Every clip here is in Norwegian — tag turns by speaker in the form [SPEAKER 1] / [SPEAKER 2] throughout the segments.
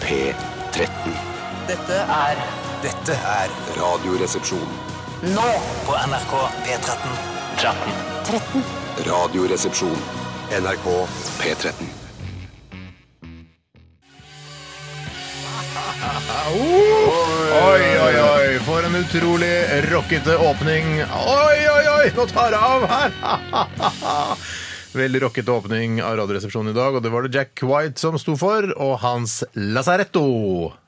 [SPEAKER 1] P13.
[SPEAKER 2] Dette er
[SPEAKER 3] Dette er
[SPEAKER 1] Radioresepsjon.
[SPEAKER 2] nå
[SPEAKER 3] på NRK P13.
[SPEAKER 1] Radioresepsjon. NRK P13.
[SPEAKER 4] Oi, oi, oi, for en utrolig rockete åpning. Oi, oi, oi, nå tar det av her! Veldig rockete åpning av Radioresepsjonen i dag, og det var det Jack White som sto for, og hans Lazaretto.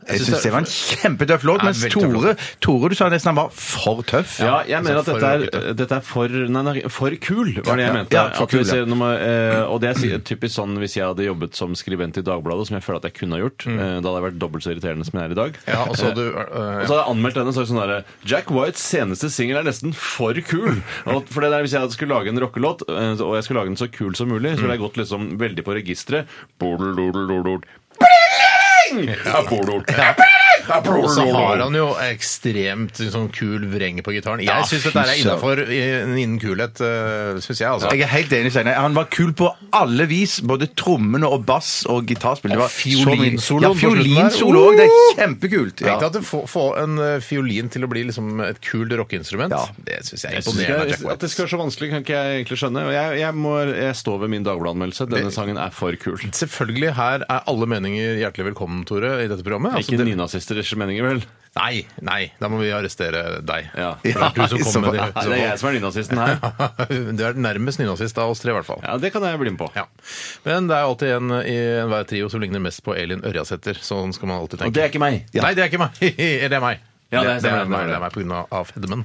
[SPEAKER 5] Jeg syns det var en kjempetøff låt,
[SPEAKER 4] Ja,
[SPEAKER 5] mens
[SPEAKER 4] veldig tøff
[SPEAKER 5] Tore, Tore du sa nesten han var for tøff.
[SPEAKER 6] Ja, jeg mener at
[SPEAKER 4] altså,
[SPEAKER 6] dette
[SPEAKER 4] for
[SPEAKER 6] er, dette er for Nei, nei for kul, var det jeg
[SPEAKER 4] Ja,
[SPEAKER 6] mente.
[SPEAKER 4] ja, for
[SPEAKER 6] At
[SPEAKER 4] kul,
[SPEAKER 6] hvis
[SPEAKER 4] ja.
[SPEAKER 6] jeg- når man, eh, og det er si- typisk sånn hvis jeg hadde jobbet som skribent i Dagbladet, som jeg føler at jeg kunne ha gjort. eh, Da hadde jeg vært dobbelt så irriterende som jeg er i dag.
[SPEAKER 4] Mm. Ja, og så
[SPEAKER 6] Eh,
[SPEAKER 4] hadde du, øh,
[SPEAKER 6] og så hadde jeg anmeldt denne så er det sånn derre Jack Whites seneste singel er nesten for kul. Og for det der, Hvis jeg hadde skulle lage en rockelåt, eh, og jeg skulle lage den så kul som mulig, så ville jeg gått liksom veldig på registeret.
[SPEAKER 4] Og så har han jo ekstremt sånn kul vreng på gitaren. Jeg syns dette er
[SPEAKER 5] fy
[SPEAKER 4] innafor innen kulhet, syns jeg, altså.
[SPEAKER 5] Jeg er helt enig, Steinar. Han var kul på alle vis. Både trommene og bass og gitarspill. Det var
[SPEAKER 4] Og fiolinsoloen
[SPEAKER 5] Ja,
[SPEAKER 4] på slutten der. Uh!
[SPEAKER 5] fiolinsolo òg. Det er kjempekult.
[SPEAKER 4] Tenk
[SPEAKER 5] Ja.
[SPEAKER 4] deg at du får, får en eh, fiolin til å bli liksom et kult rockeinstrument.
[SPEAKER 5] Ja.
[SPEAKER 4] Det syns jeg er
[SPEAKER 6] Jeg synes
[SPEAKER 4] imponerende. av Jack
[SPEAKER 6] ikke- At
[SPEAKER 4] White.
[SPEAKER 6] det skal være så vanskelig, kan ikke jeg egentlig skjønne. Og Jeg, jeg, må, jeg står ved min Dagbladet-anmeldelse. Denne sangen er for kul.
[SPEAKER 4] Selvfølgelig, her er alle meninger hjertelig velkommen, Tore, i dette programmet. Altså,
[SPEAKER 6] Ikke
[SPEAKER 4] det-
[SPEAKER 6] nynazisters meninger, vel?
[SPEAKER 4] Nei, nei, da må vi arrestere deg.
[SPEAKER 6] Ja.
[SPEAKER 4] For det er du som
[SPEAKER 5] Ja, i så
[SPEAKER 4] kommer med
[SPEAKER 5] fall.
[SPEAKER 4] det.
[SPEAKER 6] Nei, det er jeg som er nynazisten her.
[SPEAKER 4] Du er nærmest nynazist av oss tre, i hvert fall.
[SPEAKER 6] Ja, Det kan jeg bli med på.
[SPEAKER 4] Ja. Men det er alltid en i enhver trio som ligner mest på Elin Ørjasæter. Sånn skal man alltid tenke.
[SPEAKER 6] Og det er ikke meg.
[SPEAKER 4] Nei, det er ikke meg! det er meg.
[SPEAKER 6] Ja, det er-
[SPEAKER 4] det er, meg, det er meg på grunn av- av fedmen.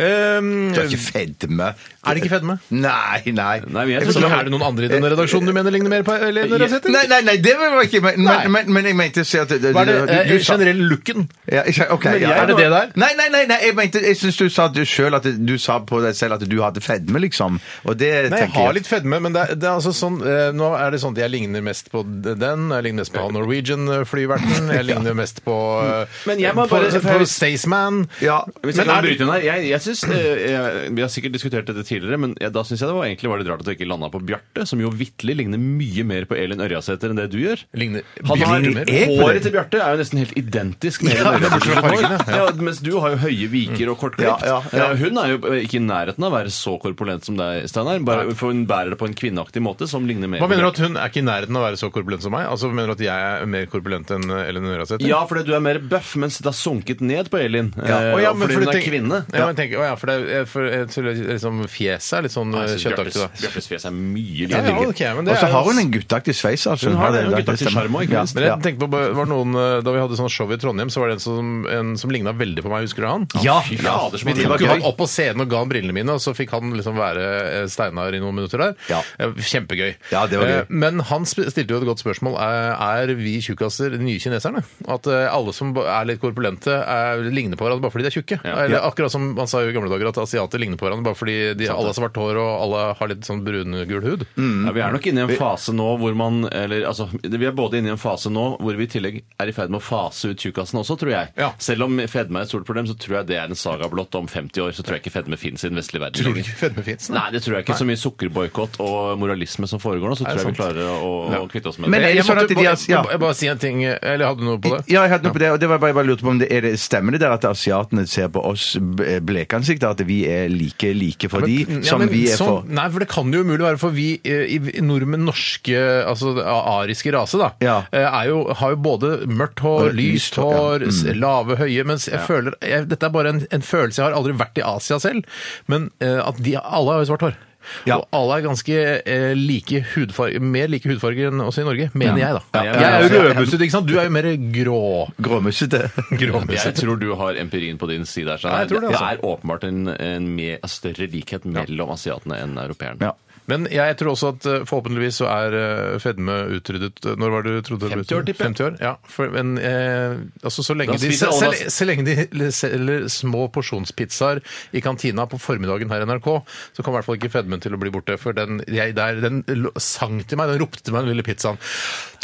[SPEAKER 4] Ehm,
[SPEAKER 5] Du har ikke fedme.
[SPEAKER 4] Er det ikke fedme?
[SPEAKER 5] Nei, nei.
[SPEAKER 6] Nei, men jeg
[SPEAKER 4] Så
[SPEAKER 6] tror
[SPEAKER 4] er det noen andre i
[SPEAKER 5] Eh,
[SPEAKER 4] denne redaksjonen du mener ligner mer på Elin Ørjasæter?
[SPEAKER 5] Nei, nei, nei, det var ikke men,
[SPEAKER 4] Nei.
[SPEAKER 5] men, men, men jeg mente å si at du,
[SPEAKER 4] Hva er det
[SPEAKER 5] du,
[SPEAKER 4] eh,
[SPEAKER 5] du sa-
[SPEAKER 4] generelle looken?
[SPEAKER 5] ja, ikke- ok,
[SPEAKER 4] Men
[SPEAKER 5] ja.
[SPEAKER 4] jeg- Er det det der?
[SPEAKER 5] Nei, nei, nei, nei jeg, mente, jeg syns du sa at du selv at du sa på deg selv at du hadde fedme, liksom. Og det
[SPEAKER 4] Nei, jeg
[SPEAKER 5] tenker
[SPEAKER 4] har litt fedme, men det er, det er altså sånn eh, Nå er det sånn at jeg ligner mest på den, jeg ligner mest på Norwegian-flyverten, jeg ligner mest på, eh,
[SPEAKER 6] Men jeg må
[SPEAKER 4] på,
[SPEAKER 6] bare-
[SPEAKER 4] på Staysman.
[SPEAKER 5] Ja.
[SPEAKER 6] Hvis jeg kan bryte inn her, jeg, jeg synes, eh, jeg, Vi har sikkert diskutert dette tidligere, men jeg, da syns jeg det var egentlig var litt rart at du ikke landa på Bjarte, som jo vitterlig ligner mye mer på Elin Ørjasæter enn det du gjør.
[SPEAKER 4] Ligner-
[SPEAKER 6] Han har, e-
[SPEAKER 4] Ligner mer?
[SPEAKER 6] håret til Bjarte er jo nesten helt identisk med Elin
[SPEAKER 4] bortsett fra
[SPEAKER 6] Ørjasæter.
[SPEAKER 4] fargene,
[SPEAKER 6] Ja. mens du har jo høye viker og kortklipt.
[SPEAKER 5] Ja, ja, ja.
[SPEAKER 6] Eh, Hun er jo ikke i nærheten av å være så korpulent som deg, Steinar. bare- For hun bærer det på en kvinneaktig måte som ligner mer
[SPEAKER 4] Hva
[SPEAKER 6] på
[SPEAKER 4] mener du
[SPEAKER 6] Bjarte.
[SPEAKER 4] at hun er ikke i nærheten av å være så korpulent som meg? Altså, Mener du at jeg er mer korpulent enn eh, Ellen Ørjasæter?
[SPEAKER 6] Ja, fordi du er mer bøff, mens det har sunket ned på Elin. Eh,
[SPEAKER 4] Å, ja, men
[SPEAKER 6] fordi hun
[SPEAKER 4] du
[SPEAKER 6] er
[SPEAKER 4] tenker-
[SPEAKER 6] kvinne.
[SPEAKER 4] Ja, men tenk, å, ja, for, det, er- for, jeg tror liksom, fjeset er litt sånn eh,
[SPEAKER 6] Jeg synes
[SPEAKER 4] kjøttaktig,
[SPEAKER 6] Bjartes-
[SPEAKER 4] da.
[SPEAKER 6] Bjartes fjes er mye
[SPEAKER 4] Ja, ja,
[SPEAKER 6] likere.
[SPEAKER 4] ok, men det
[SPEAKER 5] Og så
[SPEAKER 4] er-
[SPEAKER 5] har hun en guttaktig sveis. Altså.
[SPEAKER 6] Hun har det,
[SPEAKER 5] det,
[SPEAKER 6] hun har
[SPEAKER 5] det- det
[SPEAKER 6] guttaktig
[SPEAKER 5] stemmer.
[SPEAKER 6] sjarm også, ikke
[SPEAKER 5] Ja,
[SPEAKER 6] minst.
[SPEAKER 4] Men jeg
[SPEAKER 5] ja.
[SPEAKER 4] tenkte på, det var noen, eh, Da vi hadde sånn show i Trondheim, så var det en som, en som ligna veldig på meg. Husker du han?
[SPEAKER 5] Ja,
[SPEAKER 6] Fy fader, som
[SPEAKER 4] Vi
[SPEAKER 6] han er
[SPEAKER 4] tok
[SPEAKER 6] gøy.
[SPEAKER 4] jo han opp på scenen og ga han brillene mine, og så fikk han liksom være eh, Steinar i noen minutter der.
[SPEAKER 5] Ja.
[SPEAKER 4] Eh, Kjempegøy.
[SPEAKER 5] Ja, det var gøy.
[SPEAKER 4] Eh, Men han sp- stilte jo et godt spørsmål. Eh, Er er vi tjukkaser de nye kineserne? At eh, alle som ba- er litt korpulente, er, ligner på hverandre bare fordi de er tjukke? Eller akkurat som man sa jo i gamle dager, at asiater ligner på hverandre bare fordi de, alle har svart hår og alle har litt sånn brungul hud.
[SPEAKER 5] Mm.
[SPEAKER 6] Ja, vi er nok inne i en fase nå hvor man eller, altså, Vi er både inne i en fase nå hvor vi i tillegg er i ferd med å fase ut tjukkasen også, tror jeg.
[SPEAKER 4] Ja.
[SPEAKER 6] Selv om fedme er et stort problem, så tror jeg det er en saga blått. Om 50 år så tror jeg ikke fedme fins i den vestlige verden.
[SPEAKER 4] Tror du
[SPEAKER 6] lenger.
[SPEAKER 4] ikke fedme fins?
[SPEAKER 6] Nei, det tror jeg ikke. Så mye sukkerboikott og moralisme som foregår nå, så tror jeg vi
[SPEAKER 4] sant.
[SPEAKER 6] klarer å, å kvitte oss med
[SPEAKER 5] Men
[SPEAKER 6] det.
[SPEAKER 5] er det
[SPEAKER 4] Jeg,
[SPEAKER 5] sånn
[SPEAKER 4] måtte
[SPEAKER 5] at de
[SPEAKER 4] bare,
[SPEAKER 5] har- ja.
[SPEAKER 4] jeg bare si en ting, eh, eller hadde du noe på det?
[SPEAKER 5] Ja, jeg hadde noe på det, og det var bare, jeg bare lurte på om det er det stemmer det der at asiatene ser på oss b- blekansikter, at vi er like like for de
[SPEAKER 4] Men- ja,
[SPEAKER 5] som
[SPEAKER 4] men
[SPEAKER 5] vi er
[SPEAKER 4] sånn-
[SPEAKER 5] for
[SPEAKER 4] Nei, for det kan jo umulig være, for vi eh, i, i nordmenn, norske, altså det ariske rase, da,
[SPEAKER 5] Ja.
[SPEAKER 4] eh, er jo, har jo både mørkt hår,
[SPEAKER 5] Og lyst
[SPEAKER 4] lyst
[SPEAKER 5] hår, ja. Mm.
[SPEAKER 4] hår, s- lave, høye, mens jeg føler jeg, Dette er bare en, en følelse. Jeg har aldri vært i Asia selv, men eh, at de, alle har jo svart hår.
[SPEAKER 5] Ja.
[SPEAKER 4] Og alle er ganske eh, like hudfarge, mer like hudfarger enn oss i Norge, mener jeg, da.
[SPEAKER 5] Ja,
[SPEAKER 6] ja,
[SPEAKER 4] Jeg er jo
[SPEAKER 5] ja, ja.
[SPEAKER 4] rødbusset, ikke sant? Du er jo mer grå.
[SPEAKER 5] gråmussete.
[SPEAKER 6] Jeg tror du har empirien på din side.
[SPEAKER 4] Ja,
[SPEAKER 6] her, Steinar.
[SPEAKER 4] jeg tror det,
[SPEAKER 6] det
[SPEAKER 4] altså.
[SPEAKER 6] er åpenbart en, en mer, større likhet mellom asiatene enn europeerne.
[SPEAKER 5] Ja.
[SPEAKER 4] Men jeg tror også at eh, forhåpentligvis så er eh, fedme utryddet. Når var det du trodde det ble
[SPEAKER 6] 50 år,
[SPEAKER 4] utryddet?
[SPEAKER 6] tipper jeg.
[SPEAKER 4] 50 år, ja. For, men eh, altså, så
[SPEAKER 6] Da
[SPEAKER 4] lenge, de,
[SPEAKER 6] spiser
[SPEAKER 4] så,
[SPEAKER 6] alle
[SPEAKER 4] så, så lenge de selger små porsjonspizzaer i kantina på formiddagen her i NRK, så kommer i hvert fall ikke fedmen til å bli borte. For den, jeg, der, den lo- sang til meg, den ropte til meg den lille pizzaen.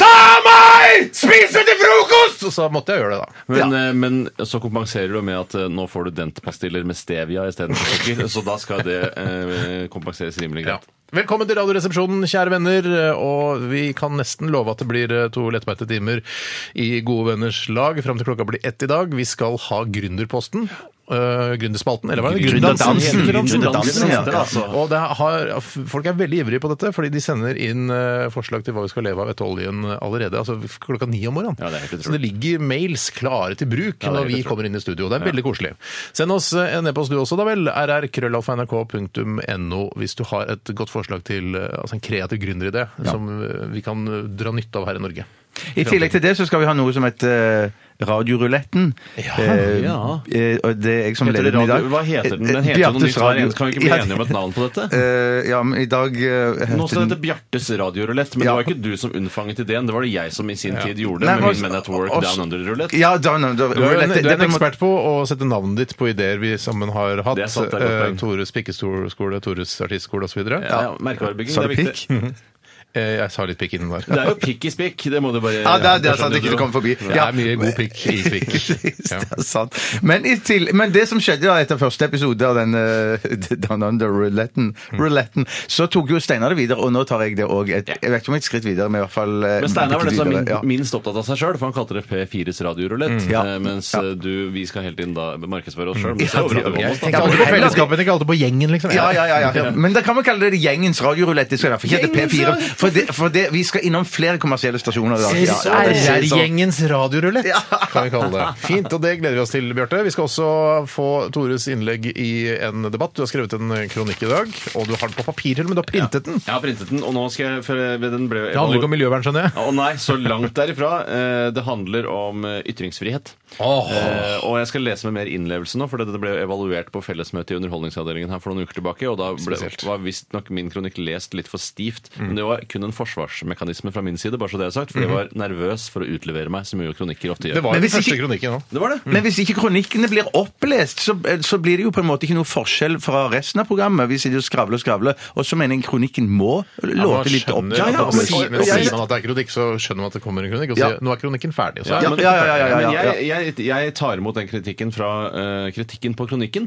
[SPEAKER 4] Ta meg Spiser til frokost! Og så måtte jeg gjøre det, da.
[SPEAKER 6] Men, eh, men så kompenserer du med at eh, nå får du dentpastiller med stevia istedenfor sukker. så da skal det eh, kompenseres rimelig
[SPEAKER 4] Ja.
[SPEAKER 6] greit.
[SPEAKER 4] Velkommen til Radioresepsjonen, kjære venner. Og vi kan nesten love at det blir eh, to lettbeinte timer i gode venners lag fram til klokka blir ett i dag. Vi skal ha Gründerposten. øh, gründerspalten, eller hva er det?
[SPEAKER 5] Gründerdansen.
[SPEAKER 4] Gründerdansen,
[SPEAKER 5] Gründerdansen,
[SPEAKER 4] ja.
[SPEAKER 5] ja.
[SPEAKER 4] Og det altså. har, folk er veldig ivrige på dette, fordi de sender inn øh, forslag til hva vi skal leve av etter oljen allerede. Altså klokka ni om morgenen.
[SPEAKER 6] Ja, det er helt utrolig.
[SPEAKER 4] Så det ligger mails klare til bruk
[SPEAKER 6] Ja, det
[SPEAKER 4] når
[SPEAKER 6] er
[SPEAKER 4] vi
[SPEAKER 6] helt utrolig.
[SPEAKER 4] kommer inn i studio. Det er veldig koselig. Send oss eh, en e-post du også, da vel. rrkrøllalfa.nrk.no hvis du har et godt forslag til eh, altså en kreativ gründeridé som eh, vi kan eh, dra nytte av her i Norge.
[SPEAKER 5] I tillegg til det så skal vi ha noe som heter eh, Radioruletten.
[SPEAKER 4] Ja,
[SPEAKER 5] Eh,
[SPEAKER 6] ja.
[SPEAKER 5] eh, og det er jeg som
[SPEAKER 6] Heter
[SPEAKER 5] leder
[SPEAKER 6] det
[SPEAKER 5] den i dag.
[SPEAKER 6] radio- Hva heter den?
[SPEAKER 5] Eh,
[SPEAKER 6] Den heter jo noe
[SPEAKER 5] Bjartes
[SPEAKER 6] nytt hver
[SPEAKER 5] radio-
[SPEAKER 6] eneste. Kan vi ikke bli
[SPEAKER 5] Ja.
[SPEAKER 6] enige om et navn på dette?
[SPEAKER 5] Eh, ja, men i dag eh,
[SPEAKER 6] Nå
[SPEAKER 5] heter
[SPEAKER 6] skal det
[SPEAKER 5] den
[SPEAKER 6] hete Bjartes radiorulett, men
[SPEAKER 5] Ja.
[SPEAKER 6] det var ikke du som unnfanget ideen. Det var det jeg som i sin tid gjorde
[SPEAKER 5] Nei,
[SPEAKER 6] med
[SPEAKER 5] men-
[SPEAKER 6] min Men at Work
[SPEAKER 5] og-
[SPEAKER 6] Down Under-rulett.
[SPEAKER 5] Ja, Down Under
[SPEAKER 4] Du er, en,
[SPEAKER 5] Roulette.
[SPEAKER 4] du er
[SPEAKER 5] Dette
[SPEAKER 4] en
[SPEAKER 5] må-
[SPEAKER 4] ekspert på å sette navnet ditt på ideer vi sammen har hatt.
[SPEAKER 6] Det er sant, det er godt
[SPEAKER 4] Eh,
[SPEAKER 6] poeng.
[SPEAKER 4] Tores pikkeskole, Tores artistskole osv. videre
[SPEAKER 6] Ja, ja, merkevarebygging,
[SPEAKER 5] Sa du
[SPEAKER 6] det er viktig.
[SPEAKER 5] pikk?
[SPEAKER 4] Eh, Jeg sa litt pikk inni der.
[SPEAKER 6] Det er jo pikk i spikk, det må du bare
[SPEAKER 5] Ja, det er, det er
[SPEAKER 6] skjønner
[SPEAKER 5] sant. Ikke
[SPEAKER 6] du.
[SPEAKER 5] du kommer forbi.
[SPEAKER 4] Det er
[SPEAKER 5] Ja.
[SPEAKER 4] mye god pikk i pikk.
[SPEAKER 5] Det er sant. Men, i til, men det som skjedde da etter første episode av den eh, Down Under-rouletten, rouletten, så tok jo Steinar det videre, og nå tar jeg det òg. Jeg vet ikke om et skritt videre, men i hvert fall eh,
[SPEAKER 6] Men Steinar var
[SPEAKER 5] litt
[SPEAKER 6] den som var
[SPEAKER 5] videre, ja.
[SPEAKER 6] min, minst opptatt av seg sjøl, for han kalte det P4s radiorulett.
[SPEAKER 5] Ja.
[SPEAKER 6] eh, Mens
[SPEAKER 5] Ja.
[SPEAKER 6] eh, du, vi skal hele tiden da markedsføre oss sjøl.
[SPEAKER 5] Ja, det gjør vi.
[SPEAKER 4] Tenk alltid på fellesskapen, ikke alltid på gjengen, liksom.
[SPEAKER 5] Ja, ja, ja, ja. Men da kan man kalle det gjengens radiorulett. Det skal i hvert fall ikke
[SPEAKER 4] Gjengens
[SPEAKER 5] hete P4. For, det, for det, vi skal innom flere kommersielle stasjoner i dag. Ja, ja, det er sånn.
[SPEAKER 4] RR-gjengens radiorulett, kan vi kalle det. Fint, og det gleder vi oss til, Bjarte. Vi skal også få Tores innlegg i en debatt. Du har skrevet en kronikk i dag, og du har den på papir, til og med du har printet den.
[SPEAKER 6] Jeg har printet den, og nå skal jeg for eh, den ble,
[SPEAKER 4] Det handler ikke om miljøvern, skjønner jeg.
[SPEAKER 6] Å nei, så langt derifra. Eh, Det handler om eh, ytringsfrihet. Eh, og jeg skal lese med mer innlevelse nå, for det det ble evaluert på fellesmøtet i Underholdningsavdelingen her for noen uker tilbake, og da ble,
[SPEAKER 4] Spesielt. Mm.
[SPEAKER 6] var visstnok min kronikk lest litt for stivt. Men det var kun en forsvarsmekanisme fra min side, bare så det er sagt, for jeg var nervøs for å utlevere meg, som jo kronikker ofte gjør.
[SPEAKER 4] Mm-hmm. Det var
[SPEAKER 5] Men
[SPEAKER 4] den
[SPEAKER 5] hvis
[SPEAKER 4] første
[SPEAKER 5] ikke-
[SPEAKER 4] kronikken nå.
[SPEAKER 6] det, var det.
[SPEAKER 5] Men hvis ikke kronikkene blir opplest, så, eh, så blir det jo på en måte ikke noe forskjell fra resten av programmet. Vi sitter og skravler og skravler, og så mener jeg kronikken må
[SPEAKER 4] Man
[SPEAKER 5] låte litt opp.
[SPEAKER 4] skjønner-
[SPEAKER 5] Ja, ja,
[SPEAKER 4] men
[SPEAKER 5] men-
[SPEAKER 4] sier men
[SPEAKER 5] ja,
[SPEAKER 4] sier
[SPEAKER 5] ja.
[SPEAKER 4] man at det er kronikk, så skjønner man at det kommer en kronikk, og
[SPEAKER 5] Ja.
[SPEAKER 4] sier nå er kronikken ferdig. Og så
[SPEAKER 6] Ja,
[SPEAKER 4] er
[SPEAKER 6] men-
[SPEAKER 4] den
[SPEAKER 5] ja, ja, ja, ja, ja.
[SPEAKER 6] Men jeg, jeg, jeg tar imot den kritikken fra eh, kritikken på kronikken.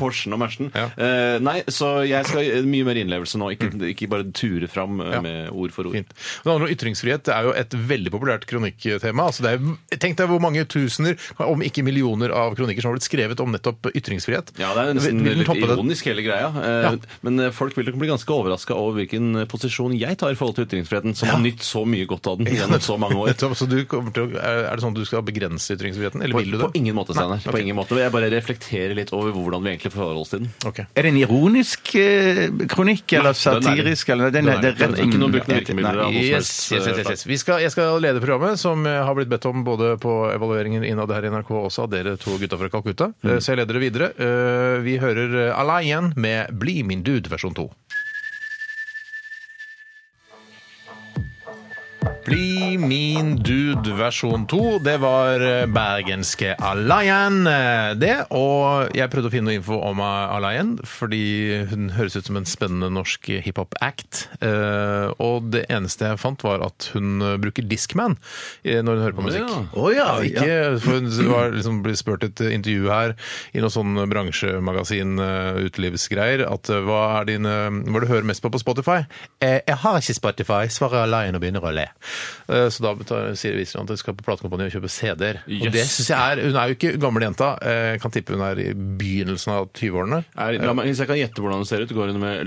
[SPEAKER 6] Porschen og Mersen.
[SPEAKER 4] Ja.
[SPEAKER 6] Eh, nei, så jeg skal eh, mye mer innlevelse nå. Ikke, ikke bare ture fram eh, med ord for ord.
[SPEAKER 4] Fint. Det handler om ytringsfrihet. Det er jo et veldig populært kronikktema. Altså det er, tenk deg hvor mange tusener, om ikke millioner, av kronikker som har blitt skrevet om nettopp ytringsfrihet.
[SPEAKER 6] Ja, det er jo nesten
[SPEAKER 4] Vil- vil den
[SPEAKER 6] litt
[SPEAKER 4] toppe det?
[SPEAKER 6] ironisk, hele greia. Eh,
[SPEAKER 4] Ja.
[SPEAKER 6] Men eh, folk vil nok bli ganske overraska over hvilken eh, posisjon jeg tar i forhold til ytringsfriheten, som har nytt så mye godt av den gjennom så mange år.
[SPEAKER 4] Nettopp, så du kommer til å, er er det sånn at du skal begrense ytringsfriheten, eller
[SPEAKER 6] På,
[SPEAKER 4] vil du
[SPEAKER 6] på
[SPEAKER 4] det?
[SPEAKER 6] ingen måte, Steinar. På ingen måte. Jeg bare reflekterer litt over hvordan vi egentlig forholder oss til den.
[SPEAKER 4] Ok.
[SPEAKER 5] Er det en ironisk eh, kronikk, eller
[SPEAKER 6] den er det.
[SPEAKER 5] satirisk? Eller, den, er- det er rett, Mm.
[SPEAKER 6] Ikke noe bruk av virkemidler.
[SPEAKER 5] Nei.
[SPEAKER 6] av noe som
[SPEAKER 4] Yes,
[SPEAKER 6] helst,
[SPEAKER 4] yes, yes, yes,
[SPEAKER 6] eh,
[SPEAKER 4] yes. Vi skal, jeg skal lede programmet, som jeg har blitt bedt om både på evalueringen innad her i NRK og også av dere to gutta fra Kalkutta.
[SPEAKER 6] Mm.
[SPEAKER 4] Eh, Så jeg leder det videre. Eh, Vi hører eh, Alain med 'Bli min dude' versjon 2. Bli min dude versjon 2. Det var eh, bergenske Alain, eh, det. Og jeg prøvde å finne noe info om eh, Alain, fordi hun høres ut som en spennende norsk hiphop-act. Eh, Og det eneste jeg fant, var at hun eh, bruker Discman eh, når hun hører på musikk.
[SPEAKER 6] ja.
[SPEAKER 5] Å ja,
[SPEAKER 4] Ikke,
[SPEAKER 5] ja.
[SPEAKER 4] for Hun var liksom ble spurt et intervju her i noe sånn bransjemagasin, eh, utelivsgreier, at eh, hva er din, eh, hva er det du hører mest på på Spotify? Eh, jeg har ikke Spotify, svarer Alain og begynner å le. Eh, så da tar- sier viser han at hun skal på platekompani og kjøpe CD-er. Og
[SPEAKER 6] Yes.
[SPEAKER 4] det synes jeg er, Hun er jo ikke gammel jenta, eh, kan tippe hun er i begynnelsen av 20-årene.
[SPEAKER 6] Er, la meg, hvis jeg kan gjette hvordan det ser ut, går hun med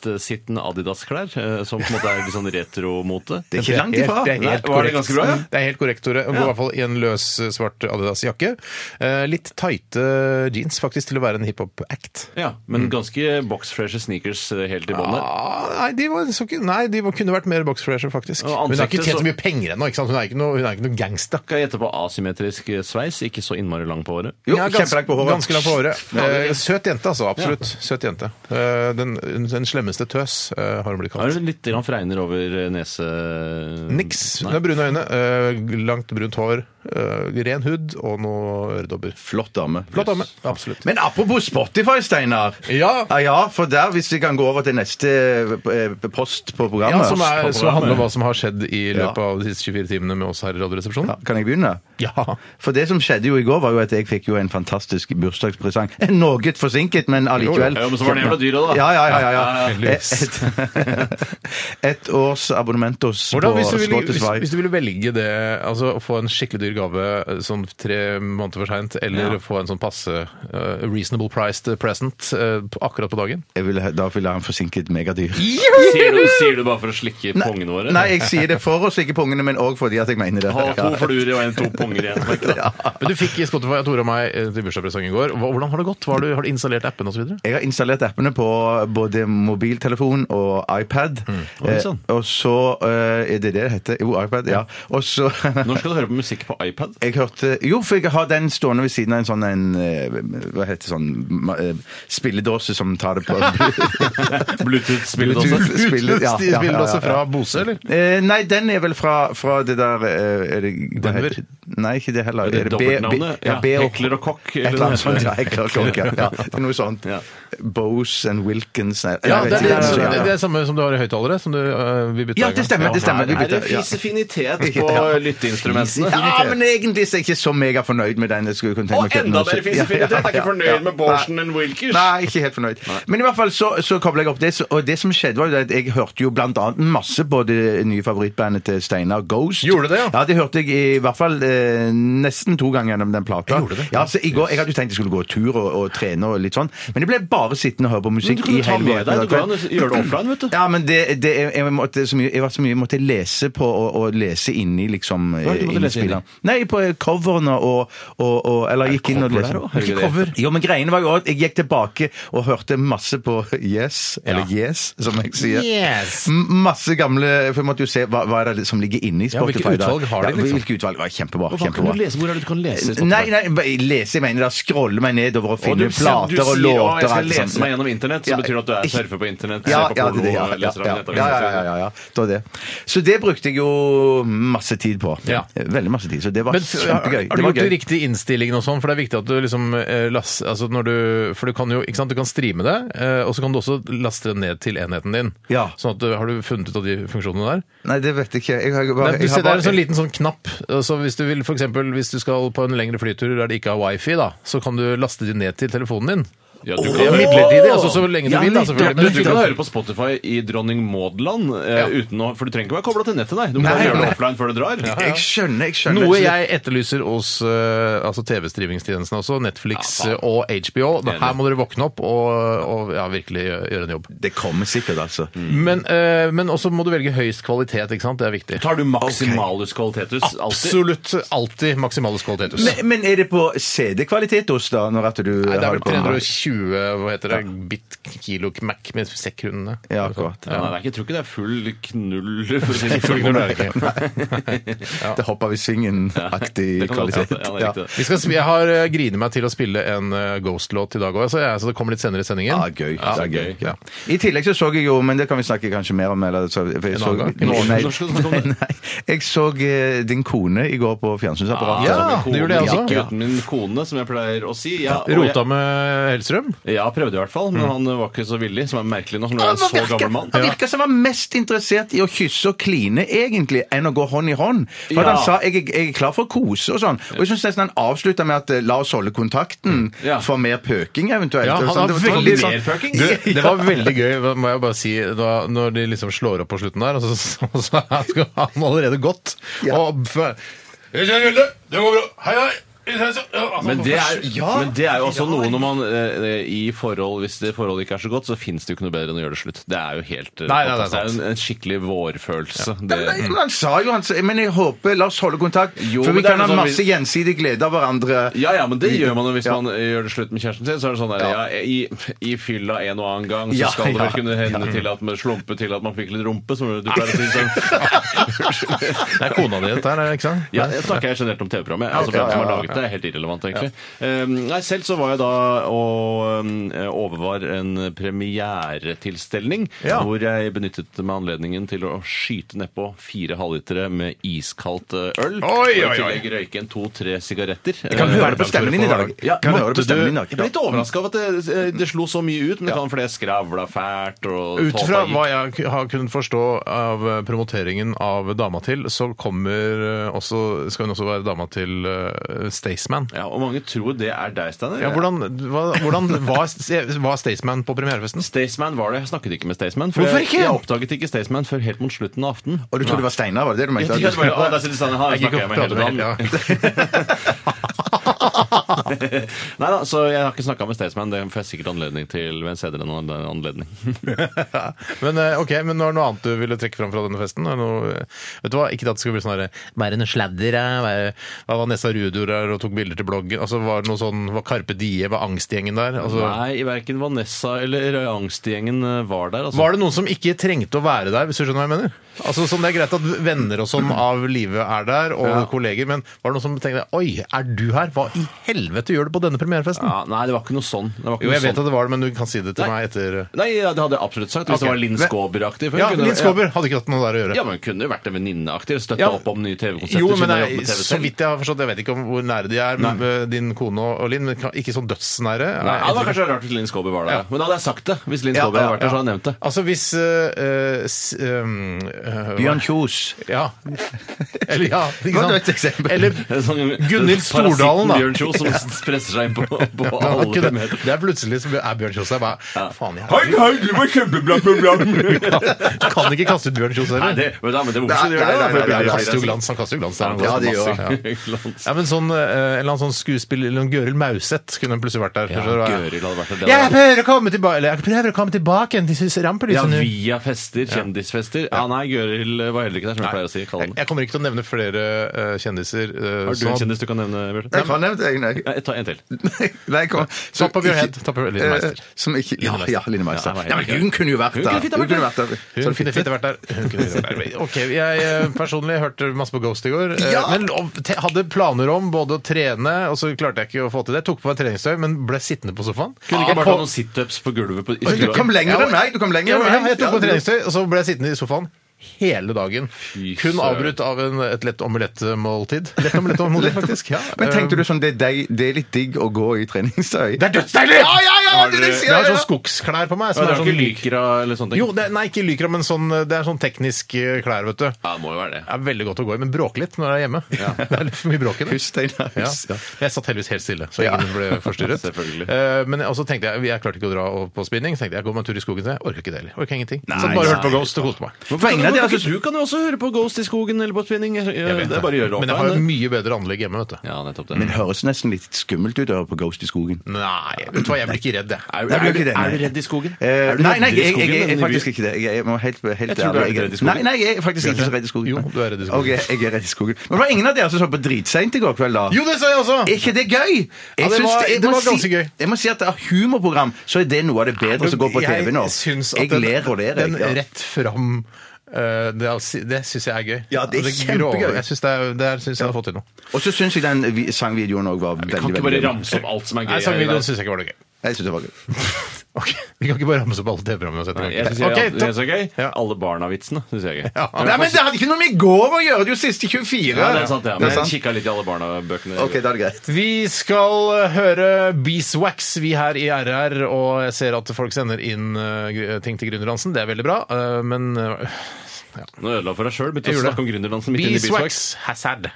[SPEAKER 6] løstsittende Adidas-klær, eh, som på en måte er litt sånn retromote.
[SPEAKER 5] Det er ikke langt ifra.
[SPEAKER 4] Det er helt
[SPEAKER 6] Nei, var det
[SPEAKER 4] korrekt.
[SPEAKER 6] ganske bra, ja?
[SPEAKER 4] Det er helt korrekt, Tore. Hun går i hvert fall i en løs, eh, svart Adidas-jakke. Eh, litt tighte jeans, faktisk, til å være en hiphop-act.
[SPEAKER 6] Ja, men
[SPEAKER 5] Mm.
[SPEAKER 6] ganske boxfreshe sneakers eh, helt i bånn der.
[SPEAKER 4] Ah, nei, de, var, så, ikke- nei, de var, kunne vært mer boxfresher, faktisk.
[SPEAKER 6] Og
[SPEAKER 4] hun har
[SPEAKER 6] ansiktet
[SPEAKER 4] ikke tjent
[SPEAKER 6] så-
[SPEAKER 4] så mye penger ennå. ikke sant? Hun er ikke noe, hun er ikke noe gangster.
[SPEAKER 6] Skal jeg gjette på asymmetrisk eh, sveis, ikke så innmari lang på håret.
[SPEAKER 5] Jo,
[SPEAKER 4] Ja, gans-
[SPEAKER 5] kjempelangt på håret.
[SPEAKER 4] Ganske langt på håret. Eh, søt jente, altså. Absolutt. Søt jente. Eh, den, den slemmeste tøs eh, har hun blitt
[SPEAKER 6] Er
[SPEAKER 4] kalt.
[SPEAKER 6] hun litt grann fregner over eh, nese...
[SPEAKER 4] Niks. Hun
[SPEAKER 6] Nei.
[SPEAKER 4] har brune øyne, eh, langt brunt hår, eh, eh, ren hud og noen øredobber.
[SPEAKER 5] Flott dame.
[SPEAKER 4] Flott dame. Absolutt.
[SPEAKER 5] Men apropos Spotify, Steinar.
[SPEAKER 4] Ja.
[SPEAKER 5] Ja, ja, for der, hvis vi kan gå over til neste eh, post på
[SPEAKER 4] Ja,
[SPEAKER 5] programmet
[SPEAKER 4] som, er,
[SPEAKER 5] på
[SPEAKER 4] som handler om
[SPEAKER 5] programmet.
[SPEAKER 4] hva som har skjedd i
[SPEAKER 5] Ja.
[SPEAKER 4] løpet av de siste 24 timene med oss her i Radioresepsjonen.
[SPEAKER 5] Ja, Kan jeg begynne?
[SPEAKER 4] Ja.
[SPEAKER 5] For det som skjedde jo i går, var jo at jeg fikk jo en fantastisk bursdagspresang. Eh, Noe forsinket, men allikevel.
[SPEAKER 6] Jo, jo. Ja, men så var den jævla dyr også, da.
[SPEAKER 5] Ja, ja, ja. ja,
[SPEAKER 6] Ja, ja,
[SPEAKER 5] ja. Et, et års abonnement hos
[SPEAKER 4] Hvordan, hvis, du
[SPEAKER 5] på
[SPEAKER 4] ville, hvis,
[SPEAKER 5] Spotify.
[SPEAKER 4] hvis du ville velge det, altså å få en skikkelig dyr gave eh, sånn tre måneder for seint, eller få en sånn passe eh, reasonable priced present eh, på- akkurat på dagen
[SPEAKER 5] Jeg ville, da ville jeg ha en forsinket megadyr.
[SPEAKER 6] Sier du, sier du bare for å slikke pungene våre?
[SPEAKER 5] Nei, jeg sier det for å slikke pungene, men òg fordi at jeg mener det.
[SPEAKER 6] Ha to
[SPEAKER 5] Ja.
[SPEAKER 6] fluer og en to punger igjen. merker du det?
[SPEAKER 4] Men du fikk i Spotify av Tore og meg eh, til bursdagspresang i går. Hva- Hvordan har det gått? Hva Har du, har du installert appen osv.?
[SPEAKER 5] Jeg har installert appene på både mobiltelefon og iPad.
[SPEAKER 4] Mm.
[SPEAKER 6] Oi, sann.
[SPEAKER 4] sånn.
[SPEAKER 5] Eh, og så eh, Er det det det heter? Jo, iPad. Ja. Og så
[SPEAKER 6] Når skal du høre på musikk på iPad?
[SPEAKER 5] Jeg hørte, jo, for jeg har den stående ved siden av en sånn en, eh, Hva heter det sånn ma- eh, Spilledåse som tar det på
[SPEAKER 6] Bluetooth-spillet også.
[SPEAKER 5] Spillet- ja, ja, ja, ja, ja.
[SPEAKER 4] Spilledåse fra Bose, eller?
[SPEAKER 5] Eh, nei, den er vel fra, fra det der eh, er det, hva
[SPEAKER 4] Denver?
[SPEAKER 5] heter- Nei, ikke det heller.
[SPEAKER 6] det
[SPEAKER 5] Er B-
[SPEAKER 6] dobbeltnavnet?
[SPEAKER 5] B- ja,
[SPEAKER 6] Ja,
[SPEAKER 5] B- og-
[SPEAKER 6] Hekler og kokk,
[SPEAKER 5] Et
[SPEAKER 6] eller
[SPEAKER 5] eller annet
[SPEAKER 6] noe
[SPEAKER 5] sånt.
[SPEAKER 6] heter
[SPEAKER 5] Ja,
[SPEAKER 6] det.
[SPEAKER 5] hekler og kokk. Ja. Ja, det er noe sånt.
[SPEAKER 6] Ja.
[SPEAKER 5] Bose and Wilkins nei,
[SPEAKER 4] Ja,
[SPEAKER 5] jeg
[SPEAKER 4] det
[SPEAKER 5] vet
[SPEAKER 4] er
[SPEAKER 5] ikke.
[SPEAKER 4] det, det,
[SPEAKER 5] Ja,
[SPEAKER 4] er det samme som du har i høyttalere. Som du, eh, vi bytta
[SPEAKER 5] Ja,
[SPEAKER 4] en
[SPEAKER 5] det
[SPEAKER 4] gang.
[SPEAKER 5] stemmer. det stemmer. Vi
[SPEAKER 6] Er det
[SPEAKER 5] bytter, ja.
[SPEAKER 6] fisefinitet på
[SPEAKER 5] Ja.
[SPEAKER 6] lytteinstrumentene?
[SPEAKER 5] Ja, men egentlig så er jeg ikke så mega fornøyd med den. Jeg skulle kunne tenke meg å
[SPEAKER 6] Og
[SPEAKER 5] kjøpe
[SPEAKER 6] enda
[SPEAKER 5] noe-
[SPEAKER 6] mer
[SPEAKER 5] Ja,
[SPEAKER 6] fisefinitet!
[SPEAKER 5] ja,
[SPEAKER 6] Er ikke
[SPEAKER 5] ja,
[SPEAKER 6] fornøyd
[SPEAKER 5] ja.
[SPEAKER 6] med Borsen and Wilkers?
[SPEAKER 5] Nei, ikke helt fornøyd. Men i hvert fall så, så koblet jeg opp det. så- Og det som skjedde, var jo det at jeg hørte jo blant annet masse på det nye favorittbandet til Steinar, Ghost.
[SPEAKER 4] Gjorde du det, ja?
[SPEAKER 5] Ja, det hørte jeg i hvert fall eh, nesten to ganger gjennom den plata.
[SPEAKER 4] Jeg gjorde det.
[SPEAKER 5] Ja, så i går, Jeg hadde jo tenkt jeg skulle gå tur og, og trene og litt sånn, men jeg ble bare sittende og høre på
[SPEAKER 6] Men
[SPEAKER 5] musikk
[SPEAKER 6] du kan
[SPEAKER 5] i
[SPEAKER 6] jo ta
[SPEAKER 5] hele går
[SPEAKER 6] med deg.
[SPEAKER 5] ettermiddag
[SPEAKER 6] Du kan
[SPEAKER 5] kveld.
[SPEAKER 6] jo gjøre det offline, vet du.
[SPEAKER 5] Ja, men det, det, jeg, jeg, måtte, så mye, jeg var så mye jeg måtte lese på og, og lese inni liksom
[SPEAKER 6] Hva er det du måtte
[SPEAKER 5] inni
[SPEAKER 6] lese inni?
[SPEAKER 5] spilleren. Nei, på coverne og, og, og Eller gikk inn og
[SPEAKER 6] cover
[SPEAKER 5] leste.
[SPEAKER 6] der også? Herregud,
[SPEAKER 5] Hvilke cover? Jo, men greiene var jo at jeg gikk tilbake og hørte masse på Yes, eller Yes, som jeg sier.
[SPEAKER 4] Yes.
[SPEAKER 5] M- Masse gamle For jeg måtte jo se hva, hva er det som ligger inne i
[SPEAKER 4] Ja, hvilke
[SPEAKER 5] Spotify. da.
[SPEAKER 4] utvalg har de,
[SPEAKER 5] Ja,
[SPEAKER 4] liksom?
[SPEAKER 5] hvilke utvalg? Ja, kjempebra.
[SPEAKER 6] Hva kan
[SPEAKER 5] kjempebra.
[SPEAKER 6] du lese? Hvor er det du kan lese?
[SPEAKER 5] Nei, nei, bare lese, jeg mener da scrolle meg nedover og
[SPEAKER 6] Og du,
[SPEAKER 5] finne
[SPEAKER 6] du
[SPEAKER 5] plater
[SPEAKER 6] sier
[SPEAKER 5] og
[SPEAKER 6] å,
[SPEAKER 5] låter.
[SPEAKER 6] jeg skal
[SPEAKER 5] alt sånt.
[SPEAKER 6] lese meg gjennom internett, så
[SPEAKER 5] Ja,
[SPEAKER 6] betyr det at du er
[SPEAKER 5] ikke-
[SPEAKER 6] surfer på internett,
[SPEAKER 5] Ja,
[SPEAKER 6] ser på
[SPEAKER 5] ja, det, er
[SPEAKER 6] porno,
[SPEAKER 5] det, ja, ja,
[SPEAKER 4] sånn,
[SPEAKER 6] leser
[SPEAKER 5] ja,
[SPEAKER 6] av
[SPEAKER 5] ja, ja, ja,
[SPEAKER 6] nettaviser.
[SPEAKER 5] ja, ja. Det var det. Så det brukte jeg jo masse tid på.
[SPEAKER 4] Ja.
[SPEAKER 5] Veldig masse tid. Så det var
[SPEAKER 4] Men,
[SPEAKER 5] kjempegøy.
[SPEAKER 4] Har du
[SPEAKER 5] Det var
[SPEAKER 4] gjort de
[SPEAKER 5] gøy.
[SPEAKER 4] riktige innstillingene og sånn? For det er viktig at du liksom eh, last, altså når du, For du kan jo ikke sant, du kan streame det, eh, og så kan du også laste det ned til enheten din.
[SPEAKER 5] Ja.
[SPEAKER 4] Sånn at du, Har du funnet ut av de funksjonene der?
[SPEAKER 5] Nei, det vet jeg ikke. Jeg har bare,
[SPEAKER 4] Nei, du
[SPEAKER 5] jeg
[SPEAKER 4] ser,
[SPEAKER 5] har
[SPEAKER 4] det er en sånn
[SPEAKER 5] bare
[SPEAKER 4] liten sånn knapp. Så hvis du vil for eksempel, hvis du skal på en lengre flytur der det ikke er wifi, da, så kan du laste de ned til telefonen din.
[SPEAKER 6] Ja, du
[SPEAKER 4] Det
[SPEAKER 6] kan
[SPEAKER 4] er
[SPEAKER 6] høre-
[SPEAKER 4] midlertidig, altså så lenge du
[SPEAKER 5] Ja,
[SPEAKER 4] vil. Da,
[SPEAKER 5] nettopp.
[SPEAKER 4] selvfølgelig.
[SPEAKER 6] Men du
[SPEAKER 4] du
[SPEAKER 6] kan
[SPEAKER 4] kan-
[SPEAKER 6] høre på Spotify i Dronning Maud land, eh, uten å, for du trenger ikke være kobla til nettet, nei. Du må
[SPEAKER 5] Nei,
[SPEAKER 6] bare gjøre
[SPEAKER 5] nei.
[SPEAKER 6] det offline før du drar.
[SPEAKER 5] Jeg skjønner, jeg skjønner.
[SPEAKER 4] Noe
[SPEAKER 5] Så det-
[SPEAKER 4] jeg etterlyser hos eh, altså TV-streamingstjenestene også, Netflix eh, og HBO. Da, her må dere våkne opp og, og ja, virkelig gjø- gjøre en jobb.
[SPEAKER 5] Det kommer sikkert, altså.
[SPEAKER 4] Men, eh, men også må du velge høyest kvalitet, ikke sant? Det er viktig.
[SPEAKER 6] Tar du maksimalus kvalitetus alltid?
[SPEAKER 4] Absolutt alltid maksimalus kvalitetus.
[SPEAKER 5] Men, men er det på CD-kvalitet hos da, når at du
[SPEAKER 4] Nei, det
[SPEAKER 5] har
[SPEAKER 4] er vel
[SPEAKER 5] det på-
[SPEAKER 4] 320 hva heter det, bit kilo mac med sekkrundene.
[SPEAKER 5] Ja, akkurat.
[SPEAKER 6] Ja, nei, det er ikke, jeg tror ikke det er full knull. For å si det
[SPEAKER 4] Full
[SPEAKER 6] sånn.
[SPEAKER 4] knull er det ikke.
[SPEAKER 5] Det hopper i svingen-aktig
[SPEAKER 6] Det kan godt
[SPEAKER 5] kvalitet.
[SPEAKER 6] hende. Ja, det er riktig, det.
[SPEAKER 4] Vi skal, sp- jeg har eh, grinet meg til å spille en eh, Ghost-låt i dag òg, så, jeg- så det kommer litt senere i sendingen.
[SPEAKER 5] Ja, gøy.
[SPEAKER 4] Ja.
[SPEAKER 5] Det er gøy.
[SPEAKER 4] Ja.
[SPEAKER 5] I tillegg så så jeg jo, men det kan vi snakke kanskje mer om eller, så, for jeg
[SPEAKER 4] En
[SPEAKER 5] så,
[SPEAKER 4] annen gang?
[SPEAKER 5] Nei,
[SPEAKER 6] Når skal du snakke om det?
[SPEAKER 5] Nei, jeg så eh, din kone i går på
[SPEAKER 6] Ah,
[SPEAKER 5] fjernsynsapparatet.
[SPEAKER 4] Ja,
[SPEAKER 6] min
[SPEAKER 4] det
[SPEAKER 6] kone,
[SPEAKER 4] gjorde jeg også.
[SPEAKER 6] Ikke uten min kone, som jeg pleier å si. Ja, og jeg-
[SPEAKER 4] Rota med Hellstrøm?
[SPEAKER 6] Ja, prøvde i hvert fall,
[SPEAKER 4] Mm.
[SPEAKER 6] men han var ikke så villig, som er merkelig nå, når
[SPEAKER 5] Han
[SPEAKER 6] han er en så
[SPEAKER 5] virka-
[SPEAKER 6] gammel mann.
[SPEAKER 5] han virka som han var mest interessert i å kysse og kline, egentlig, enn å gå hånd i hånd. For at
[SPEAKER 6] Ja.
[SPEAKER 5] han sa jeg, er- 'jeg er klar for å kose' og sånn. Og jeg syns nesten han avslutta med at eh, 'la oss holde kontakten
[SPEAKER 6] Ja.
[SPEAKER 5] for mer pøking', eventuelt.
[SPEAKER 4] Ja,
[SPEAKER 5] Og
[SPEAKER 4] han
[SPEAKER 5] sånn.
[SPEAKER 4] har
[SPEAKER 5] Det var
[SPEAKER 4] veldig
[SPEAKER 5] sånn-
[SPEAKER 6] mer pøking.
[SPEAKER 4] Du, det var veldig gøy, må jeg bare si, da, når de liksom slår opp på slutten der, og så, så, så har han allerede gått.
[SPEAKER 5] Ja.
[SPEAKER 4] Og f- Jeg kjenner Hilde, det går bra. Hei, hei. Vi ses, ja. Ja, altså,
[SPEAKER 6] Men det, er,
[SPEAKER 4] ja.
[SPEAKER 6] men det er jo også noe når man eh, i forhold Hvis det forholdet ikke er så godt, så fins det jo ikke noe bedre enn å gjøre det slutt. Det er jo helt eh,
[SPEAKER 4] Nei, nei, det er sant.
[SPEAKER 6] fantastisk. det er en, en skikkelig vårfølelse.
[SPEAKER 5] Nei,
[SPEAKER 6] Det,
[SPEAKER 5] men han sa jo han sa, Men jeg håper La oss holde kontakt,
[SPEAKER 6] Jo,
[SPEAKER 5] for vi
[SPEAKER 6] men det er
[SPEAKER 5] kan ha
[SPEAKER 6] sånn-
[SPEAKER 5] masse gjensidig glede av hverandre.
[SPEAKER 6] ja, ja, men det gjør man jo hvis
[SPEAKER 5] Ja.
[SPEAKER 6] man eh, gjør det slutt med kjæresten sin. Så er det sånn der, ja, i, I fylla en og annen gang
[SPEAKER 5] Ja,
[SPEAKER 6] så skal det
[SPEAKER 5] ja.
[SPEAKER 6] vel kunne hende til at man slumper til at man fikk litt rumpe, som du pleier å si. Sånn.
[SPEAKER 4] Det er kona di, dette her, ikke sant?
[SPEAKER 6] Ja, jeg snakker jeg generelt om TV-programmet. Altså,
[SPEAKER 5] Ok,
[SPEAKER 6] hvem som har
[SPEAKER 5] ja,
[SPEAKER 6] laget det. det er helt irrelevant, egentlig. Eh, Nei, selv så var jeg da og eh, overvar en premieretilstelning,
[SPEAKER 4] Ja.
[SPEAKER 6] hvor jeg benyttet meg anledningen til å skyte nedpå fire halvlitere med iskaldt eh, øl.
[SPEAKER 4] Oi,
[SPEAKER 6] og i
[SPEAKER 4] oi, oi.
[SPEAKER 6] tillegg røyke en to-tre sigaretter.
[SPEAKER 5] Kan
[SPEAKER 6] Eh,
[SPEAKER 5] høre det på stemmen din i dag.
[SPEAKER 6] Ja,
[SPEAKER 5] Kan høre det på
[SPEAKER 6] måtte du-
[SPEAKER 5] stemmen din i dag.
[SPEAKER 6] Jeg ble litt overraska over at det, det slo så mye ut, men det kan fordi jeg skravla fælt og
[SPEAKER 4] Ut
[SPEAKER 6] tåpa
[SPEAKER 4] fra
[SPEAKER 6] gikk.
[SPEAKER 4] hva jeg k- har kunnet forstå av eh, promoteringen av dama til, så kommer eh, også, skal hun også være dama til eh, Staysman.
[SPEAKER 6] Ja, og mange tror det er deg, Steiner.
[SPEAKER 4] Ja, hvordan, hva, hvordan var, var Staysman på premierefesten?
[SPEAKER 6] Staysman var det. Jeg snakket ikke med Staysman. for
[SPEAKER 4] Hvorfor
[SPEAKER 6] jeg-
[SPEAKER 4] ikke?
[SPEAKER 6] Jeg oppdaget ikke Staysman før helt mot slutten av aftenen.
[SPEAKER 5] Og du trodde det var Steinar, var det det du mente?
[SPEAKER 6] Jeg tenkte bare, «Å, der sitter Steiner, han
[SPEAKER 4] Jeg gikk
[SPEAKER 6] snakker jeg
[SPEAKER 4] opp
[SPEAKER 6] med hele
[SPEAKER 4] til alle,
[SPEAKER 6] dagen. Nei da, så jeg har ikke snakka med Staysman. Det får jeg sikkert anledning til ved en senere an- anledning.
[SPEAKER 4] Men eh, ok, men nå er det noe annet du ville trekke fram fra denne festen? Er det Noe, vet du hva, Ikke at det skulle bli sånn herre Være en sladder, jeg, være- hva var Nessa Rudor her og tok bilder til bloggen? Altså, Var det noe sånn, var Karpe Die, var angstgjengen der? Altså,
[SPEAKER 6] Nei, verken Vanessa eller angstgjengen eh, var der. Altså.
[SPEAKER 4] Var det noen som ikke trengte å være der, hvis du skjønner hva jeg mener? Altså, sånn Det er greit at venner og sånn av livet er der, og kolleger, men var det noen som tenkte Oi, er du her? Hva i helvete gjør du på denne premierefesten?
[SPEAKER 6] ja, nei, det var ikke noe sånn. Det var ikke
[SPEAKER 4] Jo, jeg
[SPEAKER 6] noe
[SPEAKER 4] vet
[SPEAKER 6] sånn.
[SPEAKER 4] at det var det, men du kan si det til meg etter
[SPEAKER 6] Nei, ja, det hadde jeg absolutt sagt hvis
[SPEAKER 4] Ok.
[SPEAKER 6] det var Linn Skåber-aktig. for hun
[SPEAKER 4] Ja,
[SPEAKER 6] kunne-
[SPEAKER 4] Linn Skåber hadde ikke hatt noe der å gjøre.
[SPEAKER 6] Ja, men hun kunne jo vært en venninneaktig. Støtta
[SPEAKER 4] Ja.
[SPEAKER 6] opp om nye TV-konsepter.
[SPEAKER 4] Jo,
[SPEAKER 6] siden
[SPEAKER 4] men
[SPEAKER 6] hun
[SPEAKER 4] jeg,
[SPEAKER 6] jobbet med TV
[SPEAKER 4] så
[SPEAKER 6] selv.
[SPEAKER 4] vidt jeg har forstått, jeg vet ikke om hvor nære de er, men, eh, din kone og- og Linn, men kan- ikke sånn dødsnære.
[SPEAKER 6] Nei,
[SPEAKER 4] Jeg-
[SPEAKER 6] ja, det var kanskje rart hvis Linn Skåber var der.
[SPEAKER 4] Ja.
[SPEAKER 6] Men da hadde jeg sagt det. hvis Linn
[SPEAKER 4] Ja,
[SPEAKER 6] Skåber hadde
[SPEAKER 4] ja,
[SPEAKER 6] vært der, så
[SPEAKER 4] ja.
[SPEAKER 6] hadde jeg nevnt det.
[SPEAKER 4] Altså hvis eh, eh, s- ehm, eh,
[SPEAKER 5] Bjørn Kjos.
[SPEAKER 4] Ja. Eller ja,
[SPEAKER 5] Nå er det
[SPEAKER 4] ikke
[SPEAKER 5] et
[SPEAKER 4] sant?
[SPEAKER 5] eksempel.
[SPEAKER 4] Eller
[SPEAKER 6] Det er sånn-
[SPEAKER 4] Gunhild
[SPEAKER 6] det er parasitten
[SPEAKER 4] Stordalen, da.
[SPEAKER 6] Bjørn Kjos som presser seg inn på, på
[SPEAKER 4] Ja,
[SPEAKER 6] alle
[SPEAKER 4] han kunne-
[SPEAKER 6] med.
[SPEAKER 4] Det er plutselig så er Bjørn Kjos der. Bare, faen, jeg
[SPEAKER 6] Hei, hei, det var kjempebra program!
[SPEAKER 4] kan, kan ikke kaste ut Bjørn Kjos
[SPEAKER 6] Nei,
[SPEAKER 4] heller.
[SPEAKER 6] det, men, da, men det hvorfor
[SPEAKER 5] Nei,
[SPEAKER 6] skal du gjøre
[SPEAKER 5] nei,
[SPEAKER 6] det? da?
[SPEAKER 5] nei, nei,
[SPEAKER 6] For det
[SPEAKER 5] nei,
[SPEAKER 4] Han
[SPEAKER 6] blir-
[SPEAKER 4] kaster jo glans, han kaster jo glans der. Han
[SPEAKER 5] Ja,
[SPEAKER 4] kaster
[SPEAKER 5] det gjør
[SPEAKER 4] masse.
[SPEAKER 5] han.
[SPEAKER 6] Glans.
[SPEAKER 4] Ja, men sånn, eh, En eller annen sånn skuespiller, eller noen Gøril Mauseth, kunne han plutselig vært der.
[SPEAKER 6] Ja,
[SPEAKER 4] Skjønner du hva jeg-
[SPEAKER 6] Gøril hadde vært der. Det
[SPEAKER 4] Jeg
[SPEAKER 6] hadde vært-
[SPEAKER 4] prøver å komme tilbake Eller jeg prøver å komme tilbake igjen til
[SPEAKER 6] Ja,
[SPEAKER 4] rampelyset nå.
[SPEAKER 6] via fester. Kjendisfester. Ja, nei, Gøril var heller ikke der, som jeg pleier å si. Kall
[SPEAKER 4] Jeg,
[SPEAKER 6] den.
[SPEAKER 4] jeg kommer ikke til å nevne flere eh, kjendiser. eh,
[SPEAKER 6] Har du
[SPEAKER 4] sånn
[SPEAKER 6] en
[SPEAKER 4] at-
[SPEAKER 6] kjendis du kan nevne, Bjørte?
[SPEAKER 5] Jeg har nevnt jeg, nei.
[SPEAKER 6] Ja, jeg tar en til.
[SPEAKER 5] Nei, kom.
[SPEAKER 4] Topp av Bjørn Head, topp av Line Meister.
[SPEAKER 5] Eh, Som ikke, ja, ja, Line Meister.
[SPEAKER 6] Ja, det var
[SPEAKER 5] Ja, men
[SPEAKER 6] helt greit.
[SPEAKER 5] hun kunne jo vært
[SPEAKER 6] Hun
[SPEAKER 5] der.
[SPEAKER 6] kunne fint ha vært der.
[SPEAKER 5] der.
[SPEAKER 4] Hun kunne fint vært der. Hun kunne fint vært der. Ok, Jeg eh, personlig hørte masse på Ghost i går. eh,
[SPEAKER 5] Ja!
[SPEAKER 4] Men lov- te- hadde planer om både å trene, og så klarte jeg ikke å få til det. Jeg tok på meg treningstøy, men ble sittende på sofaen.
[SPEAKER 6] Kunne ikke
[SPEAKER 4] Jeg
[SPEAKER 6] Ah, bare ta
[SPEAKER 4] kom-
[SPEAKER 6] noen situps på gulvet på i
[SPEAKER 5] Oi, Du
[SPEAKER 6] stua?
[SPEAKER 5] kom lenger enn meg! Du kom lenger
[SPEAKER 4] Ja,
[SPEAKER 5] enn
[SPEAKER 4] men jeg
[SPEAKER 5] meg.
[SPEAKER 4] tok på
[SPEAKER 5] Ja,
[SPEAKER 4] treningstøy, og så ble jeg sittende i sofaen. Hele dagen. Kun
[SPEAKER 6] søren.
[SPEAKER 4] avbrutt av en, et lett omelettmåltid. Lett Eh, omelettmåltid, faktisk. Ja.
[SPEAKER 5] Men tenkte du sånn, det er, deg, det er litt digg å gå i treningstøy?
[SPEAKER 4] Det er dødsdeilig!
[SPEAKER 5] Ja, ja, ja!
[SPEAKER 6] Har
[SPEAKER 5] Det er det jeg
[SPEAKER 6] du-
[SPEAKER 5] sier,
[SPEAKER 4] Jeg har
[SPEAKER 5] ja,
[SPEAKER 4] sånn
[SPEAKER 5] ja.
[SPEAKER 4] skogsklær på meg.
[SPEAKER 6] Ja,
[SPEAKER 4] Som
[SPEAKER 6] det
[SPEAKER 4] er
[SPEAKER 6] var
[SPEAKER 4] sånn
[SPEAKER 6] ikke lykra eller sånne ting?
[SPEAKER 4] Jo, det, er- nei, ikke lycra, men sånn, det er sånn teknisk eh, klær, vet du. Det
[SPEAKER 6] Ja, det må jo være det.
[SPEAKER 4] er veldig godt å gå i, men bråke litt når jeg er hjemme. Det er litt for mye bråk i det.
[SPEAKER 5] Husk, Steinar.
[SPEAKER 4] Ja.
[SPEAKER 5] husk, ja.
[SPEAKER 4] Jeg satt heldigvis helt stille, så ingen ble forstyrret.
[SPEAKER 6] Selvfølgelig.
[SPEAKER 4] Eh, men og så tenkte jeg jeg klarte ikke å dra opp på spinning. Så tenkte jeg jeg går meg en tur i skogen. så Jeg orker ikke det heller. Orker ingenting. Så
[SPEAKER 5] Nei,
[SPEAKER 4] bare
[SPEAKER 5] nei.
[SPEAKER 4] hørte på Ghost og koste meg.
[SPEAKER 6] Hvorfor kan
[SPEAKER 5] Poenget er
[SPEAKER 6] du,
[SPEAKER 5] at jeg
[SPEAKER 6] du kan jo også høre på Ghost i skogen eller på spinning. Jeg-
[SPEAKER 4] vet
[SPEAKER 6] Det er bare å gjøre det opp.
[SPEAKER 4] Men jeg har jo
[SPEAKER 6] igjen, det.
[SPEAKER 4] mye bedre anlegg hjemme, vet du.
[SPEAKER 6] Ja, nettopp det.
[SPEAKER 5] Men det høres nesten litt skummelt ut å høre på Ghost i skogen.
[SPEAKER 4] Nei, vet du hva, jeg blir ikke redd, jeg.
[SPEAKER 6] er,
[SPEAKER 5] Nei,
[SPEAKER 6] er,
[SPEAKER 5] men det er
[SPEAKER 6] du-
[SPEAKER 5] ikke det,
[SPEAKER 6] er du
[SPEAKER 5] nei.
[SPEAKER 6] redd i skogen?
[SPEAKER 5] Eh,
[SPEAKER 6] Er du
[SPEAKER 5] nei, nei,
[SPEAKER 6] reddere i
[SPEAKER 5] jeg, jeg,
[SPEAKER 6] skogen
[SPEAKER 5] jeg,
[SPEAKER 6] enn i
[SPEAKER 5] er faktisk
[SPEAKER 6] byen?
[SPEAKER 5] ikke det. Jeg, er- jeg må helt, helt
[SPEAKER 6] Jeg tror du er
[SPEAKER 5] ærlig,
[SPEAKER 6] redd i skogen.
[SPEAKER 5] Nei, nei, jeg er faktisk ikke så redd i skogen.
[SPEAKER 4] Jo, du er redd i skogen.
[SPEAKER 5] Ok, jeg er redd i skogen. Men det var ingen av dere som så på Dritseint i går kveld, da?
[SPEAKER 4] Jo, det sa jeg også!
[SPEAKER 5] Er ikke det gøy? Jeg
[SPEAKER 4] det
[SPEAKER 5] syns
[SPEAKER 4] var-
[SPEAKER 5] jeg
[SPEAKER 4] det
[SPEAKER 5] må
[SPEAKER 4] var ganske
[SPEAKER 5] si,
[SPEAKER 4] gøy.
[SPEAKER 5] Jeg må si at av humorprogram så er det noe av det bedre som går på TV nå.
[SPEAKER 4] Jeg syns at
[SPEAKER 5] Jeg
[SPEAKER 4] den,
[SPEAKER 5] ler og ler. jeg,
[SPEAKER 4] den
[SPEAKER 5] ja.
[SPEAKER 4] rett fram eh, det, er- det syns jeg er gøy.
[SPEAKER 5] Ja, det er
[SPEAKER 4] grå-
[SPEAKER 5] kjempegøy.
[SPEAKER 4] Jeg syns det er- det er- syns jeg har fått til noe.
[SPEAKER 5] Og så syns jeg den vi- sangvideoen òg var veldig
[SPEAKER 6] Kan
[SPEAKER 5] veldig
[SPEAKER 6] ikke bare
[SPEAKER 5] gøy.
[SPEAKER 6] ramse opp alt som er gøy.
[SPEAKER 4] Nei, Sangvideoen
[SPEAKER 6] her i
[SPEAKER 4] syns jeg ikke var noe gøy.
[SPEAKER 5] Jeg synes det var gøy.
[SPEAKER 4] Ok, Vi kan ikke bare ramse opp alle TV-programmene. og sette
[SPEAKER 6] verden.
[SPEAKER 4] noe
[SPEAKER 6] Jeg
[SPEAKER 4] gøy.
[SPEAKER 6] syns jeg-
[SPEAKER 4] Ok,
[SPEAKER 6] jeg syns
[SPEAKER 4] topp.
[SPEAKER 6] det er gøy.
[SPEAKER 4] Ja.
[SPEAKER 6] Alle barna-vitsene syns jeg er gøy.
[SPEAKER 4] Ja.
[SPEAKER 5] Nei, men Det hadde ikke noe med i går å gjøre! Det er jo siste 24.
[SPEAKER 6] Ja, det er sant, ja.
[SPEAKER 5] Det
[SPEAKER 6] Men
[SPEAKER 5] er
[SPEAKER 6] jeg
[SPEAKER 5] sant.
[SPEAKER 6] kikka litt i alle barna-bøkene.
[SPEAKER 5] Ok, da er det greit.
[SPEAKER 4] Vi skal eh, høre Beeswax, vi her i RR, og jeg ser at folk sender inn eh, gr- ting til Gründerdansen. Det er veldig bra, eh, men eh,
[SPEAKER 6] Nå ødela for deg sjøl. Begynte
[SPEAKER 4] Jeg
[SPEAKER 6] å
[SPEAKER 4] gjorde det.
[SPEAKER 6] snakke om gründerdansen midt inni Beeswax.
[SPEAKER 4] Beeswax Hazard.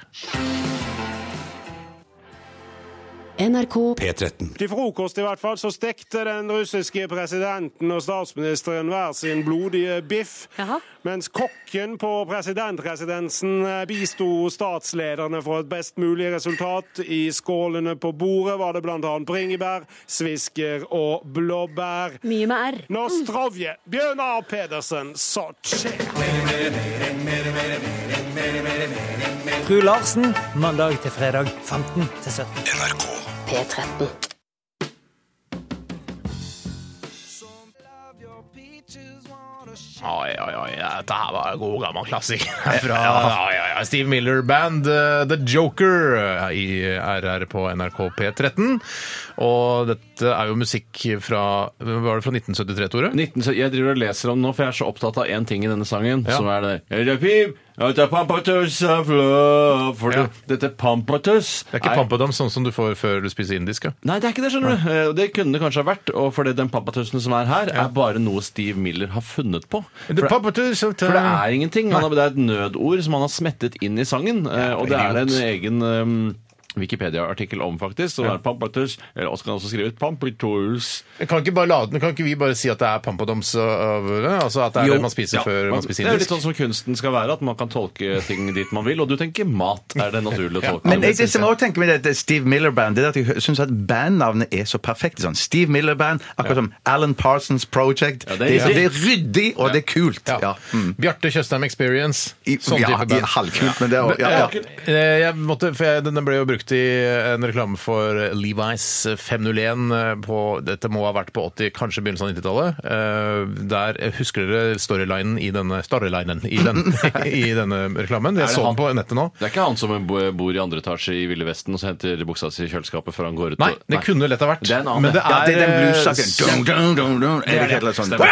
[SPEAKER 7] NRK
[SPEAKER 1] P13.
[SPEAKER 8] Til frokost i hvert fall så stekte den russiske presidenten og statsministeren hver sin blodige biff,
[SPEAKER 7] Jaha.
[SPEAKER 8] mens kokken på presidentresidensen eh, bisto statslederne for et best mulig resultat. I skålene på bordet var det bl.a. bringebær, svisker og blåbær.
[SPEAKER 7] Mye med R.
[SPEAKER 8] Nostrovje, Bjørnar Pedersen, Sotsje.
[SPEAKER 2] Fru Larsen, mandag til fredag 15 til 17.
[SPEAKER 1] NRK.
[SPEAKER 7] P13.
[SPEAKER 4] Oi, oi, oi. Dette her var en god gammel klassiker fra ja, ja, ja. Steve Miller Band, eh, The Joker, eh, i RR på NRK P13. Og dette er jo musikk fra Var det fra 1973, Tore?
[SPEAKER 6] 19, jeg driver og leser om den nå, for jeg er så opptatt av én ting i denne sangen,
[SPEAKER 4] Ja.
[SPEAKER 6] som er det Er det pip? Er det pampatus of love? For
[SPEAKER 4] Ja.
[SPEAKER 6] det- Dette pampatus
[SPEAKER 4] Det er ikke pampadam sånn som du får før du spiser indisk. Ja.
[SPEAKER 6] Nei, det er ikke det, skjønner du. Eh, Det kunne det kanskje ha vært. Og fordi den pappatusen som er her, er bare noe Steve Miller har funnet på. For det, for det er ingenting. Han har, det er et nødord som han har smettet inn i sangen. eh, Og det er det en egen eh, Wikipedia-artikkel om, faktisk. Så det er pampatus, eller også kan han også skrive ut pampatus.
[SPEAKER 4] Kan ikke, bare lade, den- kan ikke vi bare si at det er pampadams av Altså at det er
[SPEAKER 6] Jo.
[SPEAKER 4] det man spiser
[SPEAKER 6] Ja,
[SPEAKER 4] før
[SPEAKER 6] man-
[SPEAKER 4] man spiser
[SPEAKER 6] Det er jo litt
[SPEAKER 4] indisk?
[SPEAKER 6] sånn som kunsten skal være, at man kan tolke ting dit man vil. Og du tenker mat er det naturlig å tolke.
[SPEAKER 5] Men jeg, det som jeg også tenker med dette Steve Miller Band, det er at jeg syns at bandnavnet er så perfekt. Sånn. Steve Miller Band, akkurat som Alan Parsons Project.
[SPEAKER 6] Ja, det
[SPEAKER 5] det, er,
[SPEAKER 6] er riktig.
[SPEAKER 5] det er ryddig, og det er kult.
[SPEAKER 4] Ja.
[SPEAKER 5] Ja, mm.
[SPEAKER 4] Bjarte Tjøstheim Experience.
[SPEAKER 5] I,
[SPEAKER 4] Sånn
[SPEAKER 5] ja,
[SPEAKER 4] type
[SPEAKER 5] i,
[SPEAKER 4] band.
[SPEAKER 5] halvkult, men det er ja, ja.
[SPEAKER 4] Eh, Jeg måtte, for jeg, den ble jo brukt i eh, en reklame for Levi's eh, 501 på Dette må ha vært på 80, kanskje begynnelsen av 90-tallet. Eh, Der Husker dere storylinen i denne storylinen i, den, i denne reklamen? Jeg
[SPEAKER 6] det
[SPEAKER 4] så
[SPEAKER 6] han-
[SPEAKER 4] den på nettet nå.
[SPEAKER 6] Det er ikke han som bo- bor i andre etasje i Ville Vesten og så henter buksa si i kjøleskapet før han går ut
[SPEAKER 4] Nei,
[SPEAKER 6] og-
[SPEAKER 4] det kunne lett ha vært.
[SPEAKER 6] Det er en annen.
[SPEAKER 4] Men det
[SPEAKER 5] ja,
[SPEAKER 4] er,
[SPEAKER 5] det er den
[SPEAKER 4] eh,
[SPEAKER 5] bluesaken. Dun, dun, dun, dun. Er det helt sånn?
[SPEAKER 6] Stemmer.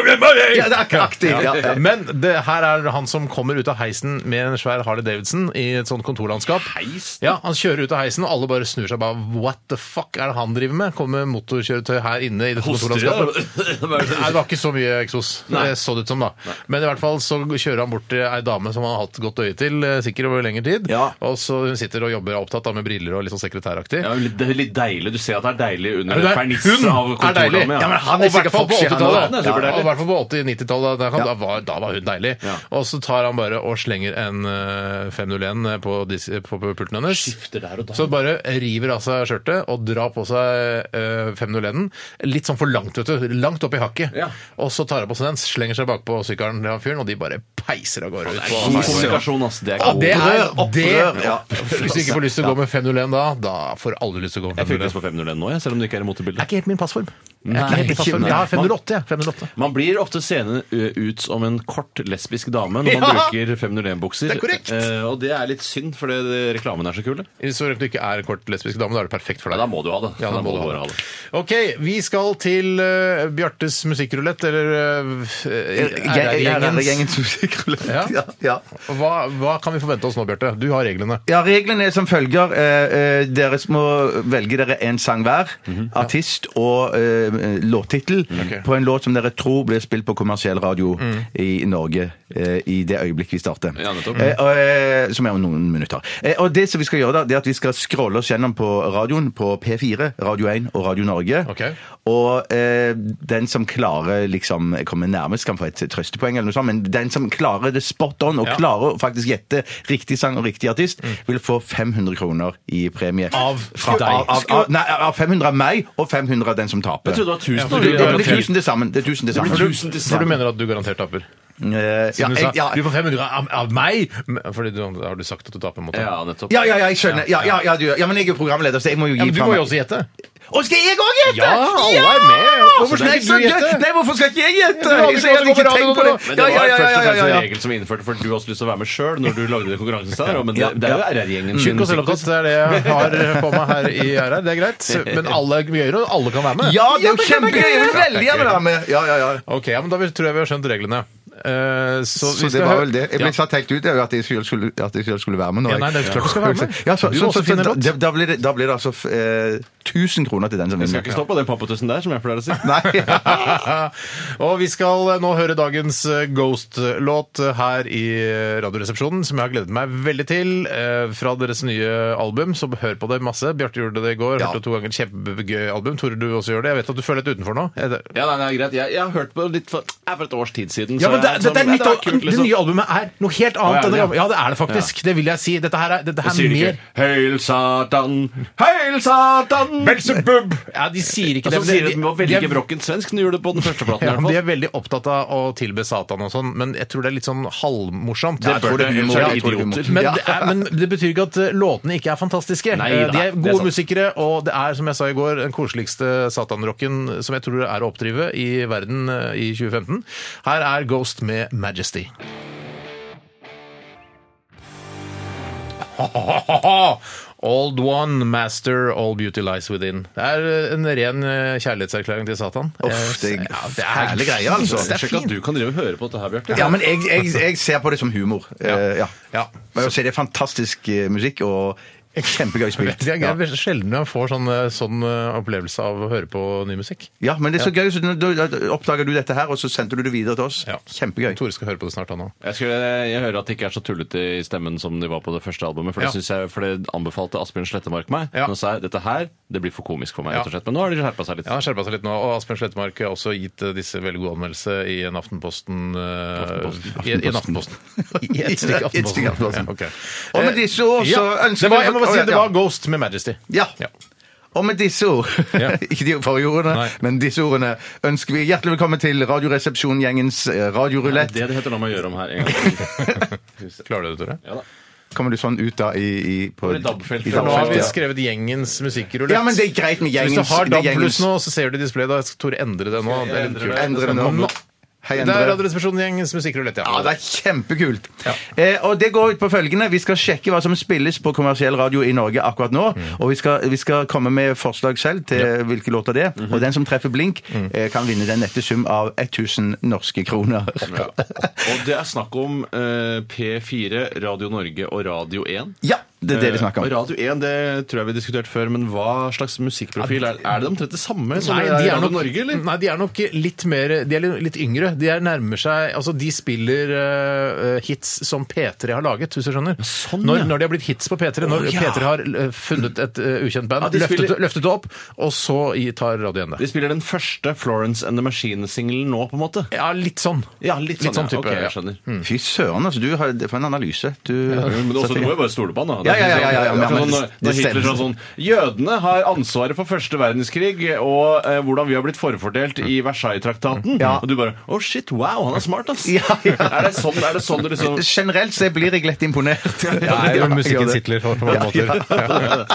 [SPEAKER 5] Ja, det er akkurat ja, ja.
[SPEAKER 4] Men det, her er han som kommer ut av heisen med en svær Harley Davidson i et sånt kontorlandskap.
[SPEAKER 6] Heis?
[SPEAKER 4] Ja, Han kjører ut av heisen, og alle bare snur seg. bare, What the fuck er det han driver med? Kommer motorkjøretøy her inne i det
[SPEAKER 6] Hoster de
[SPEAKER 4] kontorlandskapet? Nei, det
[SPEAKER 6] da?
[SPEAKER 4] var ikke så mye eksos. Det så det ut som, da. Men i hvert fall så kjører han bort til ei dame som han har hatt godt øye til, eh, sikkert over lengre tid.
[SPEAKER 5] Ja.
[SPEAKER 4] Og så hun sitter og jobber er opptatt da, med briller og litt sånn sekretæraktig.
[SPEAKER 6] Ja, litt- det er litt deilig. Du ser at det er deilig under
[SPEAKER 4] Ja, men det er-
[SPEAKER 6] fernissen
[SPEAKER 4] hun
[SPEAKER 6] av
[SPEAKER 4] er deilig.
[SPEAKER 6] kontordame.
[SPEAKER 5] Ja, men han
[SPEAKER 4] Og i
[SPEAKER 5] er
[SPEAKER 4] hvert
[SPEAKER 5] sikkert
[SPEAKER 4] fall på
[SPEAKER 5] foxy, han
[SPEAKER 4] 80-tallet.
[SPEAKER 5] også.
[SPEAKER 6] Ja, superdeilig.
[SPEAKER 4] og i hvert fall på 80-, 90-tallet. Da, kan- da, var- da var hun deilig.
[SPEAKER 6] Ja.
[SPEAKER 4] Og så tar han bare og slenger en eh, 501 på, dis- på på pulten hennes.
[SPEAKER 6] Skifter der og da.
[SPEAKER 4] Så bare river av seg skjørtet og drar på seg eh, 501-en. Litt sånn for langt, vet du. Langt opp i hakket.
[SPEAKER 6] Ja.
[SPEAKER 4] Og så tar han på seg den, slenger seg bakpå sykkelen til han fyren, og de bare peiser av gårde ut. på
[SPEAKER 6] God
[SPEAKER 4] highwayen.
[SPEAKER 6] kommunikasjon, ass. Det er
[SPEAKER 4] Ja,
[SPEAKER 6] god.
[SPEAKER 4] det er det.
[SPEAKER 5] Opprør, ja.
[SPEAKER 4] Hvis du ikke får lyst til å gå med 501 da, da får alle lyst til å gå
[SPEAKER 6] Jeg
[SPEAKER 4] med
[SPEAKER 6] fikk lyst
[SPEAKER 4] 501.
[SPEAKER 6] på 501 nå, jeg, selv om det ikke er i motebildet.
[SPEAKER 4] Det er ikke helt min passform. Jeg
[SPEAKER 6] Nei,
[SPEAKER 4] er ikke helt min
[SPEAKER 6] ikke
[SPEAKER 4] passform.
[SPEAKER 6] nei.
[SPEAKER 4] Jeg har 508, jeg. 508.
[SPEAKER 6] Man blir ofte seende ø, ut som en kort lesbisk dame når man
[SPEAKER 4] Ja!
[SPEAKER 6] bruker 501-bukser.
[SPEAKER 4] Det er korrekt.
[SPEAKER 6] Eh, og det er litt synd, for det- det- reklamen er så kul.
[SPEAKER 4] Så lenge du ikke er en kort lesbisk dame, da er det perfekt for
[SPEAKER 6] Ja,
[SPEAKER 4] deg.
[SPEAKER 6] da må du ha det.
[SPEAKER 4] Ja, da må du ha
[SPEAKER 6] bare
[SPEAKER 4] det. Ok, vi skal til eh, Bjartes musikkrulett, eller eh, RR-gjengens.
[SPEAKER 5] Gjengens musikkrulett.
[SPEAKER 4] Ja.
[SPEAKER 5] Ja. Ja.
[SPEAKER 4] Hva, hva kan vi forvente oss nå, Bjarte? Du har reglene.
[SPEAKER 5] ja, reglene er som følger. Eh, eh, dere må velge dere en sang hver.
[SPEAKER 6] Mhm.
[SPEAKER 5] Artist og eh, låttittel på en låt som dere tror blir spilt på kommersiell radio i Norge eh, i det øyeblikk vi starter.
[SPEAKER 6] Mm. Ja, nettopp.
[SPEAKER 5] Eh, og, eh, som er om noen minutter. Eh, og det som vi skal gjøre da, det er at vi skal scrolle oss gjennom på radioen på P4, Radio 1 og Radio Norge.
[SPEAKER 4] Ok.
[SPEAKER 5] Og eh, den som klarer liksom komme nærmest, kan få et trøstepoeng, eller noe sånt, men den som klarer det spot on, og
[SPEAKER 4] Ja.
[SPEAKER 5] klarer å faktisk gjette riktig sang og riktig artist, vil få 500 kroner i premie.
[SPEAKER 4] Av
[SPEAKER 5] Fra,
[SPEAKER 4] deg.
[SPEAKER 5] Av, av, av, nei, av 500 av meg, og 500 av den som taper.
[SPEAKER 6] Jeg trodde det var 1000.
[SPEAKER 4] Ja, for
[SPEAKER 5] Det, det
[SPEAKER 4] du-
[SPEAKER 5] blir 1000 til sammen. Det er 1000 til sammen.
[SPEAKER 4] For du, for du mener at du garantert taper?
[SPEAKER 5] Eh, ja,
[SPEAKER 4] Siden du
[SPEAKER 5] jeg,
[SPEAKER 4] sa
[SPEAKER 5] ja,
[SPEAKER 4] du får 500 av, av meg! Men- Fordi du, har du sagt at du taper mot det?
[SPEAKER 6] Ja, nettopp.
[SPEAKER 5] ja, ja, ja, jeg skjønner. Ja, ja, ja, du, ja, men jeg er jo programleder, så jeg må jo gi
[SPEAKER 4] Ja, men du
[SPEAKER 5] fra
[SPEAKER 4] må
[SPEAKER 5] meg.
[SPEAKER 4] jo også gjette.
[SPEAKER 5] Og skal jeg òg gjette?!
[SPEAKER 4] Ja, alle er med. Hvorfor skal
[SPEAKER 5] Nei,
[SPEAKER 4] ikke
[SPEAKER 5] så
[SPEAKER 4] du gjette?
[SPEAKER 5] gøy. Nei, hvorfor skal ikke jeg gjette?
[SPEAKER 4] Du hadde
[SPEAKER 5] Jeg sier at jeg
[SPEAKER 4] ikke
[SPEAKER 5] ikke
[SPEAKER 4] gått
[SPEAKER 5] tenkt
[SPEAKER 4] på
[SPEAKER 5] på det.
[SPEAKER 4] radio
[SPEAKER 6] Men det var
[SPEAKER 5] Ja, ja, ja,
[SPEAKER 6] først og
[SPEAKER 5] ja,
[SPEAKER 6] fremst
[SPEAKER 5] ja,
[SPEAKER 6] en
[SPEAKER 5] ja.
[SPEAKER 6] regel som vi innførte, for du har også lyst til å være med sjøl når du lagde konkurransen der. Men det,
[SPEAKER 5] Ja,
[SPEAKER 6] det er jo
[SPEAKER 5] ja.
[SPEAKER 6] RR-gjengen.
[SPEAKER 4] Tjukk og selvopptatt det er det jeg har på meg her i RR. Det er greit. Men alle er gøyere, og alle kan være med.
[SPEAKER 5] Ja, det er jo kjempegøy! Jeg vil veldig gjerne være med. Ja, ja, ja.
[SPEAKER 4] Ok, ja, men Da vil- tror jeg vi har skjønt reglene. Eh, så
[SPEAKER 5] Så
[SPEAKER 4] vi
[SPEAKER 5] det
[SPEAKER 4] skal
[SPEAKER 5] var
[SPEAKER 4] hø-
[SPEAKER 5] vel det. Jeg ble
[SPEAKER 4] Ja.
[SPEAKER 5] satt helt ut jeg, at jeg selv skulle, at jeg selv skulle være med nå.
[SPEAKER 4] Ja, nei, det er klart du skal være med.
[SPEAKER 5] Ja, så,
[SPEAKER 4] Du
[SPEAKER 5] så,
[SPEAKER 4] må
[SPEAKER 5] så,
[SPEAKER 4] også finne
[SPEAKER 5] da,
[SPEAKER 4] låt.
[SPEAKER 5] da, blir det, da blir det altså f- eh, 1000 kroner til den som
[SPEAKER 6] Jeg skal ikke
[SPEAKER 5] vinner.
[SPEAKER 6] stå på den pappatussen der, som jeg pleier å si.
[SPEAKER 5] Nei.
[SPEAKER 4] og vi skal nå høre dagens eh, Ghost-låt eh, her i eh, Radioresepsjonen, som jeg har gledet meg veldig til. eh, Fra deres nye album, så hør på det masse. Bjarte gjorde det i går.
[SPEAKER 5] Ja.
[SPEAKER 4] Hørte det to ganger. Kjempegøy album. Tore, du også gjør det. Jeg vet at du føler litt utenfor nå. Er det-
[SPEAKER 6] Ja, nei, nei, greit. Jeg, jeg har hørt på det litt for, det er for et års tid siden.
[SPEAKER 4] Ja,
[SPEAKER 6] så
[SPEAKER 4] men det,
[SPEAKER 6] jeg
[SPEAKER 4] det, det, er
[SPEAKER 6] sånn,
[SPEAKER 4] nytt,
[SPEAKER 6] ja,
[SPEAKER 4] al- det nye albumet er noe helt annet
[SPEAKER 6] Å,
[SPEAKER 4] enn
[SPEAKER 6] er det
[SPEAKER 4] det
[SPEAKER 6] det?
[SPEAKER 4] gamle. Ja, det er det faktisk. Det vil jeg si. Dette her er, dette
[SPEAKER 6] Jeg
[SPEAKER 4] her
[SPEAKER 6] sier
[SPEAKER 4] er
[SPEAKER 6] det
[SPEAKER 4] mer
[SPEAKER 6] ikke. Hail Satan! Hail Satan!
[SPEAKER 4] Belzebub! Ja, de sier ikke
[SPEAKER 6] Altså,
[SPEAKER 4] det. men
[SPEAKER 6] sier
[SPEAKER 4] de-
[SPEAKER 6] at vi må
[SPEAKER 4] de
[SPEAKER 6] velge
[SPEAKER 4] er-
[SPEAKER 6] brokken svensk. Du gjorde det på den første platen. i
[SPEAKER 4] Ja,
[SPEAKER 6] hvert
[SPEAKER 4] men
[SPEAKER 6] fall.
[SPEAKER 4] de er veldig opptatt av å tilbe Satan og sånn, men jeg tror det er litt sånn halvmorsomt.
[SPEAKER 6] Det
[SPEAKER 4] Jeg tror
[SPEAKER 6] bør det, ellers er
[SPEAKER 4] ja,
[SPEAKER 6] de
[SPEAKER 4] jeg tror det- sånn-
[SPEAKER 6] idioter.
[SPEAKER 4] Men, det er, men det betyr ikke at eh, låtene ikke er fantastiske.
[SPEAKER 6] Nei,
[SPEAKER 4] Eh, de er
[SPEAKER 6] nei, det er
[SPEAKER 4] gode
[SPEAKER 6] sant.
[SPEAKER 4] musikere, og det er, som jeg sa i går, den koseligste satanrocken som jeg tror er å oppdrive i verden eh, i 2015. Her er Ghost Beast med Majesty. Old One, Master, All Beauty Lies Within. Det er en ren eh, kjærlighetserklæring til Satan.
[SPEAKER 5] Uff, det er
[SPEAKER 4] ja, det er herlige greier, altså.
[SPEAKER 5] Det er
[SPEAKER 6] Sjekk at du kan drive og høre på dette her, Bjarte.
[SPEAKER 5] Ja, men jeg, jeg, jeg ser på det som humor. Ja. Eh, ja.
[SPEAKER 4] Ja.
[SPEAKER 5] Men jeg ser det er fantastisk eh, musikk og kjempegøy spilt.
[SPEAKER 4] Det er
[SPEAKER 5] Ja.
[SPEAKER 4] gøy. sjelden man får sånn, eh, sånn eh, opplevelse av å høre på ny musikk.
[SPEAKER 5] Ja, men det er så gøy. Så da da oppdager du dette her, og så sendte du det videre til oss.
[SPEAKER 4] Ja.
[SPEAKER 5] Kjempegøy.
[SPEAKER 4] Tore skal høre på det snart, han òg.
[SPEAKER 6] Jeg, skulle, jeg hører at det ikke er så tullete i stemmen som de var på det første albumet. For det,
[SPEAKER 4] Ja.
[SPEAKER 6] synes jeg, for det anbefalte Asbjørn Slettemark meg.
[SPEAKER 4] Ja.
[SPEAKER 6] Nå sa jeg dette her det blir for komisk for meg.
[SPEAKER 4] Ja.
[SPEAKER 6] rett og slett. Men nå har de skjerpa seg litt.
[SPEAKER 4] Ja, han skjerpa seg litt nå. Og Asbjørn Slettemark har også gitt eh, disse veldig god anmeldelse i en Aftenposten eh, I, I en Aftenposten. I et stykke
[SPEAKER 5] I et stykke
[SPEAKER 4] Aftenposten.
[SPEAKER 5] Aftenposten.
[SPEAKER 4] Ja, ok.
[SPEAKER 5] Og med disse ord så
[SPEAKER 4] Ja,
[SPEAKER 5] ønsker
[SPEAKER 4] det var, Jeg
[SPEAKER 5] vi-
[SPEAKER 4] må bare si
[SPEAKER 5] Å, ja,
[SPEAKER 4] at det
[SPEAKER 5] ja.
[SPEAKER 4] var Ghost med Majesty.
[SPEAKER 5] Ja.
[SPEAKER 4] Ja.
[SPEAKER 5] Og med disse ord,
[SPEAKER 4] Ja.
[SPEAKER 5] ikke de forrige ordene,
[SPEAKER 4] Nei.
[SPEAKER 5] men disse ordene, ønsker vi hjertelig velkommen til Radioresepsjon-gjengens eh,
[SPEAKER 6] Det
[SPEAKER 5] radiorulett.
[SPEAKER 6] er det det heter nå må jeg gjøre om her en gang til.
[SPEAKER 4] Klarer du det, Tore?
[SPEAKER 6] Ja da.
[SPEAKER 5] Kommer du sånn ut da i, i på,
[SPEAKER 6] Over i DAB-feltet.
[SPEAKER 5] i
[SPEAKER 4] For nå har vi
[SPEAKER 5] ja.
[SPEAKER 4] skrevet gjengens musikkrulett.
[SPEAKER 5] Ja, men det er greit med
[SPEAKER 4] Så
[SPEAKER 5] gjengens.
[SPEAKER 4] Hvis du har
[SPEAKER 5] det er
[SPEAKER 4] DAB pluss
[SPEAKER 5] gjengens-
[SPEAKER 4] nå, så ser du det i displayet. Da skal Tore endre det nå. Det er litt
[SPEAKER 6] endre
[SPEAKER 4] kult.
[SPEAKER 6] det.
[SPEAKER 5] Endre det
[SPEAKER 4] skal komme
[SPEAKER 5] nå.
[SPEAKER 4] opp.
[SPEAKER 5] Hei,
[SPEAKER 4] Det
[SPEAKER 5] Endre.
[SPEAKER 4] er Radioresepsjonen-gjengens musikkrulett,
[SPEAKER 5] Ja,
[SPEAKER 4] ja.
[SPEAKER 5] det er kjempekult. Eh, og det går ut på følgende. Vi skal sjekke hva som spilles på kommersiell radio i Norge akkurat nå.
[SPEAKER 4] Mm.
[SPEAKER 5] Og vi skal, vi skal komme med forslag selv til hvilke låter det er.
[SPEAKER 4] Mhm.
[SPEAKER 5] Og den som treffer blink,
[SPEAKER 4] Mm.
[SPEAKER 5] eh, kan vinne den nette sum av 1000 norske kroner.
[SPEAKER 6] Ja. Og det er snakk om eh, P4, Radio Norge og Radio 1.
[SPEAKER 5] Ja, det er det vi snakker om.
[SPEAKER 6] Eh, og Radio 1 det tror jeg vi diskuterte før, men hva slags musikkprofil er, er det omtrent det samme som
[SPEAKER 4] Nei,
[SPEAKER 6] det er
[SPEAKER 4] de
[SPEAKER 6] i
[SPEAKER 4] er
[SPEAKER 6] Radio
[SPEAKER 4] nok,
[SPEAKER 6] Norge, eller?
[SPEAKER 4] nei, de er nok litt mer De er litt, litt yngre. De er nærmer seg Altså, de spiller eh, hits som P3 har laget, hvis du skjønner.
[SPEAKER 6] sånn,
[SPEAKER 4] når,
[SPEAKER 6] ja.
[SPEAKER 4] når de har blitt hits på P3, når
[SPEAKER 6] Å, ja.
[SPEAKER 4] P3 har eh, funnet et eh, ukjent band,
[SPEAKER 6] Ja, de spiller-
[SPEAKER 4] løftet, det- løftet det opp, og så i- tar Radio 1 det.
[SPEAKER 6] De spiller den første Florence and the Machine-singelen nå, på en måte.
[SPEAKER 4] Ja, litt sånn.
[SPEAKER 6] Ja, litt sånn,
[SPEAKER 4] Litt sånn
[SPEAKER 6] ja.
[SPEAKER 4] type,
[SPEAKER 6] Ok,
[SPEAKER 4] ja.
[SPEAKER 6] jeg skjønner.
[SPEAKER 5] Fy søren, altså. Du har, for en analyse. Du,
[SPEAKER 6] Men også, du må jo bare stole på han, da.
[SPEAKER 5] Ja, ja, ja, ja, ja, ja,
[SPEAKER 6] Det er
[SPEAKER 5] men
[SPEAKER 6] sånn,
[SPEAKER 5] det-
[SPEAKER 6] når- når
[SPEAKER 5] det
[SPEAKER 6] Hitler sa
[SPEAKER 5] stemmer.
[SPEAKER 6] sånn Jødene har ansvaret for første verdenskrig og eh, hvordan vi har blitt forfordelt i Versailles-traktaten.
[SPEAKER 5] Ja.
[SPEAKER 6] Og du bare Å, shit, wow, han er smart, ass!
[SPEAKER 5] Ja, ja.
[SPEAKER 6] Er det sånn, er det sånn du liksom
[SPEAKER 5] Generelt så blir jeg lett imponert.
[SPEAKER 4] Nei,
[SPEAKER 5] Ja, jeg gjør
[SPEAKER 4] musikken
[SPEAKER 5] det.
[SPEAKER 4] sitler på mange måter.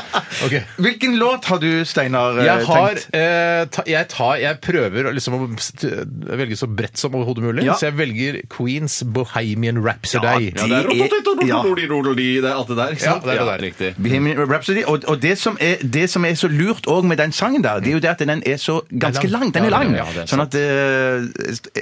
[SPEAKER 4] Ok.
[SPEAKER 5] Hvilken låt har du, Steinar, eh,
[SPEAKER 4] Jeg har
[SPEAKER 5] tenkt?
[SPEAKER 4] eh, ta, jeg, tar, jeg prøver å liksom å st- velge så bredt som overhodet mulig,
[SPEAKER 5] Ja.
[SPEAKER 4] så jeg velger Queens Bohemian Rhapsody.
[SPEAKER 5] Ja,
[SPEAKER 6] Ja, det er
[SPEAKER 5] De er- ja.
[SPEAKER 6] rototitorotolodi, det er alt det der, ikke sant?
[SPEAKER 4] Ja, det er det der.
[SPEAKER 6] riktig.
[SPEAKER 5] Bohemian Rhapsody. Og, og det, som er, det som er så lurt òg med den sangen der, det er jo det at den er så ganske
[SPEAKER 4] Den er lang.
[SPEAKER 5] lang. Den er
[SPEAKER 4] Ja, ja,
[SPEAKER 5] lang.
[SPEAKER 4] ja, det er
[SPEAKER 5] Sånn at eh,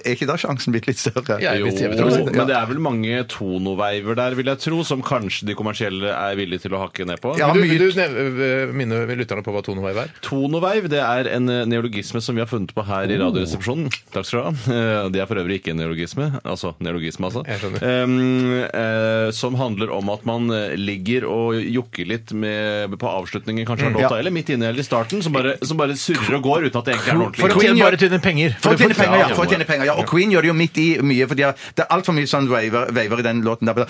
[SPEAKER 5] Er ikke da sjansen blitt litt større?
[SPEAKER 4] Ja,
[SPEAKER 6] Jo,
[SPEAKER 4] jeg tror det.
[SPEAKER 6] men det er vel mange tonoveiver der, vil jeg tro, som kanskje de kommersielle er villige til å hakke ned på.
[SPEAKER 5] Ja,
[SPEAKER 4] Du,
[SPEAKER 5] mye-
[SPEAKER 4] du nev- eh, minner lytterne på hva toneveiv er?
[SPEAKER 6] Tonoveiv det er en eh, neologisme som vi har funnet på her i
[SPEAKER 4] Oh.
[SPEAKER 6] Radioresepsjonen. Takk skal du ha. Eh, Det er for øvrig ikke en neologisme. Altså neologisme, altså.
[SPEAKER 4] Jeg skjønner.
[SPEAKER 6] Em, eh, som handler om at man eh, ligger og jokker litt med, på avslutningen kanskje
[SPEAKER 4] Mm.
[SPEAKER 6] av låta,
[SPEAKER 5] Ja.
[SPEAKER 6] eller midt inne eller i starten, som bare, som bare surrer og går uten at det egentlig er noe
[SPEAKER 4] For å
[SPEAKER 6] ordentlig.
[SPEAKER 5] Queen
[SPEAKER 4] tjene
[SPEAKER 5] gjør-
[SPEAKER 4] bare tjene penger.
[SPEAKER 5] For å tjene
[SPEAKER 4] det-
[SPEAKER 5] penger, ja.
[SPEAKER 6] ja,
[SPEAKER 5] for å tjene penger, ja. Og Queen gjør det jo midt i mye, for de har- det er altfor mye sånn waver, waver i den låten der.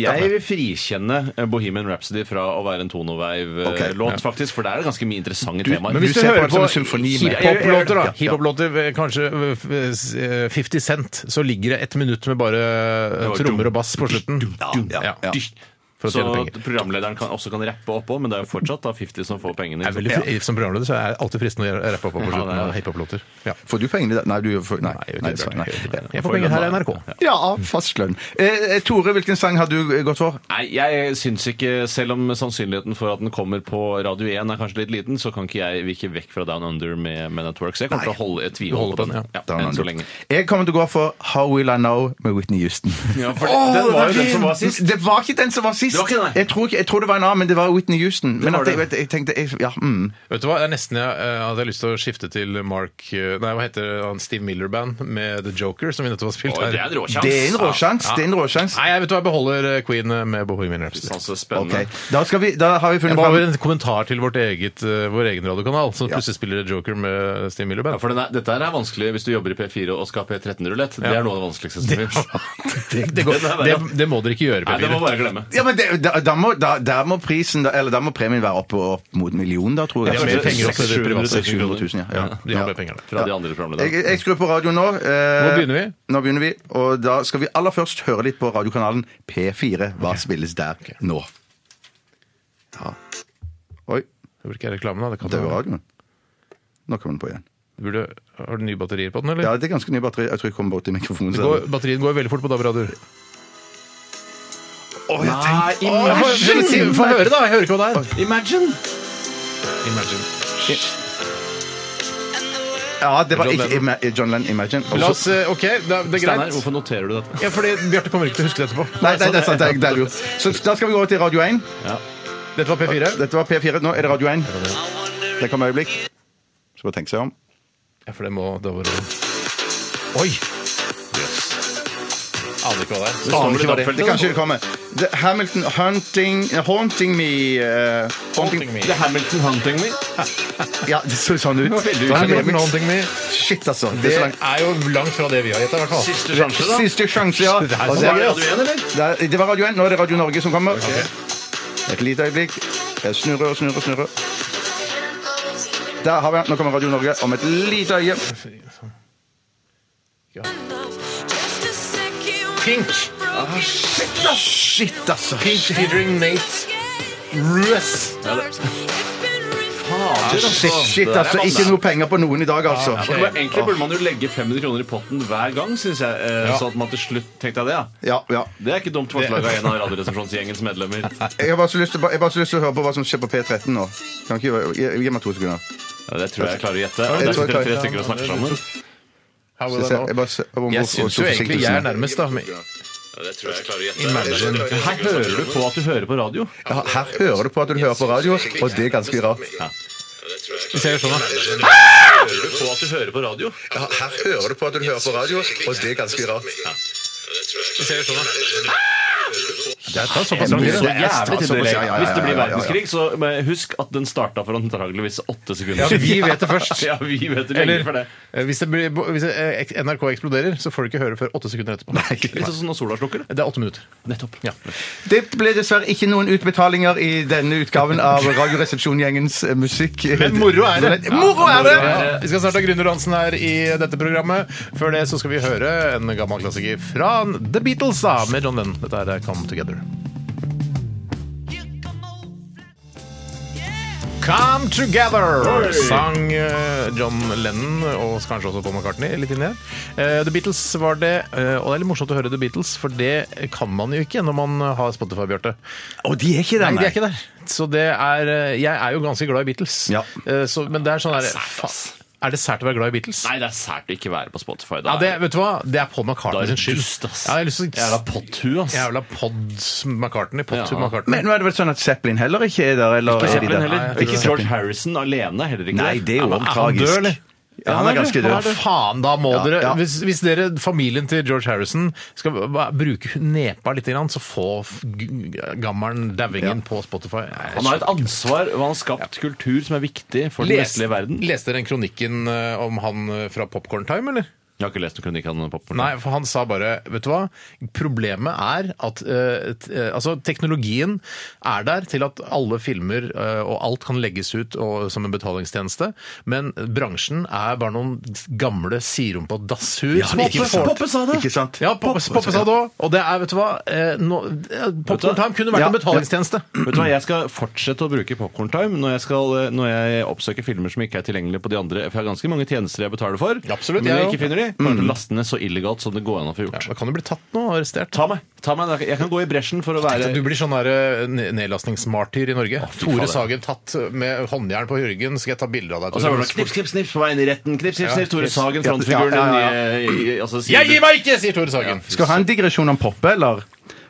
[SPEAKER 6] Jeg vil frikjenne eh, Bohemian Rhapsody fra å være en
[SPEAKER 5] Ok.
[SPEAKER 6] tonoveiv-låt, faktisk, for der er det ganske mye interessante temaer.
[SPEAKER 4] Men hvis du,
[SPEAKER 5] ser på
[SPEAKER 4] hører
[SPEAKER 5] det som
[SPEAKER 4] på
[SPEAKER 5] en symfoni med-
[SPEAKER 4] hiphop-låter, da,
[SPEAKER 5] Ja, ja.
[SPEAKER 4] hiphop-låter, eh, kanskje eh, 50 Cent, så ligger det et minutt med bare eh, trommer og bass på slutten.
[SPEAKER 5] ja, ja.
[SPEAKER 4] Ja. For å
[SPEAKER 6] Så
[SPEAKER 4] tjene penger.
[SPEAKER 6] programlederen kan, også kan rappe oppå, men det er jo fortsatt da 50 som får pengene.
[SPEAKER 4] Jeg er veldig,
[SPEAKER 6] liksom.
[SPEAKER 4] fri- Som programleder så er jeg alltid fristende å gjøre- rappe opp på slutten av hiphop-låter. Ja.
[SPEAKER 5] Får du pengene der? Nei, du får Nei.
[SPEAKER 4] Nei, jeg gjør ikke
[SPEAKER 5] nei,
[SPEAKER 4] det,
[SPEAKER 5] sorry,
[SPEAKER 4] jeg gjør ikke det.
[SPEAKER 5] nei.
[SPEAKER 4] Jeg får penger her i NRK.
[SPEAKER 5] Ja, fast lønn. Eh, eh, Tore, hvilken sang har du eh, gått for?
[SPEAKER 6] Nei, jeg syns ikke, selv om sannsynligheten for at den kommer på Radio 1 er kanskje litt liten, så kan ikke jeg vike vekk fra Down Under med Men at Work. Så jeg kommer til å holde et
[SPEAKER 4] holder
[SPEAKER 6] tvihold på
[SPEAKER 4] på
[SPEAKER 6] den.
[SPEAKER 4] den,
[SPEAKER 6] Ja, enn så lenge.
[SPEAKER 5] Jeg kommer til å gå for How Will I Know med Whitney Houston.
[SPEAKER 6] Ja, for den var jo den som var sist.
[SPEAKER 5] Det var ikke den som var sist.
[SPEAKER 6] Det var ikke den, nei.
[SPEAKER 5] jeg, tror ikke, jeg tror det var en annen, men det var Whitney Houston. Men
[SPEAKER 6] var
[SPEAKER 5] at jeg,
[SPEAKER 6] det.
[SPEAKER 5] vet- jeg tenkte jeg, ja, mm.
[SPEAKER 4] Vet du hva, Det er nesten jeg eh, hadde lyst til å skifte til Mark eh, Nei, hva heter han Steve Miller-band med The Joker, som vi nettopp har spilt
[SPEAKER 6] Oi,
[SPEAKER 4] her.
[SPEAKER 6] det er en råsjans.
[SPEAKER 5] Det er en råsjans. Det er en råsjans.
[SPEAKER 4] Nei, jeg vet du hva, jeg beholder eh, Queen eh, med Bohemian Rhapsody.
[SPEAKER 6] Sånn så
[SPEAKER 5] Ok,
[SPEAKER 6] spennende.
[SPEAKER 5] da, skal vi, da har vi
[SPEAKER 4] Jeg
[SPEAKER 5] funnet
[SPEAKER 4] bare
[SPEAKER 5] fram
[SPEAKER 4] har en kommentar til vårt eget, eh, vår egen radiokanal, som plutselig spiller Joker med Steve
[SPEAKER 6] Ja,
[SPEAKER 4] Miller-band.
[SPEAKER 6] for den er, dette her er vanskelig hvis du jobber i P4 og skal ha P13-rulett. Det er noe av det vanskeligste som fins.
[SPEAKER 4] Det, det, går-
[SPEAKER 6] Den er verre.
[SPEAKER 4] det, det må dere ikke gjøre,
[SPEAKER 6] Nei, det må
[SPEAKER 4] P4.
[SPEAKER 6] bare glemme.
[SPEAKER 5] ja, men det, da, da, må, da, der må prisen, da, eller da må premien være opp, opp mot en million, da, tror jeg.
[SPEAKER 4] Det er mer penger også i det
[SPEAKER 6] 600 000
[SPEAKER 4] private.
[SPEAKER 5] 600 000, ja. ja.
[SPEAKER 4] De har mer penger der.
[SPEAKER 6] Fra de andre programlederne.
[SPEAKER 5] Jeg, jeg skrur på radioen nå. eh,
[SPEAKER 4] Nå begynner vi.
[SPEAKER 5] Nå begynner vi, Og da skal vi aller først høre litt på radiokanalen P4. Hva spilles der nå? Ja. Oi,
[SPEAKER 4] Det blir ikke reklame, da. Det kan
[SPEAKER 5] døde
[SPEAKER 4] være.
[SPEAKER 5] radioen. Nå kommer den på igjen.
[SPEAKER 4] Du burde, har du nye batterier på den, eller?
[SPEAKER 5] Ja, det er ganske nye batteri. Jeg tror jeg kommer bort til mikrofonen.
[SPEAKER 4] Det
[SPEAKER 5] så-
[SPEAKER 4] går, batterien går veldig fort på DAB-radioer.
[SPEAKER 6] Nei,
[SPEAKER 4] Få
[SPEAKER 6] imagine!
[SPEAKER 4] få høre, da! Jeg hører ikke hva det er.
[SPEAKER 6] Imagine!
[SPEAKER 4] Imagine.
[SPEAKER 5] Ja, det var
[SPEAKER 4] John
[SPEAKER 5] ikke
[SPEAKER 4] Lennon.
[SPEAKER 5] Ima- John Lennon Imagine.
[SPEAKER 4] La
[SPEAKER 5] Også-
[SPEAKER 4] oss, eh, OK, da, det er
[SPEAKER 6] Steinar,
[SPEAKER 4] greit.
[SPEAKER 6] hvorfor noterer du dette?
[SPEAKER 4] Ja, fordi Bjarte kommer ikke til å huske det etterpå.
[SPEAKER 5] Nei, nei, det er sant. Det
[SPEAKER 4] sånn.
[SPEAKER 5] er, det er lurt. Så da skal vi gå over til Radio 1.
[SPEAKER 4] Dette var P4.
[SPEAKER 5] Dette var P4. Nå er det Radio 1. Det kommer øyeblikk. Så bare tenke seg om.
[SPEAKER 4] Ja, for det må da være Oi! Yes. Aner ikke hva det er. Det står vel
[SPEAKER 5] Aner
[SPEAKER 4] i
[SPEAKER 5] ikke hva det er.
[SPEAKER 4] dobbeltfeltet,
[SPEAKER 5] Det
[SPEAKER 4] da.
[SPEAKER 5] kanskje det kommer. The Hamilton Hunting Haunting Me eh, Haunting
[SPEAKER 4] Me.
[SPEAKER 6] Det er Hamilton Hunting Me.
[SPEAKER 5] Ja, det så sånn ut. Det var en
[SPEAKER 4] Hamilton
[SPEAKER 5] remix.
[SPEAKER 4] Haunting Me.
[SPEAKER 5] Shit, altså. Det
[SPEAKER 4] Det
[SPEAKER 5] er så langt.
[SPEAKER 4] er jo langt fra det vi har gjetta, i hvert fall.
[SPEAKER 6] Siste sjanse, da.
[SPEAKER 5] Siste sjanse, ja.
[SPEAKER 4] Det er
[SPEAKER 5] Og
[SPEAKER 4] så
[SPEAKER 5] det er-
[SPEAKER 4] bra.
[SPEAKER 6] Radio 1, eller?
[SPEAKER 5] Det er- Det var Radio 1. Nå er det Radio Norge som kommer. Et lite øyeblikk. Jeg snurrer og snurrer og snurrer. Der har vi den. Nå kommer Radio Norge om et lite øye.
[SPEAKER 4] Pink. Ah,
[SPEAKER 5] Shit, altså.
[SPEAKER 4] Pink featuring Nate Ruess.
[SPEAKER 6] Ah,
[SPEAKER 5] Shit, shit, altså. Ikke noe penger på noen i dag, altså.
[SPEAKER 6] Ja, men Egentlig burde man jo legge 500 kroner i potten hver gang, syns jeg. eh, Sånn at man til slutt tenkte jeg det, ja.
[SPEAKER 5] Ja, ja.
[SPEAKER 6] Det er ikke dumt forslag av en av Radioresepsjonsgjengens medlemmer. Ja,
[SPEAKER 5] Jeg har bare så lyst til, jeg har bare så lyst til å høre på hva som skjer på P13 nå. Kan ikke, gi- gi, gi meg to sekunder.
[SPEAKER 6] det tror jeg jeg klarer å gjette.
[SPEAKER 5] tror jeg
[SPEAKER 6] Og der sitter det tre
[SPEAKER 5] klarer-
[SPEAKER 6] stykker og snakker sammen.
[SPEAKER 4] How
[SPEAKER 5] Jeg,
[SPEAKER 4] will I
[SPEAKER 5] ser,
[SPEAKER 4] know?
[SPEAKER 5] jeg, bare, ser- om hvor-
[SPEAKER 4] Jeg
[SPEAKER 5] hvor
[SPEAKER 4] syns jo egentlig
[SPEAKER 5] stor
[SPEAKER 4] jeg er
[SPEAKER 5] forsinkelsen er.
[SPEAKER 4] nærmest, da. men-
[SPEAKER 6] Ja, det tror jeg jeg klarer å
[SPEAKER 4] Imagine.
[SPEAKER 6] gjette. Her hører du på at du hører på radio.
[SPEAKER 5] Ja, Her hører du på at du hører på radio, og det er ganske rart.
[SPEAKER 4] Vi ser sånn, da.
[SPEAKER 6] Hører du på at du hører på radio?
[SPEAKER 5] Ja, Her hører du på at du hører på radio, og det er ganske rart.
[SPEAKER 4] Det tar såpass
[SPEAKER 6] Så
[SPEAKER 4] lang tid.
[SPEAKER 5] det er
[SPEAKER 4] det.
[SPEAKER 6] jævlig tid
[SPEAKER 5] såpass,
[SPEAKER 6] det
[SPEAKER 5] ja, ja, ja,
[SPEAKER 6] legger. Hvis det blir
[SPEAKER 5] ja, ja, ja.
[SPEAKER 6] verdenskrig, så eh, husk at den starta for antageligvis åtte sekunder.
[SPEAKER 4] Ja, vi vet det først.
[SPEAKER 6] Ja, vi vet det
[SPEAKER 4] Eller
[SPEAKER 6] lenge for det.
[SPEAKER 4] eh, hvis, det blir, hvis eh, NRK eksploderer, så får du ikke høre før åtte sekunder etterpå.
[SPEAKER 6] Litt sånn som når sola slukker det.
[SPEAKER 4] Det er åtte minutter.
[SPEAKER 6] Nettopp.
[SPEAKER 4] Ja.
[SPEAKER 5] Det ble dessverre ikke noen utbetalinger i denne utgaven av Radioresepsjongjengens eh, musikk.
[SPEAKER 4] Men moro er det.
[SPEAKER 5] Moro er det!
[SPEAKER 4] Ja, Vi skal snart ha Gründer Hansen her i dette programmet. Før det så skal vi høre en gammel klassiker fra The Beatles da, med John Lennon. Dette er Come Together. Come Together sang eh, John Lennon og kanskje også Paul McCartney litt inni her. Eh, The Beatles var det, eh, og det er litt morsomt å høre The Beatles, for det kan man jo ikke når man har Spotify, Bjarte.
[SPEAKER 5] Og de er ikke der,
[SPEAKER 4] Nei, de
[SPEAKER 5] nei.
[SPEAKER 4] er ikke der. Så det er eh, Jeg er jo ganske glad i Beatles.
[SPEAKER 5] Ja.
[SPEAKER 4] Eh, Så, men det er sånn der,
[SPEAKER 6] Sært, ass.
[SPEAKER 4] fa- Er det sært å være glad i Beatles?
[SPEAKER 6] Nei, det er sært å ikke være på
[SPEAKER 4] Ja,
[SPEAKER 6] Spotify. Da
[SPEAKER 4] det, vet du hva? Det er Paul
[SPEAKER 6] da
[SPEAKER 4] McCartney
[SPEAKER 6] er det
[SPEAKER 4] sin skyld.
[SPEAKER 6] dust, ass.
[SPEAKER 4] Ja, jeg har lyst til
[SPEAKER 6] Jævla
[SPEAKER 4] å
[SPEAKER 6] potthue, ass.
[SPEAKER 4] Jævla pod McCartney. Pod
[SPEAKER 6] Ja.
[SPEAKER 4] McCartney.
[SPEAKER 5] Men nå er det vel sånn at Zeppelin heller ikke er der? Eller er
[SPEAKER 6] Ikke
[SPEAKER 5] de
[SPEAKER 6] Zeppelin
[SPEAKER 5] der?
[SPEAKER 6] heller.
[SPEAKER 5] Nei,
[SPEAKER 6] ikke George Harrison alene er heller ikke
[SPEAKER 5] Nei, det er jo
[SPEAKER 6] Ja, men
[SPEAKER 4] er han
[SPEAKER 5] tragisk.
[SPEAKER 4] død, eller?
[SPEAKER 5] Ja, han er ganske
[SPEAKER 4] Han er
[SPEAKER 5] død.
[SPEAKER 4] død. Faen, da må
[SPEAKER 5] Ja,
[SPEAKER 4] dere
[SPEAKER 5] ja.
[SPEAKER 4] Hvis, hvis dere, familien til George Harrison, skal ba- bruke nepa litt, grann, så få f- g- gammelen dauingen på Spotify. Nei,
[SPEAKER 6] Han har et ansvar, og han har skapt kultur som er viktig for den
[SPEAKER 4] Les-
[SPEAKER 6] vestlige verden.
[SPEAKER 4] Leste dere den kronikken eh, om han eh, fra Popcorn Time, eller?
[SPEAKER 6] Jeg har ikke lest noen kronikk av den popkorn.
[SPEAKER 4] Nei, for han sa bare Vet du hva? Problemet er at eh, t- eh, altså, teknologien er der til at alle filmer eh, og alt kan legges ut og, som en betalingstjeneste, men bransjen er bare noen gamle sirumpa dasshus.
[SPEAKER 5] Ja,
[SPEAKER 4] som
[SPEAKER 5] ikke
[SPEAKER 4] ofte
[SPEAKER 5] sant.
[SPEAKER 4] får-
[SPEAKER 6] Poppe sa det!
[SPEAKER 5] Ikke sant?
[SPEAKER 4] Ja, Poppe, Poppe sa det òg. Og det er, vet du hva eh, nå, eh, Popcorn Time kunne vært
[SPEAKER 5] Ja,
[SPEAKER 4] en betalingstjeneste.
[SPEAKER 6] Vet du hva, Jeg skal fortsette å bruke Popcorn Time når jeg, skal, eh, når jeg oppsøker filmer som ikke er tilgjengelige på de andre. For jeg har ganske mange tjenester jeg betaler for.
[SPEAKER 4] Absolutt,
[SPEAKER 6] men
[SPEAKER 4] jeg
[SPEAKER 6] jeg
[SPEAKER 4] også.
[SPEAKER 6] ikke finner de. Kommer til å laste ned så illegalt som det går an å få gjort.
[SPEAKER 4] Da kan du bli tatt nå og arrestert.
[SPEAKER 6] Ta meg. ta meg, Jeg kan gå i bresjen for å være
[SPEAKER 4] Du blir sånn der, eh, ne- nedlastningsmartyr i Norge.
[SPEAKER 6] fy
[SPEAKER 4] Tore
[SPEAKER 6] fader.
[SPEAKER 4] Sagen tatt med håndjern på ryggen. Skal jeg ta bilde av deg?
[SPEAKER 6] Og så er det
[SPEAKER 4] Tore?
[SPEAKER 6] bare knips, knips, knips på veien i retten. Knips, knips,
[SPEAKER 4] Ja,
[SPEAKER 6] knips. Tore
[SPEAKER 4] knips.
[SPEAKER 6] Sagen,
[SPEAKER 5] Ja,
[SPEAKER 6] frontfiguren.
[SPEAKER 5] ja, ja,
[SPEAKER 6] den nye- i- i- altså, sier
[SPEAKER 4] Jeg
[SPEAKER 6] du-
[SPEAKER 4] gir meg ikke, sier Tore Sagen.
[SPEAKER 5] Skal ha en digresjon om pop, eller?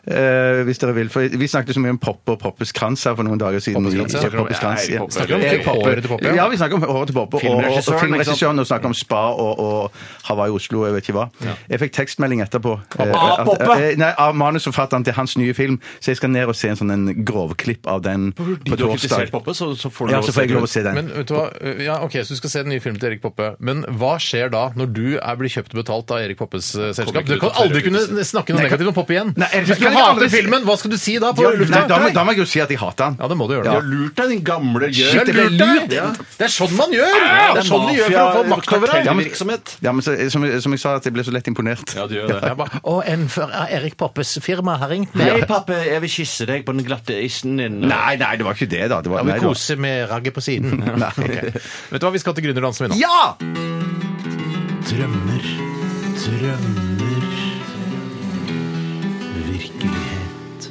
[SPEAKER 5] Eh, hvis dere vil, for Vi snakket så mye om pop og Poppes krans her for noen dager siden.
[SPEAKER 4] Poppes krans, ja.
[SPEAKER 5] Ikke Poppes krans,
[SPEAKER 6] Nei,
[SPEAKER 5] ja.
[SPEAKER 6] Poppe.
[SPEAKER 4] Snakker om
[SPEAKER 5] Eh, Poppe.
[SPEAKER 4] håret til Poppe, ja.
[SPEAKER 5] Ja, vi snakker om håret til Poppe. Og, og,
[SPEAKER 6] Filmregissøren,
[SPEAKER 5] og
[SPEAKER 6] ikke sant?
[SPEAKER 5] filmregissøren og snakker om Spa og, og Hawaii Oslo. Jeg vet ikke hva. Jeg fikk tekstmelding etterpå. eh,
[SPEAKER 6] Av
[SPEAKER 5] at-
[SPEAKER 6] Poppe?
[SPEAKER 5] eh, Nei, Av manusforfatteren til hans nye film. Så jeg skal ned og se en sånn en grovklipp av den på
[SPEAKER 6] Fordi du har kritisert
[SPEAKER 5] torsdag.
[SPEAKER 6] Poppe, så, så får du
[SPEAKER 5] Ja, så får jeg lov å
[SPEAKER 6] den.
[SPEAKER 5] se den.
[SPEAKER 4] Men vet du hva? Eh, Ja, ok, Så du skal se den nye filmen til Erik Poppe. Men hva skjer da, når du er blir kjøpt og betalt av Erik Poppes eh, selskap? Du kan aldri kunne snakke noe
[SPEAKER 5] Nei, kan-
[SPEAKER 4] negativt om Poppe igjen.
[SPEAKER 5] Nei, ellers
[SPEAKER 4] Hvis du
[SPEAKER 5] kan jeg
[SPEAKER 4] hater
[SPEAKER 5] aldri si-
[SPEAKER 4] filmen, hva skal du si da? på
[SPEAKER 5] Ja, nei, da,
[SPEAKER 4] lufta?
[SPEAKER 5] må- da må jeg jo si at jeg hater han.
[SPEAKER 4] Ja, det må du gjøre.
[SPEAKER 6] Du
[SPEAKER 4] Ja.
[SPEAKER 6] har lurt deg, din gamle gjøk.
[SPEAKER 5] Shit, det ble lurt,
[SPEAKER 4] deg! Det er sånn man gjør! Det er sånn de gjør for å få makt over deg.
[SPEAKER 5] Ja, men-
[SPEAKER 6] Virksomhet.
[SPEAKER 5] Ja, men så, som, som jeg sa, at jeg ble så lett imponert.
[SPEAKER 6] Ja, du gjør det.
[SPEAKER 4] Jeg bare, Å, en fra Erik Poppes firma har ringt meg.
[SPEAKER 6] Nei, pappa, jeg vil kysse deg på den glatte isen din.
[SPEAKER 5] Nei, nei, det var ikke det, da. Det var,
[SPEAKER 4] Ja, vi
[SPEAKER 5] nei, det var-
[SPEAKER 4] koser med ragget på siden. Ok. Vet du hva, vi skal til Gründerdansen, vi nå.
[SPEAKER 5] Ja!
[SPEAKER 7] Drømmer, drømmer Virkelighet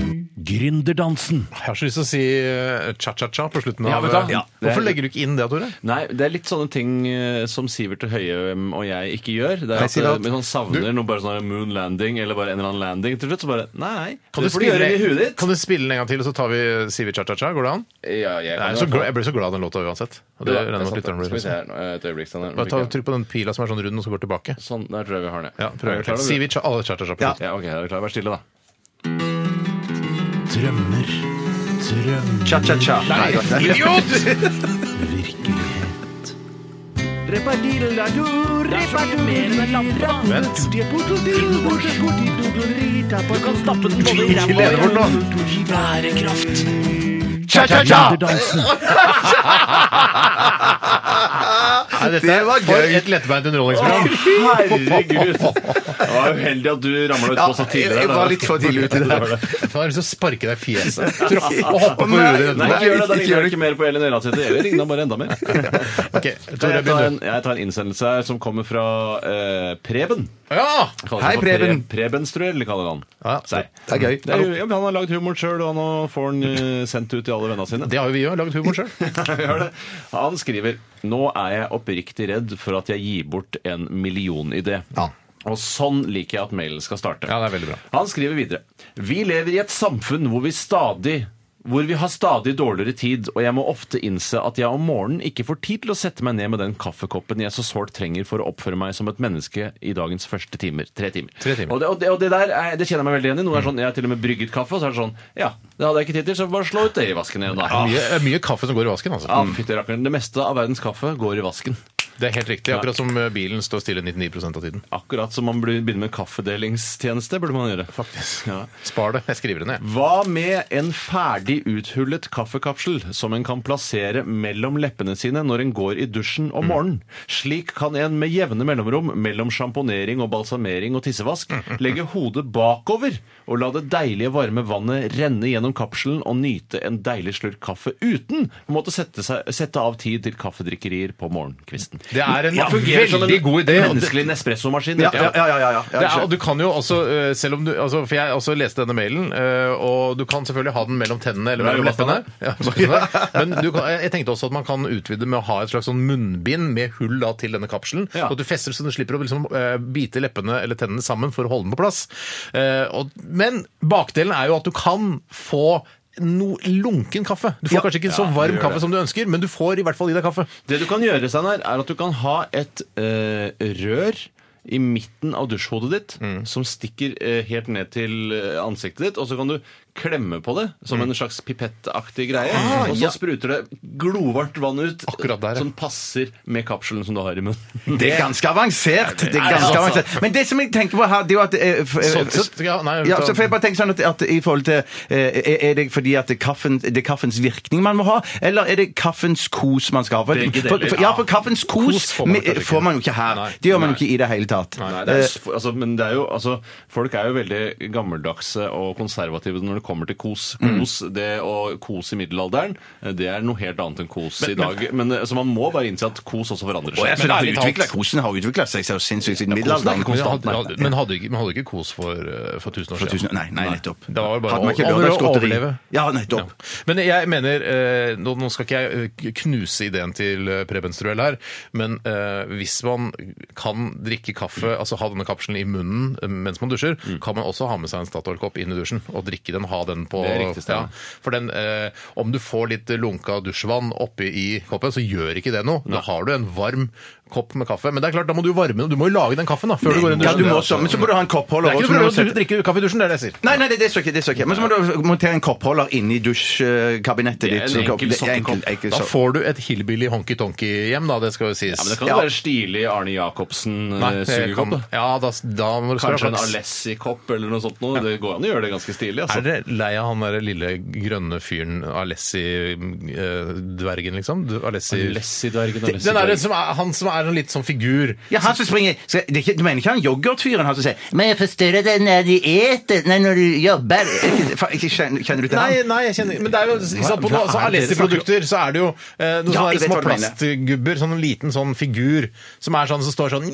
[SPEAKER 7] Gründerdansen
[SPEAKER 4] Jeg har så lyst til å si eh, cha-cha-cha på slutten av
[SPEAKER 6] Ja, vet du hva?
[SPEAKER 4] Ja. Hvorfor legger du ikke inn det, Tore?
[SPEAKER 6] Nei, det er litt sånne ting eh, som Sivert Høyem og jeg ikke gjør. Det er at,
[SPEAKER 4] sier du
[SPEAKER 6] eh,
[SPEAKER 4] at-
[SPEAKER 6] men han savner
[SPEAKER 4] Du-
[SPEAKER 6] noe bare sånn moon landing eller bare en eller annen landing. Til slutt så bare Nei,
[SPEAKER 4] Kan
[SPEAKER 6] det får du gjøre i huet ditt.
[SPEAKER 4] kan du spille den en gang til, og så tar vi Sivert Cha-Cha-Cha? Går det an?
[SPEAKER 6] Ja, jeg
[SPEAKER 4] Nei,
[SPEAKER 6] kan
[SPEAKER 4] så
[SPEAKER 6] i
[SPEAKER 4] glad,
[SPEAKER 6] hvert fall.
[SPEAKER 4] jeg ble så glad av den låta uansett. Og
[SPEAKER 6] Ja,
[SPEAKER 4] det regner
[SPEAKER 6] det er
[SPEAKER 4] jeg med at
[SPEAKER 6] sant.
[SPEAKER 4] lytterne
[SPEAKER 6] Skal
[SPEAKER 4] blir
[SPEAKER 6] vi se
[SPEAKER 4] også.
[SPEAKER 6] her nå, et øyeblikk. Steinar.
[SPEAKER 4] Bare ta, trykk på den pila som er sånn rund, og så går tilbake.
[SPEAKER 6] Sånn, der tror jeg vi har den.
[SPEAKER 4] Ja, prøv en gang
[SPEAKER 6] Klarer
[SPEAKER 4] til.
[SPEAKER 6] du det?
[SPEAKER 4] Sivert Cha- alle Cha-Cha-Cha. på
[SPEAKER 5] Ja.
[SPEAKER 4] slutt.
[SPEAKER 6] Ja, ok, da er vi klar. Vær stille, da.
[SPEAKER 7] Drømmer, drømmer
[SPEAKER 5] Cha-cha-cha. Nei, godt, nei.
[SPEAKER 4] Idiot!
[SPEAKER 7] Virkelighet Vent Du kan stappe den både i ræva
[SPEAKER 4] Gleder bort nå.
[SPEAKER 7] Bærekraft
[SPEAKER 4] Cha-cha-cha!
[SPEAKER 7] Gründerdansen
[SPEAKER 4] Nei, dette
[SPEAKER 5] Det var
[SPEAKER 4] er for
[SPEAKER 5] gøy.
[SPEAKER 4] et lettbeint underholdningsprogram.
[SPEAKER 6] Herregud! Det var uheldig at du ramla utpå så
[SPEAKER 5] jeg,
[SPEAKER 6] tidlig.
[SPEAKER 5] jeg var litt for tidlig ute der.
[SPEAKER 4] Jeg har lyst til å sparke deg i fjeset. Tråkke og hoppe på huet ditt.
[SPEAKER 6] Nei, ikke gjør
[SPEAKER 5] Ikke
[SPEAKER 6] det. Da ligner
[SPEAKER 5] gjør
[SPEAKER 6] jeg
[SPEAKER 5] det.
[SPEAKER 6] ikke mer på Elin Ørasæter. Jeg ligner bare enda mer.
[SPEAKER 4] Ok, Tore,
[SPEAKER 6] Jeg tar,
[SPEAKER 4] begynn
[SPEAKER 6] en,
[SPEAKER 4] du.
[SPEAKER 6] jeg tar en innsendelse her som kommer fra eh, Preben.
[SPEAKER 4] Ja!
[SPEAKER 6] Kaller
[SPEAKER 5] Hei,
[SPEAKER 6] seg for Pre-
[SPEAKER 5] Preben.
[SPEAKER 6] Prebenstruell kaller han
[SPEAKER 4] Ja,
[SPEAKER 6] seg.
[SPEAKER 5] Det er gøy.
[SPEAKER 6] Det er, jo- ja, men han har lagd humoren sjøl, og nå får han eh, sendt ut til alle vennene sine.
[SPEAKER 4] Det har jo vi òg. Lagd humor sjøl.
[SPEAKER 6] Gjør det. Han skriver Nå er jeg oppriktig redd for at jeg gir bort en millionidé. Og sånn liker jeg at mailen skal starte.
[SPEAKER 4] Ja, det er veldig bra.
[SPEAKER 6] Han skriver videre. Vi lever i et samfunn hvor vi stadig hvor vi har stadig dårligere tid, og jeg må ofte innse at jeg om morgenen ikke får tid til å sette meg ned med den kaffekoppen jeg så sårt trenger for å oppføre meg som et menneske i dagens første timer. Tre timer.
[SPEAKER 4] Tre timer.
[SPEAKER 6] Og, det, og, det, og det der er, det kjenner jeg meg veldig igjen i. Noen er sånn, Jeg har til og med brygget kaffe, og så er det sånn Ja, det hadde jeg ikke tid til, så bare slå ut det i vasken igjen, da. Mm.
[SPEAKER 4] Mye, mye kaffe som går i vasken, altså.
[SPEAKER 6] Ja, fytti rakkeren. Det meste av verdens kaffe går i vasken.
[SPEAKER 4] Det er helt riktig. Akkurat som eh, bilen står stille 99 av tiden.
[SPEAKER 6] Akkurat som man blir- begynner med kaffedelingstjeneste, burde man gjøre. Faktisk. Ja.
[SPEAKER 4] Spar det. Jeg skriver det ned.
[SPEAKER 6] Hva med en ferdig uthullet kaffekapsel som en kan plassere mellom leppene sine når en går i dusjen om morgenen? Slik kan en med jevne mellomrom mellom sjamponering og balsamering og tissevask legge hodet bakover og la det deilige varme vannet renne gjennom kapselen og nyte en deilig slurk kaffe uten å måtte sette, seg, sette av tid til kaffedrikkerier på morgenkvisten.
[SPEAKER 4] Det er en
[SPEAKER 6] Ja, fungerer som en
[SPEAKER 4] veldig god idé. og det-
[SPEAKER 6] Menneskelig Nespresso-maskin.
[SPEAKER 5] Ja, ja, ja, ja, ja, ja.
[SPEAKER 4] Det er, og du kan jo også, eh, selv om du, altså, For jeg også leste denne mailen, eh, og du kan selvfølgelig ha den mellom tennene eller
[SPEAKER 6] Nei,
[SPEAKER 4] mellom
[SPEAKER 6] jo,
[SPEAKER 4] leppene. Ja, bakkene. Men du kan, jeg tenkte også at man kan utvide med å ha et slags sånn munnbind med hull da, til denne kapselen.
[SPEAKER 6] Ja.
[SPEAKER 4] Og at du fester så du slipper å liksom, eh, bite leppene eller tennene sammen for å holde den på plass. Eh, og, men bakdelen er jo at du kan få No, lunken kaffe. Du får kanskje ikke så varm kaffe som du ønsker, men du får i hvert fall i deg kaffe.
[SPEAKER 6] Det du kan gjøre, Steinar, er at du kan ha et eh, rør i midten av dusjhodet ditt som stikker eh, helt ned til eh, ansiktet ditt, og så kan du klemme på det som en slags pipettaktig greie, og så spruter det glovarmt vann ut
[SPEAKER 4] Akkurat der, ja.
[SPEAKER 6] som passer med kapselen som du har i munnen.
[SPEAKER 5] Det er ganske avansert. Det er
[SPEAKER 4] altså.
[SPEAKER 5] ganske avansert. Men det som jeg tenker på her, det er jo at eh, f- eh,
[SPEAKER 4] Sånn sett, ja, nei,
[SPEAKER 5] ja,
[SPEAKER 4] ta-
[SPEAKER 5] så får jeg bare tenke sånn at, at i forhold til eh, Er er det fordi at det er kaffen, det er kaffens virkning man må ha, eller er det kaffens kos man skal ha? For,
[SPEAKER 6] Begge deler,
[SPEAKER 5] for, for, ja, for kaffens kos,
[SPEAKER 4] Kos får man
[SPEAKER 5] med-
[SPEAKER 4] kanskje ikke.
[SPEAKER 5] får man jo ikke her.
[SPEAKER 4] Nei.
[SPEAKER 5] Det gjør man jo ikke i det hele tatt.
[SPEAKER 6] Nei, det er, s- altså, men det er jo, altså, folk er jo veldig gammeldagse og konservative når det kommer til kos. Kos, det å kos i middelalderen, eh, det er noe helt annet enn kos i dag. Men, eh, så man må bare innse at kos også forandrer
[SPEAKER 5] Og jeg
[SPEAKER 6] seg.
[SPEAKER 5] synes
[SPEAKER 4] Men
[SPEAKER 5] at
[SPEAKER 4] ærlig
[SPEAKER 5] det utviklet-
[SPEAKER 4] talt-
[SPEAKER 5] Kosen har utvikla seg så sinnssykt siden middelalderen.
[SPEAKER 4] Men hadde, men hadde, ikke- men hadde ikke kos for, eh, for tusen år
[SPEAKER 5] For
[SPEAKER 4] siden.
[SPEAKER 5] tusen- Nei, nei, nettopp.
[SPEAKER 4] Det var vel bare
[SPEAKER 5] Hadde man ikke
[SPEAKER 4] å- å-
[SPEAKER 5] lørdagsgodteri?
[SPEAKER 4] overleve.
[SPEAKER 5] Ja, nettopp.
[SPEAKER 4] Men jeg mener eh, Nå nå skal ikke jeg eh, knuse ideen til eh, Preben Struell her, men eh, hvis man kan drikke kaffe, altså ha denne kapselen i munnen eh, mens man dusjer, kan man også ha med seg en Statoil-kopp inn i dusjen og drikke den, ha den på
[SPEAKER 6] Det er riktig, Steinar.
[SPEAKER 4] For den, eh, om du får litt lunka dusjvann oppi i koppen, så gjør ikke det noe. Da har du en varm kopp med kaffe. Men det er klart, da må du jo varme den. Du må jo lage den kaffen da, før du går inn i
[SPEAKER 5] Ja, du
[SPEAKER 4] dusjen.
[SPEAKER 5] må også, men så må du ha en koppholder.
[SPEAKER 4] Det er ikke
[SPEAKER 5] også, så må
[SPEAKER 4] noe
[SPEAKER 5] du
[SPEAKER 4] problem
[SPEAKER 5] sette-
[SPEAKER 4] å drikke kaffe i dusjen, det er det jeg sier.
[SPEAKER 5] Nei, nei, det, det så ikke, det så ikke. Men så må du montere en koppholder inni dusjkabinettet
[SPEAKER 6] Det er
[SPEAKER 5] ditt.
[SPEAKER 6] en
[SPEAKER 5] så-
[SPEAKER 6] enkel
[SPEAKER 5] det er
[SPEAKER 6] sokkekopp.
[SPEAKER 5] enkel
[SPEAKER 4] Da
[SPEAKER 5] sokk.
[SPEAKER 4] får du et hillbilly honky-tonky-hjem, da. Det skal jo sies.
[SPEAKER 6] Ja, men det kan jo
[SPEAKER 5] Ja.
[SPEAKER 6] være stilig Arne
[SPEAKER 4] Nei, det
[SPEAKER 6] Jacobsen-sugekopp.
[SPEAKER 4] kan- Ja, da, da må du spørre
[SPEAKER 6] Kanskje en
[SPEAKER 4] flaks.
[SPEAKER 6] Alessi-kopp eller noe sånt. Noe. Det går an å gjøre det ganske stilig. Altså.
[SPEAKER 4] Er det, er lei av han derre lille grønne fyren Alessi-dvergen, liksom. Du- Alessi
[SPEAKER 6] Lessidvergen og
[SPEAKER 4] Den er, som er, han som er en litt sånn figur.
[SPEAKER 5] Ja, han som springer Skal- det er ikke, Du mener ikke han yoghurtfyren han som sier 'Men jeg forstyrrer deg når de eter, nei, når du jobber'? Er ikke- faen, ikke Kjenner kjenner du til
[SPEAKER 4] Nei,
[SPEAKER 5] han?
[SPEAKER 4] nei, jeg kjenner Men det er jo, ikke sant, på
[SPEAKER 5] Hva-
[SPEAKER 4] noe,
[SPEAKER 5] hva
[SPEAKER 4] så
[SPEAKER 5] er det dere
[SPEAKER 4] Alessi-produkter så er det jo eh, noen
[SPEAKER 5] Ja,
[SPEAKER 4] sånne
[SPEAKER 5] jeg vet
[SPEAKER 4] små
[SPEAKER 5] hva du mener.
[SPEAKER 4] plastgubber, sånn en liten sånn figur, som er sånn som står sånn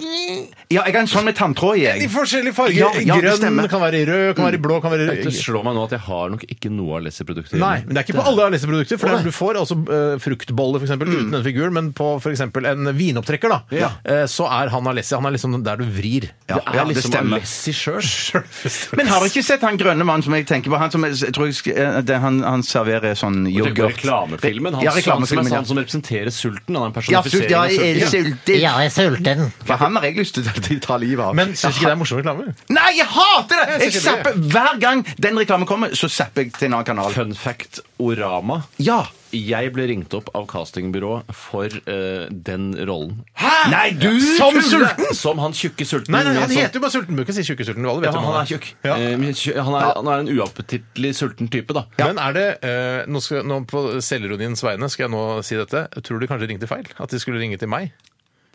[SPEAKER 5] Ja, jeg har en sånn med tanntråd i. jeg.
[SPEAKER 4] I forskjellige farger.
[SPEAKER 5] Ja, ja, det
[SPEAKER 4] Grønn
[SPEAKER 5] stemmer.
[SPEAKER 4] kan være i rød, kan være i blå, kan være
[SPEAKER 6] Det
[SPEAKER 4] i
[SPEAKER 6] slår meg nå at jeg har nok ikke noe av Lessie-produkter.
[SPEAKER 4] Nei, men det er ikke på alle Alessi-produkter. For det er- Du får altså eh, fruktboller for eksempel, uten den figuren, men på f.eks. en vinopptrekker, da,
[SPEAKER 5] Ja.
[SPEAKER 4] eh, så er han Alessi. Han er liksom der du vrir. liksom
[SPEAKER 5] Ja, ja, det stemmer.
[SPEAKER 6] Lessie sjøl.
[SPEAKER 5] Men har du ikke sett han grønne mannen som jeg tenker på? Han som jeg tror jeg, sk- eh, det, han, han serverer sånn
[SPEAKER 6] Du tenker på
[SPEAKER 5] yoghurt.
[SPEAKER 6] reklamefilmen? Han,
[SPEAKER 5] ja,
[SPEAKER 6] som,
[SPEAKER 5] reklamefilmen,
[SPEAKER 6] er
[SPEAKER 5] ja.
[SPEAKER 6] han som representerer sulten? Han er en
[SPEAKER 5] Ja, sult,
[SPEAKER 6] personifisering
[SPEAKER 5] ja,
[SPEAKER 6] av
[SPEAKER 5] jeg er
[SPEAKER 6] sulten.
[SPEAKER 5] sulten.
[SPEAKER 3] Ja, jeg er sulten.
[SPEAKER 5] For han har jeg lyst til å ta livet av.
[SPEAKER 4] Men syns ikke det er morsom reklame?
[SPEAKER 5] Nei, jeg hater det!
[SPEAKER 4] Jeg
[SPEAKER 5] Jeg
[SPEAKER 4] synes ikke
[SPEAKER 5] zapper Hver gang den reklamen kommer, så zapper jeg til en annen kanal.
[SPEAKER 6] Fun fact Orama.
[SPEAKER 5] Ja!
[SPEAKER 6] Jeg ble ringt opp av castingbyrå for eh, den rollen.
[SPEAKER 5] Nei, du
[SPEAKER 4] Som
[SPEAKER 5] tuller!
[SPEAKER 4] sulten!
[SPEAKER 6] Som han tjukke sulten.
[SPEAKER 4] Nei, nei, han
[SPEAKER 6] som-
[SPEAKER 4] heter jo bare Sultenbukken, sier Tjukkesulten. Alle vet
[SPEAKER 6] ja,
[SPEAKER 4] jo hvem
[SPEAKER 6] han er tjukk.
[SPEAKER 4] Ja.
[SPEAKER 6] Eh, men tjukk- han, er, han er en uappetittlig sulten type, da.
[SPEAKER 4] Men er det eh, nå, skal, nå På selvironiens vegne skal jeg nå si dette. Tror du kanskje de ringte feil? At de skulle ringe til meg?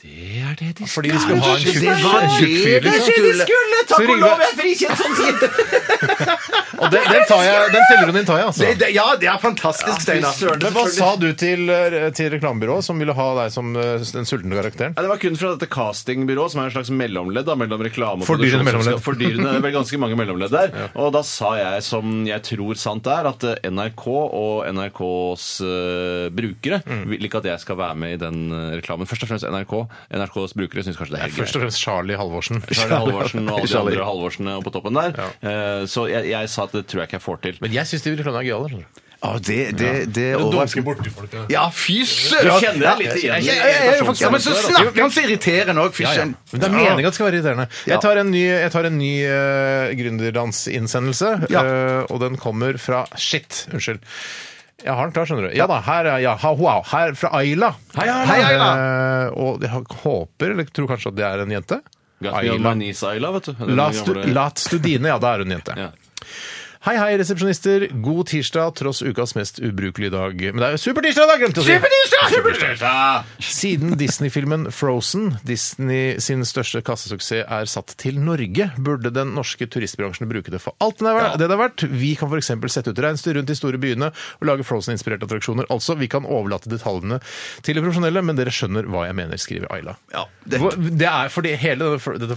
[SPEAKER 6] Det er det de
[SPEAKER 4] Fordi de skulle ha en
[SPEAKER 5] Det
[SPEAKER 4] tjukk
[SPEAKER 5] var
[SPEAKER 4] tjukk
[SPEAKER 5] det
[SPEAKER 4] fyr.
[SPEAKER 5] de
[SPEAKER 4] liksom.
[SPEAKER 5] skulle!
[SPEAKER 4] Så
[SPEAKER 5] Takk og
[SPEAKER 4] ringer
[SPEAKER 5] lov,
[SPEAKER 4] vi-
[SPEAKER 5] jeg er frikjent som sier
[SPEAKER 4] Og den, den, tar jeg, den selvironien tar jeg, altså.
[SPEAKER 5] det! Ja, det er fantastisk, Steinar.
[SPEAKER 4] Men hva sa du til, eh, til reklamebyrået, som ville ha deg som eh, den sultne karakteren?
[SPEAKER 6] Ja, det var kun fra dette castingbyrået, som er en slags mellomledd da, mellom reklame og
[SPEAKER 4] Fordyrende
[SPEAKER 6] produksjonsselskap.
[SPEAKER 4] mellomledd.
[SPEAKER 6] Fordyrende, det er vel ganske mange mellomledd der. Og da sa jeg, som jeg tror sant er, at eh, NRK og NRKs eh, brukere
[SPEAKER 4] Mm.
[SPEAKER 6] vil ikke at jeg skal være med i den eh, reklamen. Først og fremst NRK. NRKs brukere syns kanskje det er helt
[SPEAKER 4] Først
[SPEAKER 6] greit.
[SPEAKER 4] og fremst Charlie Halvorsen.
[SPEAKER 6] Charlie Halvorsen og alle de
[SPEAKER 4] Charlie.
[SPEAKER 6] andre Halvorsene oppe på toppen der. Eh, Så jeg, jeg sa at det tror jeg ikke jeg får til.
[SPEAKER 4] Men jeg syns de reklamene er gøyale. skjønner du.
[SPEAKER 5] Å, det, det, det overrasker Ja, fy
[SPEAKER 6] Du
[SPEAKER 5] søren!
[SPEAKER 6] kjenner deg litt igjen. i
[SPEAKER 5] Jeg- jeg- jeg- jeg- Ja, men så
[SPEAKER 6] irritasjonssammenheng der, altså.
[SPEAKER 5] snakker han så irriterende òg, fy
[SPEAKER 4] Ja, ja.
[SPEAKER 5] søren.
[SPEAKER 4] Men det er meningen at det skal være irriterende.
[SPEAKER 5] Ja.
[SPEAKER 4] Jeg tar en ny, jeg tar en ny eh, gründerdansinnsendelse,
[SPEAKER 5] Ja.
[SPEAKER 4] eh, og den kommer fra Shit, unnskyld. Jeg har den klar, skjønner du. Ja da, her er ja, ha, wow, her fra Ayla. Hei, Ayla! Eh, og jeg håper, eller tror kanskje at det er en jente.
[SPEAKER 6] Got me on my knees, Ayla, vet du. Den
[SPEAKER 4] Lat stu-
[SPEAKER 6] gamle-
[SPEAKER 4] Lat Studine, ja, da er hun jente.
[SPEAKER 6] Ja.
[SPEAKER 4] Hei, hei, resepsjonister. God tirsdag, tross ukas mest ubrukelige dag. Men det er jo supertirsdag, da! Glemte å si! Siden Disney-filmen Frozen, Disney sin største kassesuksess, er satt til Norge, burde den norske turistbransjen bruke det for alt den er verdt, det det er verdt. Vi kan f.eks. sette ut reinsdyr rundt de store byene og lage Frozen-inspirerte attraksjoner. Altså, vi kan overlate detaljene til de profesjonelle, men dere skjønner hva jeg mener, skriver Ayla.
[SPEAKER 5] Ja, det-
[SPEAKER 4] det... er fordi hele denne fr- dette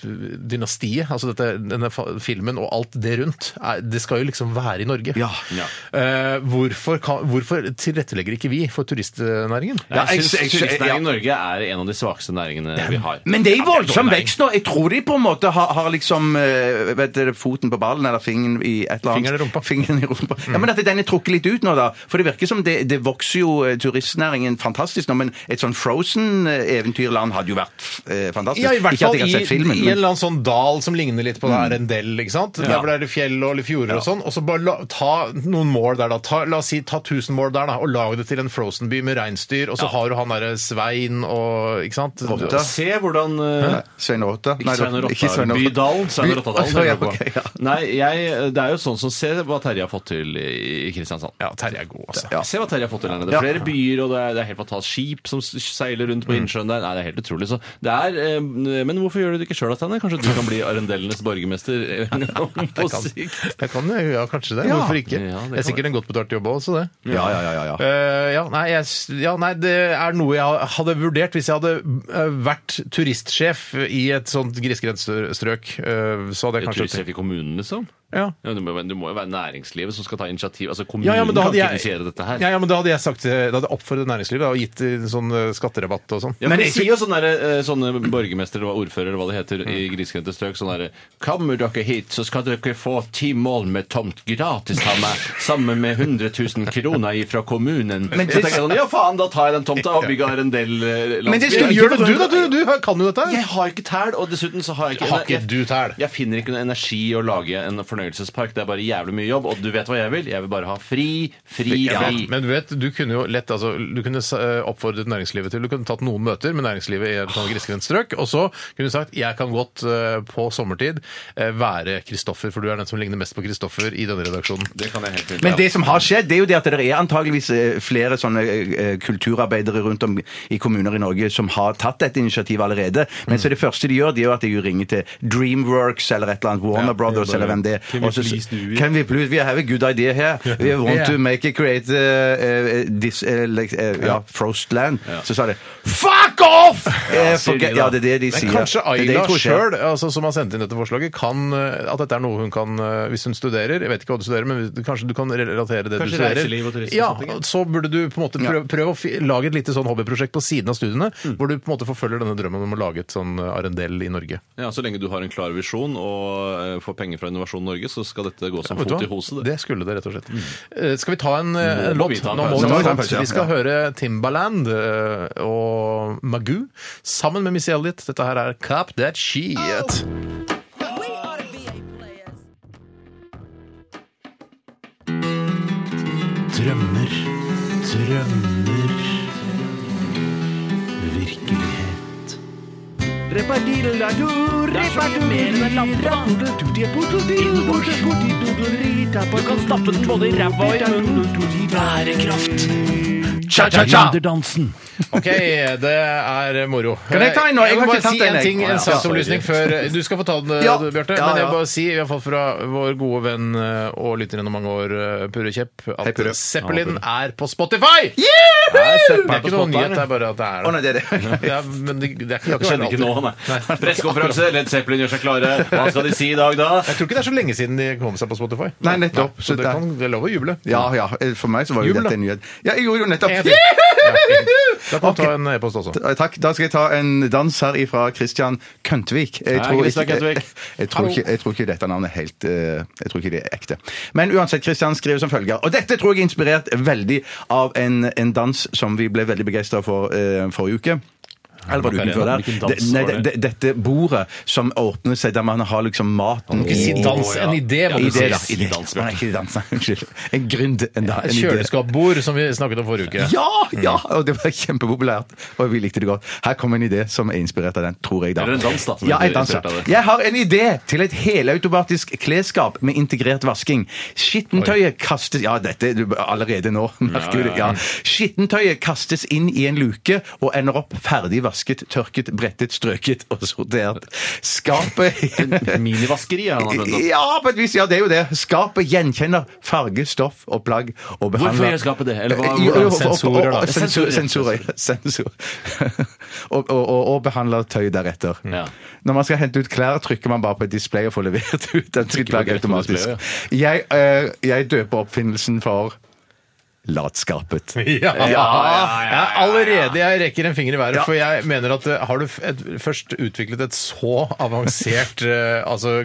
[SPEAKER 4] Frozen-dynastiet, altså dette, denne fa- filmen og alt det rundt, er, det skal jo liksom være i Norge.
[SPEAKER 5] Ja.
[SPEAKER 4] Eh, hvorfor, kan, hvorfor tilrettelegger ikke vi for turistnæringen?
[SPEAKER 6] Nei, Jeg
[SPEAKER 5] jeg-
[SPEAKER 6] syns
[SPEAKER 5] jeg- jeg-
[SPEAKER 6] turistnæringen i Norge er en av de svakeste næringene vi har.
[SPEAKER 5] Men det er i voldsom vekst nå. Jeg tror de på en måte har, har liksom eh, vet dere, foten på ballen eller fingeren i et eller annet.
[SPEAKER 4] Fingeren i rumpa. Mm.
[SPEAKER 5] Fingeren i rumpa. Ja, Men at den er trukket litt ut nå, da. For det virker som det, det vokser jo eh, turistnæringen fantastisk nå, men et sånn Frozen-eventyrland hadde jo vært eh, fantastisk.
[SPEAKER 4] Ja, i hvert
[SPEAKER 5] Ikke
[SPEAKER 4] fall
[SPEAKER 5] at
[SPEAKER 4] i,
[SPEAKER 5] jeg har sett
[SPEAKER 4] i en
[SPEAKER 5] filmen. Mm.
[SPEAKER 4] eller annen sånn dal som ligner litt på det her, en del, ikke sant? Der hvor det er fjell og litt fjorder og sånn, og så bare la, ta noen mål der da, ta, la oss si ta tusen mål der da, og lag det til en Frozen-by med reinsdyr, og så har du han der Svein og, ikke sant?
[SPEAKER 5] Rotta.
[SPEAKER 6] Se hvordan eh,
[SPEAKER 5] Svein og Åtta?
[SPEAKER 6] Ikke Svein
[SPEAKER 5] ikke Svein
[SPEAKER 6] Rottadalen.
[SPEAKER 5] og Åtta.
[SPEAKER 6] Bydalen. Svein
[SPEAKER 5] By-
[SPEAKER 6] Rottadalen.
[SPEAKER 5] Å, ja,
[SPEAKER 6] tenker jeg
[SPEAKER 5] ok,
[SPEAKER 6] på. Nei, jeg, det er jo sånn som Se hva Terje har fått til i i Kristiansand.
[SPEAKER 4] Ja, Terje er god, altså.
[SPEAKER 5] Ja.
[SPEAKER 6] Se hva Terje har fått til her nede. Det er flere byer, og det er, det er helt fantastisk skip som s- seiler rundt på
[SPEAKER 5] Mm.
[SPEAKER 6] innsjøen der. Nei, det er helt utrolig. Så det er, eh, men hvorfor gjør du det ikke sjøl, Steinar? Kanskje du kan bli arendellenes borgermester eh, på sikt?
[SPEAKER 4] Jeg kan jo, ja, kanskje det.
[SPEAKER 5] Ja.
[SPEAKER 4] Hvorfor ikke?
[SPEAKER 6] Ja, det kan
[SPEAKER 4] det er sikkert en godt betalt jobb også, det.
[SPEAKER 5] Ja, ja, ja, ja, ja.
[SPEAKER 4] Eh, ja, nei, jeg, s- ja, nei, det er noe jeg hadde vurdert hvis jeg hadde eh, vært turistsjef i et sånt grisgrendstrøk. eh, så hadde jeg kanskje
[SPEAKER 6] Turistsjef i kommunen, liksom?
[SPEAKER 4] Ja.
[SPEAKER 6] Ja, du, må, du må jo være næringslivet som skal ta initiativ. Altså Kommunen
[SPEAKER 4] Ja, ja, men da
[SPEAKER 6] kan
[SPEAKER 4] hadde
[SPEAKER 6] ikke
[SPEAKER 4] jeg,
[SPEAKER 6] initiere dette her.
[SPEAKER 4] ja, ja, men da hadde jeg sagt eh, Da hadde jeg oppfordret næringslivet da, og gitt eh, sånn eh, skatterabatt og sånn.
[SPEAKER 6] Ja, men de sier jo sånne, der, eh, sånne borgermestere eller ordførere eller hva det heter i
[SPEAKER 4] Mm.
[SPEAKER 6] grisgrendte strøk sånn derre Kommer dere hit, så skal dere få ti mål med tomt gratis av meg, sammen med 100 000 kroner ifra kommunen.
[SPEAKER 5] Men
[SPEAKER 6] så
[SPEAKER 5] det-
[SPEAKER 6] tenker jeg sånn Ja, faen, da tar jeg den tomta og bygger en del eh,
[SPEAKER 5] Men det
[SPEAKER 4] Ja,
[SPEAKER 5] skulle
[SPEAKER 4] gjør det
[SPEAKER 6] sånn-
[SPEAKER 4] du, da! Du, du kan jo dette! her.
[SPEAKER 6] Jeg har ikke tæl, og dessuten så har jeg ikke
[SPEAKER 4] Har ikke du tæl?
[SPEAKER 6] Jeg, jeg finner ikke noe energi i å lage en For fornøyelsespark. Det er bare jævlig mye jobb, og du vet hva jeg vil. Jeg vil bare ha fri, fri,
[SPEAKER 4] Ja,
[SPEAKER 6] fri.
[SPEAKER 4] men du vet, du kunne jo lett altså, du kunne eh, oppfordret næringslivet til Du kunne tatt noen møter med næringslivet i et sånt grisgrendt strøk, og så kunne du sagt jeg kan godt eh, på sommertid eh, være Kristoffer, for du er den som ligner mest på Kristoffer i denne redaksjonen.
[SPEAKER 6] Det kan jeg helt fint.
[SPEAKER 5] Men det som har skjedd, det er jo det at det er antageligvis eh, flere sånne eh, kulturarbeidere rundt om i kommuner i Norge som har tatt dette initiativet allerede. Men så det første de gjør, det er jo at de jo ringer til Dreamworks eller et eller annet, Warner Brothers eller hvem det er.
[SPEAKER 6] Can we
[SPEAKER 5] Og så-
[SPEAKER 6] please do it?
[SPEAKER 5] Can we please We have a good idea here. We want to make a create eh, eh, this eh, like, eh, ja, frost land. Så sa de Fuck off! Eh,
[SPEAKER 6] sier de
[SPEAKER 5] forget-
[SPEAKER 6] da.
[SPEAKER 5] Ja, det er det de sier.
[SPEAKER 4] Men kanskje
[SPEAKER 5] Det er det jeg
[SPEAKER 4] Ayla
[SPEAKER 5] tror skjer.
[SPEAKER 4] sjøl, altså, som har sendt inn dette forslaget, kan, eh, at dette er noe hun kan eh, Hvis hun studerer, jeg vet ikke hva du studerer, men hvis- kanskje du kan relatere det
[SPEAKER 6] Kanskje
[SPEAKER 4] du studerer.
[SPEAKER 6] reiseliv og turisme og
[SPEAKER 4] ja,
[SPEAKER 6] sånne ting, ja.
[SPEAKER 4] så burde du på en måte prøve, prøve å fi, lage et lite sånn hobbyprosjekt på siden av studiene,
[SPEAKER 5] Mm.
[SPEAKER 4] hvor du på en måte forfølger denne drømmen om å lage et sånn eh, arendell i Norge.
[SPEAKER 6] Ja, Så lenge du har en klar visjon og eh, får penger fra Innovasjon Norge, så skal dette gå som
[SPEAKER 4] Vet du
[SPEAKER 6] fot i
[SPEAKER 4] hva?
[SPEAKER 6] hoset. Mm.
[SPEAKER 4] Det skulle det, rett og slett. Eh, Skal vi ta en, eh, en
[SPEAKER 6] Nå
[SPEAKER 4] låt?
[SPEAKER 6] må vi ta en
[SPEAKER 4] Nå må
[SPEAKER 6] pause.
[SPEAKER 4] vi ta en
[SPEAKER 5] pause,
[SPEAKER 4] pause.
[SPEAKER 5] ja.
[SPEAKER 4] Vi skal høre Timbaland eh, og Magoo sammen med Missy Elliot. Dette her er Cap That Shit.
[SPEAKER 6] Oh.
[SPEAKER 7] Drømmer, drømmer Virkelighet Du kan stappe den både i ræva og i munnen Bærekraft Gründerdansen
[SPEAKER 4] Ok, det er moro. Eh,
[SPEAKER 5] Kan jeg ta en nå? Jeg
[SPEAKER 4] Jeg må
[SPEAKER 5] har ikke
[SPEAKER 4] bare
[SPEAKER 5] tatt
[SPEAKER 4] si
[SPEAKER 5] den,
[SPEAKER 4] en
[SPEAKER 5] jeg.
[SPEAKER 4] ting,
[SPEAKER 5] Ja,
[SPEAKER 4] en saksopplysning før Du skal få ta den,
[SPEAKER 5] Ja.
[SPEAKER 4] du, Bjarte.
[SPEAKER 5] Ja,
[SPEAKER 4] Men jeg
[SPEAKER 5] ja.
[SPEAKER 4] må bare si, i hvert fall fra vår gode venn eh, og lytter gjennom mange år, eh, Purre Kjepp,
[SPEAKER 5] Hei,
[SPEAKER 4] at
[SPEAKER 5] Purre.
[SPEAKER 4] Zeppelin er på Spotify!
[SPEAKER 6] Det er
[SPEAKER 4] Det er ikke noen nyhet, det er bare at det er
[SPEAKER 5] Å, nei, det er det.
[SPEAKER 4] det. Er, men det, det, er ikke- det,
[SPEAKER 6] Det
[SPEAKER 4] har
[SPEAKER 6] skjedde
[SPEAKER 4] vært
[SPEAKER 6] ikke nå,
[SPEAKER 4] alltid.
[SPEAKER 6] nei. Pressekonferanse, Led Zeppelin gjør seg klare. Hva skal de si i dag, da?
[SPEAKER 4] Jeg tror ikke det er så lenge siden de kom seg på Spotify.
[SPEAKER 5] Nei, nettopp.
[SPEAKER 4] Så det, kan, det er lov å juble.
[SPEAKER 5] Ja, ja. eh, For meg så var jo
[SPEAKER 4] Jubel,
[SPEAKER 5] dette
[SPEAKER 4] da.
[SPEAKER 5] en nyhet. Ja, jeg gjorde jo nettopp
[SPEAKER 4] En til. Ja. Da kan du ta en e-post også.
[SPEAKER 5] Eh, Takk. Da skal jeg ta en dans her ifra Christian Køntvik. Jeg
[SPEAKER 6] Hei,
[SPEAKER 5] tror
[SPEAKER 6] Christian
[SPEAKER 5] ikke-
[SPEAKER 6] Køntvik.
[SPEAKER 5] Jeg tror, ikke, jeg tror ikke dette navnet er helt eh, Jeg tror ikke det er ekte. Men uansett, Christian skriver som følger. Og dette tror jeg er inspirert veldig av en, en dans som vi ble veldig begeistra for eh, forrige uke. Eller var det uken før der?
[SPEAKER 6] Hvilken dans
[SPEAKER 5] Det- nei,
[SPEAKER 6] var det?
[SPEAKER 5] det- dette bordet som åpner seg der man har liksom maten
[SPEAKER 4] Ikke si dans, en idé.
[SPEAKER 6] Ja,
[SPEAKER 4] må du
[SPEAKER 6] det
[SPEAKER 4] si.
[SPEAKER 6] er
[SPEAKER 5] Idé, da. Idé.
[SPEAKER 6] dans, dans, Bjørte.
[SPEAKER 5] Nei, ikke dans, nei, unnskyld. En gründ. En, da- en
[SPEAKER 4] Et
[SPEAKER 5] idé.
[SPEAKER 4] kjøleskapbord, som vi snakket om forrige uke.
[SPEAKER 5] Ja!
[SPEAKER 6] Mm.
[SPEAKER 5] ja, Og det var kjempepopulært, og vi likte det godt. Her kom en idé som er inspirert av den, tror jeg, da.
[SPEAKER 6] Eller en dans, da, som
[SPEAKER 5] Ja,
[SPEAKER 6] er
[SPEAKER 5] en dans,
[SPEAKER 6] inspirert av
[SPEAKER 5] ja.
[SPEAKER 6] det.
[SPEAKER 5] Jeg har en idé til et helautomatisk klesskap med integrert vasking. Skittentøyet kastes Ja, dette du, allerede nå, merker du det. Ja. Skittentøyet kastes inn i en luke og ender opp ferdig vasket, tørket, brettet, strøket og sortert. Skapet
[SPEAKER 6] Minivaskeri er han har bønnet.
[SPEAKER 5] ja, på et vis. Ja, det er jo det. Skapet gjenkjenner farge, stoff og plagg og behandler
[SPEAKER 6] Hvorfor gjør skapet det? Eller hva-
[SPEAKER 5] Jo, jo, og-
[SPEAKER 4] Sensorer, da.
[SPEAKER 5] og- og- Sensorer,
[SPEAKER 6] Sensorer,
[SPEAKER 5] sensorer, ja. Sensor. og, og, og, og behandler tøy deretter.
[SPEAKER 6] Ja.
[SPEAKER 5] Når man skal hente ut klær, trykker man bare på et display og får levert ut den sitt plagg
[SPEAKER 6] direkte på
[SPEAKER 5] automatisk. Jeg, eh, jeg døper oppfinnelsen for Latskapet.
[SPEAKER 4] Ja, ja, Jeg er allerede jeg rekker en finger i været,
[SPEAKER 5] Ja.
[SPEAKER 4] for jeg mener at eh, har du f- et, først utviklet et så avansert eh, altså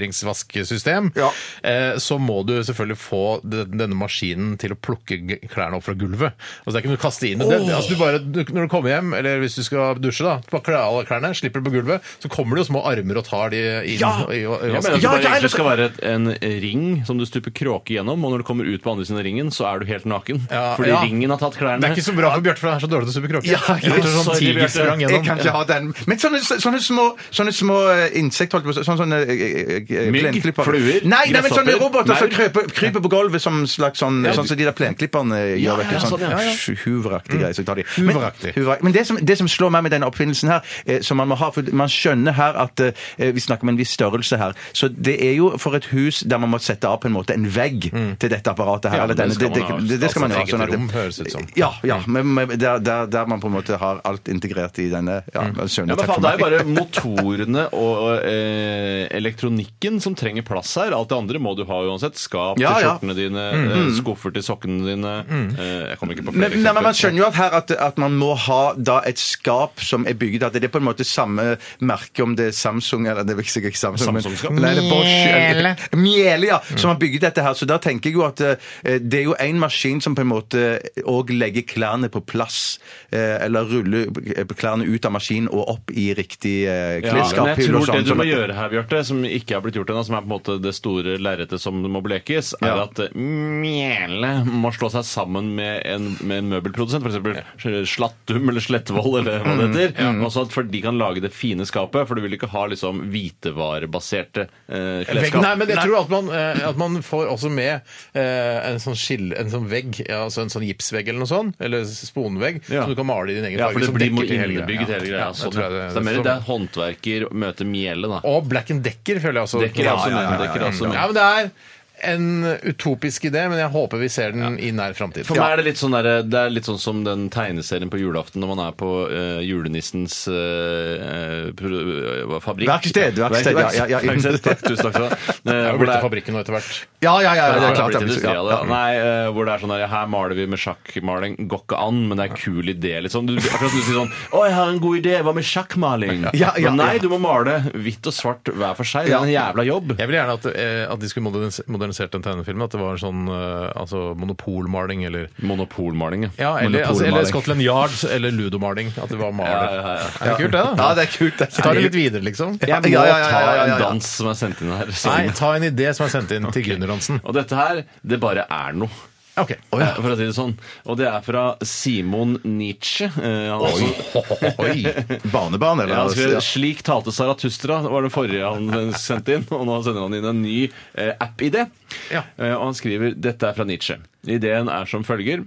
[SPEAKER 4] klessorteringsvaskesystem,
[SPEAKER 5] Ja.
[SPEAKER 4] eh, så må du selvfølgelig få de- denne maskinen til å plukke g- klærne opp fra gulvet. Altså, det er ikke noe å kaste inn. i Det, altså, du bare, du, når du kommer hjem, eller hvis du skal dusje, da, bare kle av deg klærne, slipper det på gulvet, så kommer det jo små armer og tar de inn.
[SPEAKER 5] Ja.
[SPEAKER 4] i- i- i
[SPEAKER 6] Jeg mener
[SPEAKER 4] vasken.
[SPEAKER 6] at det
[SPEAKER 5] altså, Ja,
[SPEAKER 6] bare
[SPEAKER 5] ja, eller-
[SPEAKER 6] egentlig skal være et- en ring som du stuper kråke gjennom, og når du kommer ut på andre siden av ringen, så er du helt naken.
[SPEAKER 4] Ja,
[SPEAKER 6] Fordi
[SPEAKER 4] ja.
[SPEAKER 6] ringen har tatt klærne.
[SPEAKER 4] det er ikke så bra for Bjarte, for han er så dårlig til å suppe kråker.
[SPEAKER 5] Ja,
[SPEAKER 4] Jeg tror sånn
[SPEAKER 6] sorry,
[SPEAKER 4] tiger
[SPEAKER 6] Bjarte.
[SPEAKER 4] sprang
[SPEAKER 5] Jeg
[SPEAKER 4] gjennom.
[SPEAKER 5] kan ikke ha den. Men sånne, sånne små, sånne små eh, insekt, holdt jeg på å si, sånne, sånne eh, eh,
[SPEAKER 6] Mygg,
[SPEAKER 5] plenklippere.
[SPEAKER 6] fluer,
[SPEAKER 5] Nei, nei, men sånne
[SPEAKER 6] gresshopper,
[SPEAKER 5] roboter som
[SPEAKER 6] maur.
[SPEAKER 5] kryper, kryper på gulvet som slags sånn,
[SPEAKER 6] Ja,
[SPEAKER 5] sånn
[SPEAKER 6] du-
[SPEAKER 5] som de der plenklipperne
[SPEAKER 6] Ja,
[SPEAKER 5] gjør, vet du.
[SPEAKER 6] ja,
[SPEAKER 5] Sånn
[SPEAKER 6] sånn, ja. Mm.
[SPEAKER 5] huveraktig greie. Så jeg tar de. Men-
[SPEAKER 4] Huveraktig.
[SPEAKER 5] huveraktig. Men det som, det som slår meg med denne oppfinnelsen her, eh, som man må ha, for man skjønner her at eh, vi snakker om en viss størrelse her, så det er jo for et hus der man må sette av på en måte en vegg til dette apparatet her.
[SPEAKER 6] Mm. Ja,
[SPEAKER 5] eller
[SPEAKER 6] men
[SPEAKER 5] denne-
[SPEAKER 6] det skal
[SPEAKER 5] det, det,
[SPEAKER 6] man ha.
[SPEAKER 5] det, det skal man
[SPEAKER 4] Altså,
[SPEAKER 5] ha.
[SPEAKER 4] et
[SPEAKER 5] Sånn
[SPEAKER 4] eget
[SPEAKER 5] at det,
[SPEAKER 4] rom, høres det ut som.
[SPEAKER 6] liksom.
[SPEAKER 5] ja, ja men, men der, der, der man på en måte har alt integrert i denne ja, skjønner,
[SPEAKER 6] Mm. Ja, men
[SPEAKER 5] takk
[SPEAKER 6] faen,
[SPEAKER 5] for
[SPEAKER 6] Det er
[SPEAKER 5] meg.
[SPEAKER 6] jo bare motorene og eh, elektronikken som trenger plass her. Alt det andre må du ha uansett. Skap
[SPEAKER 5] Ja,
[SPEAKER 6] til
[SPEAKER 5] ja. Mm.
[SPEAKER 6] skjortene dine, eh, skuffer til sokkene dine eh, Jeg kommer ikke på flere
[SPEAKER 5] Men, nei, men Man
[SPEAKER 6] eksempler.
[SPEAKER 5] skjønner jo at her at, at man må ha da et skap som er bygget At det er på en måte samme merke om det er Samsung eller det er sikkert ikke Samsung, men-
[SPEAKER 6] Samsung-skap. Mm.
[SPEAKER 5] Nei, det er Bosch. eller- Miele, ja. Som har bygget dette her. Så da tenker jeg jo at eh, det er jo en en maskin som på en måte òg legger klærne på plass. eh, Eller ruller klærne ut av maskinen og opp i riktig eh,
[SPEAKER 6] Ja, men jeg
[SPEAKER 5] klesskaphylle. og
[SPEAKER 6] tror det
[SPEAKER 5] sånn,
[SPEAKER 6] du må
[SPEAKER 5] sånn at-
[SPEAKER 6] gjøre her, Bjarte, som ikke er blitt gjort ennå, som er på en måte det store lerretet som må blekes, er
[SPEAKER 5] Ja.
[SPEAKER 6] at eh, mjelet må slå seg sammen med en, med en møbelprodusent, f.eks. Slattum eller Slettvoll eller hva det heter.
[SPEAKER 4] Mm,
[SPEAKER 6] Og så at for de kan lage det fine skapet, for du vil ikke ha liksom hvitevarebaserte eh, klesskap.
[SPEAKER 4] Nei, men jeg tror at man, eh, at man får også med eh, en sånn skill, en sånn vegg, ja, altså en sånn gipsvegg eller noe sånt, eller sponvegg,
[SPEAKER 6] Ja.
[SPEAKER 4] som du kan male i din egen
[SPEAKER 6] Ja, for
[SPEAKER 4] farge.
[SPEAKER 6] det
[SPEAKER 4] som
[SPEAKER 6] blir må
[SPEAKER 4] dekker til hele
[SPEAKER 6] innebygget hele greia.
[SPEAKER 4] Ja,
[SPEAKER 6] sånn,
[SPEAKER 4] jeg tror
[SPEAKER 6] ja.
[SPEAKER 4] det-
[SPEAKER 6] Så det er mer
[SPEAKER 4] som-
[SPEAKER 6] det er håndverker møter mjelet, da.
[SPEAKER 4] Og Black and Decker føler jeg også.
[SPEAKER 6] Dekker er også med, dekker er også med.
[SPEAKER 4] Ja, men det er en utopisk idé, men jeg håper vi ser den i nær framtid.
[SPEAKER 6] For meg er det litt sånn der, det er litt sånn som den tegneserien på julaften når man er på eh, julenissens eh, pro- eh, fabrikk.
[SPEAKER 5] Verksted, verksted, ja, ja, ja.
[SPEAKER 6] Verksted, takk, tusen takk for det. Eh,
[SPEAKER 4] Jeg har
[SPEAKER 6] hvor
[SPEAKER 4] blitt til
[SPEAKER 6] det er-
[SPEAKER 4] fabrikken nå etter hvert.
[SPEAKER 5] Ja, ja, ja.
[SPEAKER 6] Nei,
[SPEAKER 5] det er klart.
[SPEAKER 6] blitt
[SPEAKER 5] at vi-
[SPEAKER 6] industri av
[SPEAKER 5] ja,
[SPEAKER 6] det.
[SPEAKER 5] ja.
[SPEAKER 6] Nei, eh, hvor det er sånn der, her maler vi med sjakkmaling. Går ikke an, men det er en kul idé, liksom. Du, akkurat som du sier sånn Å, jeg har en god idé, hva med sjakkmaling?
[SPEAKER 5] Ja, ja,
[SPEAKER 6] men nei,
[SPEAKER 5] ja.
[SPEAKER 6] du må male hvitt og svart hver for seg. Det er en jævla jobb.
[SPEAKER 4] Jeg vil gjerne at, eh, at de skulle modernis- modernisert den tegnefilmen. At det var en sånn eh, altså, monopolmaling eller
[SPEAKER 6] Monopolmaling,
[SPEAKER 4] ja, eller, altså, eller
[SPEAKER 6] Monopolmaling.
[SPEAKER 4] Scotland Yard eller ludomaling. At det var maler.
[SPEAKER 6] Ja, ja, ja.
[SPEAKER 4] Er det kult, det? da?
[SPEAKER 5] Ja, det er kult. det.
[SPEAKER 4] Så tar det litt videre, liksom.
[SPEAKER 6] Jeg må
[SPEAKER 5] Ja, ja, ja, ja, ja, ja.
[SPEAKER 6] ta en dans som er sendt inn her. som-
[SPEAKER 4] Nei, ta en idé som er sendt inn til Gunnar Hansen.
[SPEAKER 6] Og dette her, det bare er noe.
[SPEAKER 4] Ok.
[SPEAKER 6] For å si det sånn. Og det er fra Simon Nietzsche. Eh, han er også-
[SPEAKER 5] Oi. Barnebarn, eller?
[SPEAKER 6] Ja, han skrev,
[SPEAKER 5] Ja.
[SPEAKER 6] Slik talte Zarathustra, var det forrige han sendte inn. Og nå sender han inn en ny eh, app-idé.
[SPEAKER 4] Ja.
[SPEAKER 6] Eh, og han skriver dette er fra Nietzsche. Ideen er som følger.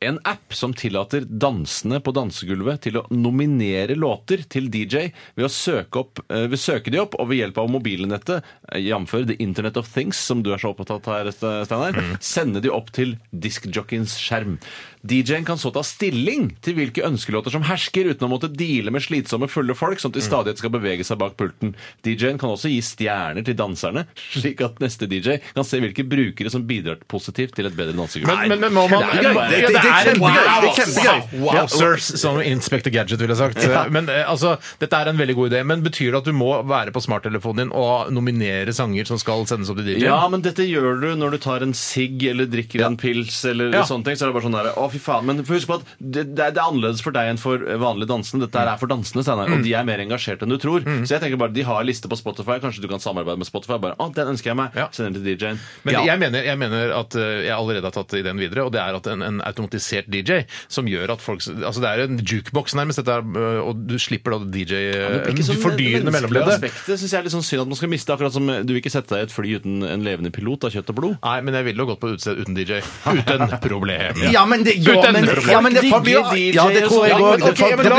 [SPEAKER 6] En app som tillater dansende på dansegulvet til å nominere låter til DJ ved å søke, opp, eh, ved å søke de opp og ved hjelp av mobilnettet, eh, jf. The Internet of Things, som du er så opptatt av her, Ste- Steinar,
[SPEAKER 4] Mm.
[SPEAKER 6] sende de opp til diskjockeyens skjerm. DJ-en kan så ta stilling til hvilke ønskelåter som hersker, uten å måtte deale med slitsomme, fulle folk som
[SPEAKER 4] Mm.
[SPEAKER 6] til stadighet skal bevege seg bak pulten. DJ-en kan også gi stjerner til danserne, slik at neste DJ kan se hvilke brukere som bidrar positivt til et bedre dansegulv.
[SPEAKER 4] Men, men, men må man
[SPEAKER 6] Det er gøy. Det- det- det er
[SPEAKER 4] en-
[SPEAKER 6] kjempegøy.
[SPEAKER 4] wow,
[SPEAKER 6] Det er kjempegøy.
[SPEAKER 4] Wow, wow, sirs, som Inspector Gadget ville sagt. Men eh, altså, dette er en veldig god idé. Men betyr det at du må være på smarttelefonen din og nominere sanger som skal sendes opp til DJ?
[SPEAKER 6] Ja, men dette gjør du når du tar en sigg eller drikker en pils eller
[SPEAKER 4] Ja.
[SPEAKER 6] sånne ting. Så er det bare sånn der, å fy faen, men husk på at det, det er det er annerledes for deg enn for eh, vanlige dansende. Dette her
[SPEAKER 4] Mm.
[SPEAKER 6] er for dansende, Steinar, og de er mer engasjert enn du tror. Så jeg tenker bare, de har en liste på Spotify, kanskje du kan samarbeide med Spotify. Bare, å, den ønsker jeg meg.
[SPEAKER 4] Ja.
[SPEAKER 6] Send den til DJ-en.
[SPEAKER 4] Men
[SPEAKER 6] Ja.
[SPEAKER 4] jeg, mener, jeg mener at eh, jeg allerede har tatt ideen videre, og det er at en, en automatisert DJ som gjør at folk Altså det er en jukebox nærmest, dette er, eh, og du slipper da DJ
[SPEAKER 6] Men
[SPEAKER 4] eh,
[SPEAKER 6] det blir
[SPEAKER 4] Du
[SPEAKER 6] ikke sånn
[SPEAKER 4] fordyrende
[SPEAKER 6] menneskelig
[SPEAKER 4] mellomleddet.
[SPEAKER 6] aspekt. Det syns jeg er litt sånn synd at man skal miste, akkurat som eh, du vil ikke sette deg i et fly uten en levende pilot av kjøtt og blod.
[SPEAKER 4] Nei, men jeg ville jo gått på utested uten DJ. Uten problem.
[SPEAKER 5] Ja, men det
[SPEAKER 4] Uten
[SPEAKER 5] går men, ja, men det folk blir
[SPEAKER 6] DJ
[SPEAKER 5] Ja, det tror jeg
[SPEAKER 6] og
[SPEAKER 5] òg.
[SPEAKER 6] sånn. Ja, men ok,
[SPEAKER 5] Det
[SPEAKER 6] men
[SPEAKER 5] blir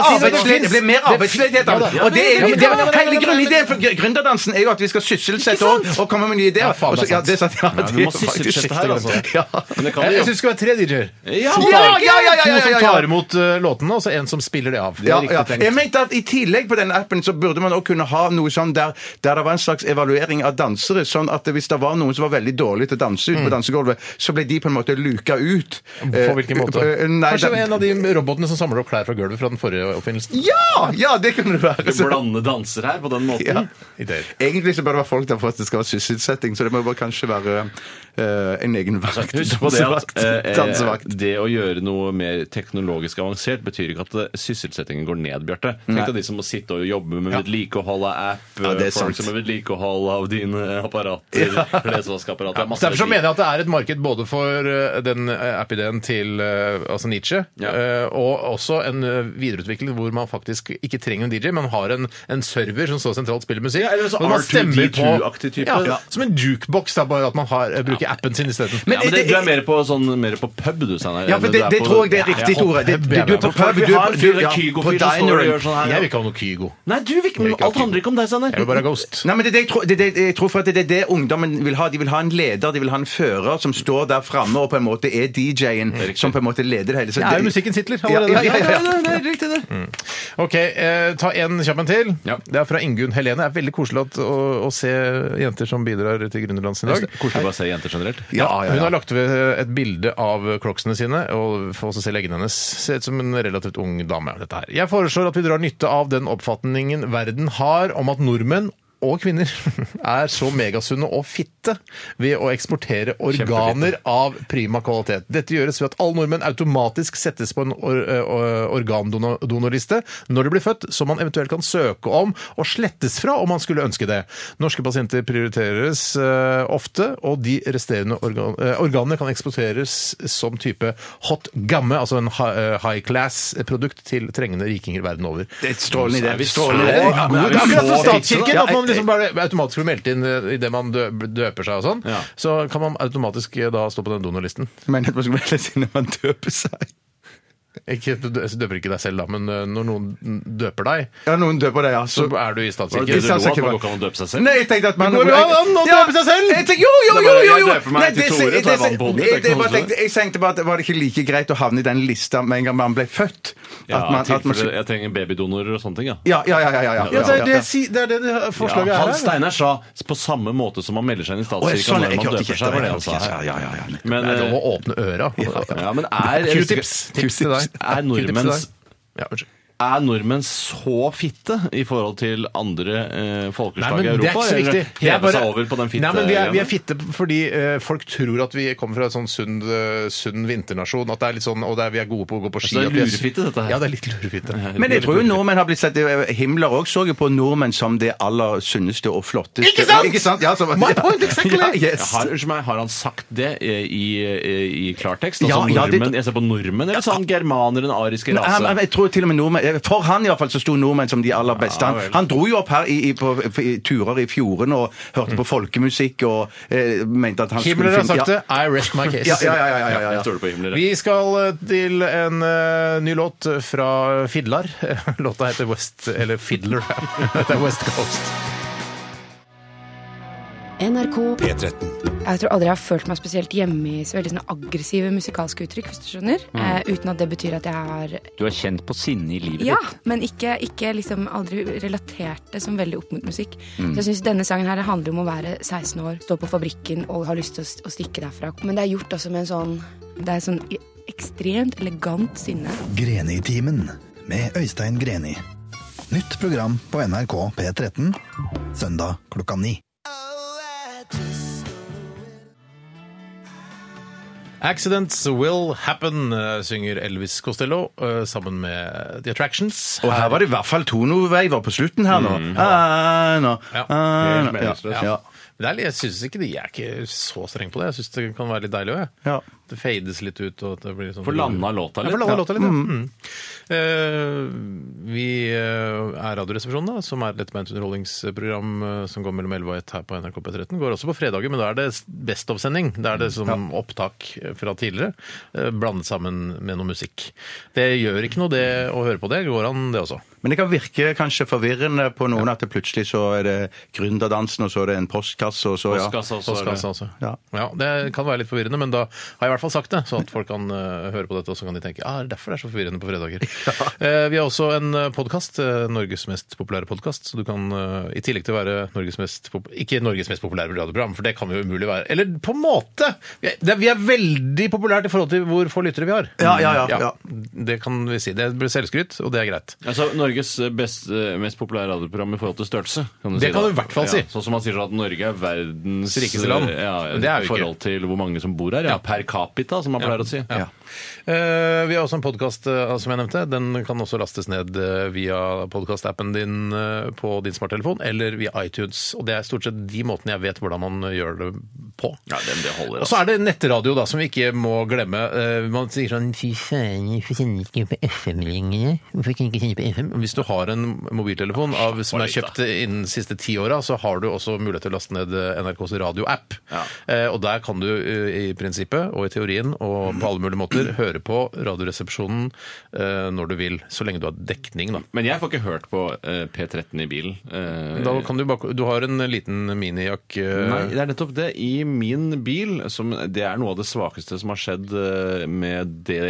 [SPEAKER 5] arbeidsledighet. Det blir
[SPEAKER 6] arbeidsledighet- la
[SPEAKER 5] arbeidsledighet. Det blir mer arbeidsledighet. av det.
[SPEAKER 4] Ja, da.
[SPEAKER 5] Og det er
[SPEAKER 4] Ja, men
[SPEAKER 5] det er
[SPEAKER 4] det-
[SPEAKER 5] jo hele grunnideen for gründerdansen er jo at vi skal sysselsette oss og komme med nye ideer.
[SPEAKER 4] Ja, faen,
[SPEAKER 5] Og så-
[SPEAKER 4] det er
[SPEAKER 5] ja, det er sant. Ja,
[SPEAKER 6] Ja, du
[SPEAKER 5] det er
[SPEAKER 6] må
[SPEAKER 5] faktisk
[SPEAKER 6] sysselsette
[SPEAKER 5] riktig,
[SPEAKER 6] her, altså.
[SPEAKER 5] Ja.
[SPEAKER 6] Men det kan
[SPEAKER 4] Jeg,
[SPEAKER 6] de
[SPEAKER 4] jeg
[SPEAKER 6] jo.
[SPEAKER 4] syns det skal være tre DJ-er.
[SPEAKER 6] Ja,
[SPEAKER 4] Som
[SPEAKER 5] ja,
[SPEAKER 4] tar-
[SPEAKER 5] ja, ja, ja, ja,
[SPEAKER 4] To
[SPEAKER 5] ja,
[SPEAKER 4] som
[SPEAKER 5] ja.
[SPEAKER 4] tar imot eh, låtene, og så en som spiller det av.
[SPEAKER 5] Ja,
[SPEAKER 4] Det er
[SPEAKER 5] ja.
[SPEAKER 4] riktig tenkt.
[SPEAKER 5] Jeg mente at I tillegg på den appen så burde man også kunne ha noe sånn der, der det var en slags evaluering av dansere. sånn at Hvis det var noen som var veldig dårlig til å danse ut på
[SPEAKER 6] Mm.
[SPEAKER 5] dansegulvet, så ble de på en måte luka ut.
[SPEAKER 4] På hvilken måte?
[SPEAKER 5] Eh, eh, Nei,
[SPEAKER 4] Kanskje
[SPEAKER 5] da-
[SPEAKER 4] en av de robotene som samler opp klær fra gulvet fra den forrige oppfinnelsen?
[SPEAKER 5] ja, ja, det kunne det være. Så-
[SPEAKER 6] Blande danser her på den måten.
[SPEAKER 5] Ja.
[SPEAKER 4] Ideer.
[SPEAKER 5] Egentlig så bør det være folk der for at det skal være sysselsetting, så det må bare kanskje være eh, en egen vakt.
[SPEAKER 6] Husk på det at
[SPEAKER 5] dansevakt,
[SPEAKER 6] eh,
[SPEAKER 5] dansevakt.
[SPEAKER 6] eh, det å gjøre noe mer teknologisk avansert betyr ikke at eh, sysselsettingen går ned, Bjarte. Tenk deg de som må sitte og jobbe med vedlikehold av app,
[SPEAKER 5] Ja, det er
[SPEAKER 6] eh,
[SPEAKER 5] sant.
[SPEAKER 6] folk som har vedlikehold av dine apparater, lesvaskeapparater
[SPEAKER 4] Ja,
[SPEAKER 6] det er masse
[SPEAKER 4] Derfor så
[SPEAKER 6] vedlik-
[SPEAKER 4] mener jeg at det er et marked både for eh, den eh, app-ideen til eh, altså Nietzsche,
[SPEAKER 6] Ja.
[SPEAKER 4] eh, og også en eh, videreutvikling hvor man faktisk ikke trenger en DJ, men har en, en server som så sentralt spiller musikk.
[SPEAKER 6] Ja, eller sånn så
[SPEAKER 4] og man stemmer på-
[SPEAKER 6] R2D2-aktig type. Ja.
[SPEAKER 4] Ja, som en jukebox, da, bare at man har, eh, bruker appen sin isteden.
[SPEAKER 6] ja, men det,
[SPEAKER 5] det-
[SPEAKER 6] du er mer på, sånn, mer på pub, du, Steinar.
[SPEAKER 5] Ja, for
[SPEAKER 6] enn
[SPEAKER 5] det,
[SPEAKER 6] du er
[SPEAKER 5] det
[SPEAKER 6] på-
[SPEAKER 5] tror jeg det er
[SPEAKER 6] Ja,
[SPEAKER 5] riktig,
[SPEAKER 6] ja.
[SPEAKER 5] Tore. Det- Du, du er på
[SPEAKER 6] Hvorfor
[SPEAKER 5] pub,
[SPEAKER 6] vi
[SPEAKER 5] du er
[SPEAKER 6] har
[SPEAKER 5] på,
[SPEAKER 6] en
[SPEAKER 5] du,
[SPEAKER 6] fyr, en
[SPEAKER 5] ja, på
[SPEAKER 6] Kygo-fyr, som står og
[SPEAKER 5] dineren.
[SPEAKER 6] gjør sånn her.
[SPEAKER 4] Jeg
[SPEAKER 6] ja.
[SPEAKER 4] vil ikke ha noe Kygo.
[SPEAKER 6] Nei, du vil
[SPEAKER 4] Jeg
[SPEAKER 6] ikke,
[SPEAKER 4] vil ikke ha
[SPEAKER 6] alt handler ikke om deg, Steinar.
[SPEAKER 4] Jeg vil bare ha Ghost.
[SPEAKER 5] Nei, men det, er det, jeg tror, det, er det, jeg tror for at det er det ungdommen vil ha. De vil ha en leder, de vil ha en fører som står der framme og på en måte er DJ-en som på en måte leder det hele. Så
[SPEAKER 4] Det er jo musikkens Hitler
[SPEAKER 5] Ja,
[SPEAKER 4] allerede.
[SPEAKER 5] ja, ja, ja.
[SPEAKER 6] det er riktig, det.
[SPEAKER 4] Ok, eh, ta en kjapp en til.
[SPEAKER 6] Ja.
[SPEAKER 4] Det er fra Ingunn Helene. Det er veldig koselig at, å, å se jenter som bidrar til Gründerlands i dag.
[SPEAKER 6] Koselig bare å se jenter generelt.
[SPEAKER 5] Ja, ja,
[SPEAKER 4] Hun
[SPEAKER 5] ja.
[SPEAKER 4] har lagt ved et bilde av crocsene sine og får også se leggene hennes. Ser ut som en relativt ung dame. dette her. Jeg foreslår at vi drar nytte av den oppfatningen verden har om at nordmenn og kvinner er så megasunne og fitte ved å eksportere organer av prima kvalitet. Dette gjøres ved at alle nordmenn automatisk settes på en or eh, organdonorliste når de blir født, som man eventuelt kan søke om og slettes fra om man skulle ønske det. Norske pasienter prioriteres eh, ofte, og de resterende organ eh, organene kan eksporteres som type hot gamme, altså en hi- eh, high class-produkt til trengende rikinger verden over.
[SPEAKER 5] Det er et strålende idé. Strålende
[SPEAKER 4] Det
[SPEAKER 5] idé.
[SPEAKER 4] er
[SPEAKER 5] Ja,
[SPEAKER 4] god-
[SPEAKER 5] men
[SPEAKER 4] akkurat som
[SPEAKER 5] så
[SPEAKER 4] statskirken,
[SPEAKER 5] fitte,
[SPEAKER 4] at man
[SPEAKER 5] da.
[SPEAKER 4] liksom bare automatisk blir meldt inn eh, i det man dø- døper seg og sånn. Så kan man automatisk eh, da stå på den donorlisten.
[SPEAKER 5] Jeg mener at man skal melde seg inn når man døper seg.
[SPEAKER 4] Ikke, du dø- døper ikke deg selv da, men eh, når noen døper deg,
[SPEAKER 5] Ja, noen døper deg, ja.
[SPEAKER 4] så
[SPEAKER 5] Så
[SPEAKER 4] er du i
[SPEAKER 6] Var det
[SPEAKER 4] statskirken.
[SPEAKER 6] det du lo av?
[SPEAKER 5] ikke
[SPEAKER 6] at man
[SPEAKER 5] hva-
[SPEAKER 6] går ikke an å døpe seg selv?
[SPEAKER 5] Nei, jeg tenkte at man
[SPEAKER 4] Det går jo an å
[SPEAKER 5] Ja,
[SPEAKER 4] døpe seg selv!
[SPEAKER 5] Jeg tenkte, jo, jo,
[SPEAKER 6] Det er
[SPEAKER 5] jo,
[SPEAKER 6] bare
[SPEAKER 5] jo,
[SPEAKER 6] jeg
[SPEAKER 5] jo.
[SPEAKER 6] døper meg
[SPEAKER 5] Nei,
[SPEAKER 6] til
[SPEAKER 5] det-
[SPEAKER 6] Tore,
[SPEAKER 5] det-
[SPEAKER 6] tar vann på hodet,
[SPEAKER 5] det- det-
[SPEAKER 6] det er ikke noe
[SPEAKER 5] bare tenkte- Jeg tenkte bare at det var ikke like greit å havne i den lista med en gang man ble født.
[SPEAKER 6] Ja,
[SPEAKER 5] At man-
[SPEAKER 6] i
[SPEAKER 5] at man-
[SPEAKER 6] tilfelle jeg trenger babydonorer og sånne ting, ja.
[SPEAKER 5] Ja, ja, ja. ja, ja, ja,
[SPEAKER 4] Ja, det, er det,
[SPEAKER 5] ja.
[SPEAKER 4] jeg si- det er det det
[SPEAKER 6] Ja,
[SPEAKER 4] forslaget
[SPEAKER 6] Hans
[SPEAKER 4] er her.
[SPEAKER 6] Steinar sa på samme måte som man melder seg inn
[SPEAKER 5] Å,
[SPEAKER 6] i
[SPEAKER 5] jeg-
[SPEAKER 6] statskirka
[SPEAKER 5] sånn,
[SPEAKER 6] når
[SPEAKER 5] jeg
[SPEAKER 6] man
[SPEAKER 5] hørte
[SPEAKER 6] døper
[SPEAKER 5] ikke
[SPEAKER 6] seg, var det han sa
[SPEAKER 5] etter. Ja,
[SPEAKER 6] her.
[SPEAKER 5] ja, ja, ja.
[SPEAKER 6] Men,
[SPEAKER 4] Det er lov
[SPEAKER 6] eh,
[SPEAKER 4] å åpne øra.
[SPEAKER 6] ja, men er,
[SPEAKER 4] Q-tips. Tips til deg.
[SPEAKER 6] er nordmenns
[SPEAKER 4] Ja, unnskyld.
[SPEAKER 6] eh, Er nordmenn så fitte i forhold til andre eh,
[SPEAKER 4] Nei,
[SPEAKER 6] folkeslag
[SPEAKER 4] men
[SPEAKER 6] i
[SPEAKER 4] det er
[SPEAKER 6] Europa?
[SPEAKER 4] ikke så viktig. Det er
[SPEAKER 6] Heve
[SPEAKER 4] bare-
[SPEAKER 6] seg over på den fitte
[SPEAKER 4] Nei, men vi er, vi er
[SPEAKER 6] greiene?
[SPEAKER 4] fitte fordi eh, folk tror at vi kommer fra en sånn sunn, eh, sunn vinternasjon. At det er litt sånn, og det er, vi er gode på å gå på ski.
[SPEAKER 6] det er sånn
[SPEAKER 4] at vi
[SPEAKER 6] lurefitte, dette her.
[SPEAKER 4] Ja, det er litt lurefitte.
[SPEAKER 5] Men jeg tror jo nordmenn har blitt sett Himmler òg så jo på nordmenn som det aller sunneste og flotteste.
[SPEAKER 4] Ikke sant?
[SPEAKER 5] Ikke sant? Ja, så,
[SPEAKER 4] My point exactly.
[SPEAKER 5] Ja, yes.
[SPEAKER 6] har, unnskyld meg, har han sagt det eh, i, eh, i klartekst?
[SPEAKER 5] Ja,
[SPEAKER 6] Altså
[SPEAKER 5] ja, det-
[SPEAKER 6] nordmenn, Jeg ser på nordmenn, eller sa han germaner, den ariske
[SPEAKER 5] Men, han- han-
[SPEAKER 6] rase?
[SPEAKER 5] jeg tror til og med nordmenn For han i hvert fall så sto nordmenn som de aller beste. Han, han dro jo opp her i, i, på i turer i fjordene og hørte på folkemusikk og eh, mente at han
[SPEAKER 4] Himmler har
[SPEAKER 5] finne-
[SPEAKER 4] sagt det. I rest my case.
[SPEAKER 5] Ja, ja, ja, ja, ja, ja, ja.
[SPEAKER 6] Jeg stoler på Himmler.
[SPEAKER 4] Vi skal eh, til en eh, ny låt fra Fidlar. Låta heter West Eller Fiddler. Dette er West Coast.
[SPEAKER 9] NRK
[SPEAKER 1] P13.
[SPEAKER 9] Jeg tror aldri jeg har følt meg spesielt hjemme i så veldig sånne aggressive musikalske uttrykk, hvis du skjønner. Eh, uten at det betyr at jeg har
[SPEAKER 7] Mm. Du har kjent på sinne i livet
[SPEAKER 9] Ja,
[SPEAKER 7] ditt.
[SPEAKER 9] men ikke, ikke liksom aldri relatert det som veldig opp mot musikk.
[SPEAKER 7] Mm.
[SPEAKER 9] Så jeg syns denne sangen her det handler om å være 16 år, stå på fabrikken og ha lyst til å, st- å stikke derfra. Men det er gjort også med en sånn Det er sånn i- ekstremt elegant sinne.
[SPEAKER 10] Greni-timen med Øystein Greni. Nytt program på NRK P13 søndag klokka ni.
[SPEAKER 4] Accidents Will Happen, eh, synger Elvis Costello eh, sammen med The Attractions.
[SPEAKER 5] Og her var det i hvert fall tonoveiver på slutten her nå. Ah, nå.
[SPEAKER 4] Ja.
[SPEAKER 5] Ah,
[SPEAKER 6] Helt
[SPEAKER 5] nå.
[SPEAKER 6] meningsløst.
[SPEAKER 5] Ja. Ja.
[SPEAKER 4] Men det er, litt- jeg synes ikke det, jeg er ikke så streng på det. Jeg synes det kan være litt deilig også, jeg.
[SPEAKER 5] Ja.
[SPEAKER 4] Det fades litt ut. og at det blir litt sånn...
[SPEAKER 6] Få landa låta
[SPEAKER 4] Ja,
[SPEAKER 6] litt.
[SPEAKER 4] for landa låta litt, ja. Mm. Eh, vi eh, er Radioresepsjonen, da, som er et lettbeint underholdningsprogram eh, som går mellom 11 og 1 her på NRK P13. Går også på fredager, men da er det Best of-sending. Da er det som opptak fra tidligere. eh, Blandet sammen med noe musikk. Det gjør ikke noe det å høre på det. Går an, det også.
[SPEAKER 5] Men det kan virke kanskje forvirrende på noen at det plutselig så er det gründerdansen, og så er det en postkasse, og så ja.
[SPEAKER 6] Postkasse også, er det.
[SPEAKER 4] Postkassa, altså.
[SPEAKER 5] Ja.
[SPEAKER 4] Ja. Det kan være litt forvirrende, men da har jeg i hvert fall sagt det, så at folk kan eh, høre på dette, og så kan de tenke ah, det er derfor det er så forvirrende på fredager. Eh, vi har også en podkast, Norges mest populære podkast, så du kan eh, i tillegg til å være Norges mest pop ikke Norges mest populære radioprogram, for det kan vi jo umulig være. Eller på en måte! Vi er, det, vi er veldig populært i forhold til hvor få lyttere vi har.
[SPEAKER 5] Ja, ja, ja, ja.
[SPEAKER 4] Det kan vi si. Det blir selvskryt, og det er greit.
[SPEAKER 6] Altså, Norges best, eh, mest populære radioprogram i forhold til størrelse. Kan du
[SPEAKER 4] Det
[SPEAKER 6] si
[SPEAKER 4] kan
[SPEAKER 6] da.
[SPEAKER 4] du i hvert fall si.
[SPEAKER 6] Ja, sånn som man sier at Norge er verdens eh,
[SPEAKER 4] Rikeste land.
[SPEAKER 6] Ja,
[SPEAKER 4] Men det er
[SPEAKER 6] I
[SPEAKER 4] vi ikke.
[SPEAKER 6] forhold til hvor mange som bor her. Ja, Per capita, som man pleier å si.
[SPEAKER 4] Ja. Eh, vi har også en podkast som jeg nevnte. Den kan også lastes ned eh, via podkastappen din eh, på din smarttelefon eller via iTunes. Og Det er stort sett de måtene jeg vet hvordan man gjør det på.
[SPEAKER 6] Ja, det, det holder, altså.
[SPEAKER 4] Og så er det nettradio, da, som vi ikke må glemme. Eh, man sier sånn Fy søren, hvorfor sender ikke på FM-linjene? Hvorfor kan ikke sende på FM? Hvis du har en mobiltelefon av, som er kjøpt innen de siste ti åra, så har du også mulighet til å laste ned eh, NRKs radioapp. Eh, og der kan du eh, i prinsippet og i teorien og på alle mulige måter høre på Radioresepsjonen eh, når du vil. Så lenge du har dekning, da.
[SPEAKER 6] Men jeg får ikke hørt på eh, P13 i bilen. eh,
[SPEAKER 4] Da kan du, bare, du har en liten minijakk eh,
[SPEAKER 6] Nei, det er nettopp det. I min bil som, Det er noe av det svakeste som har skjedd eh, med det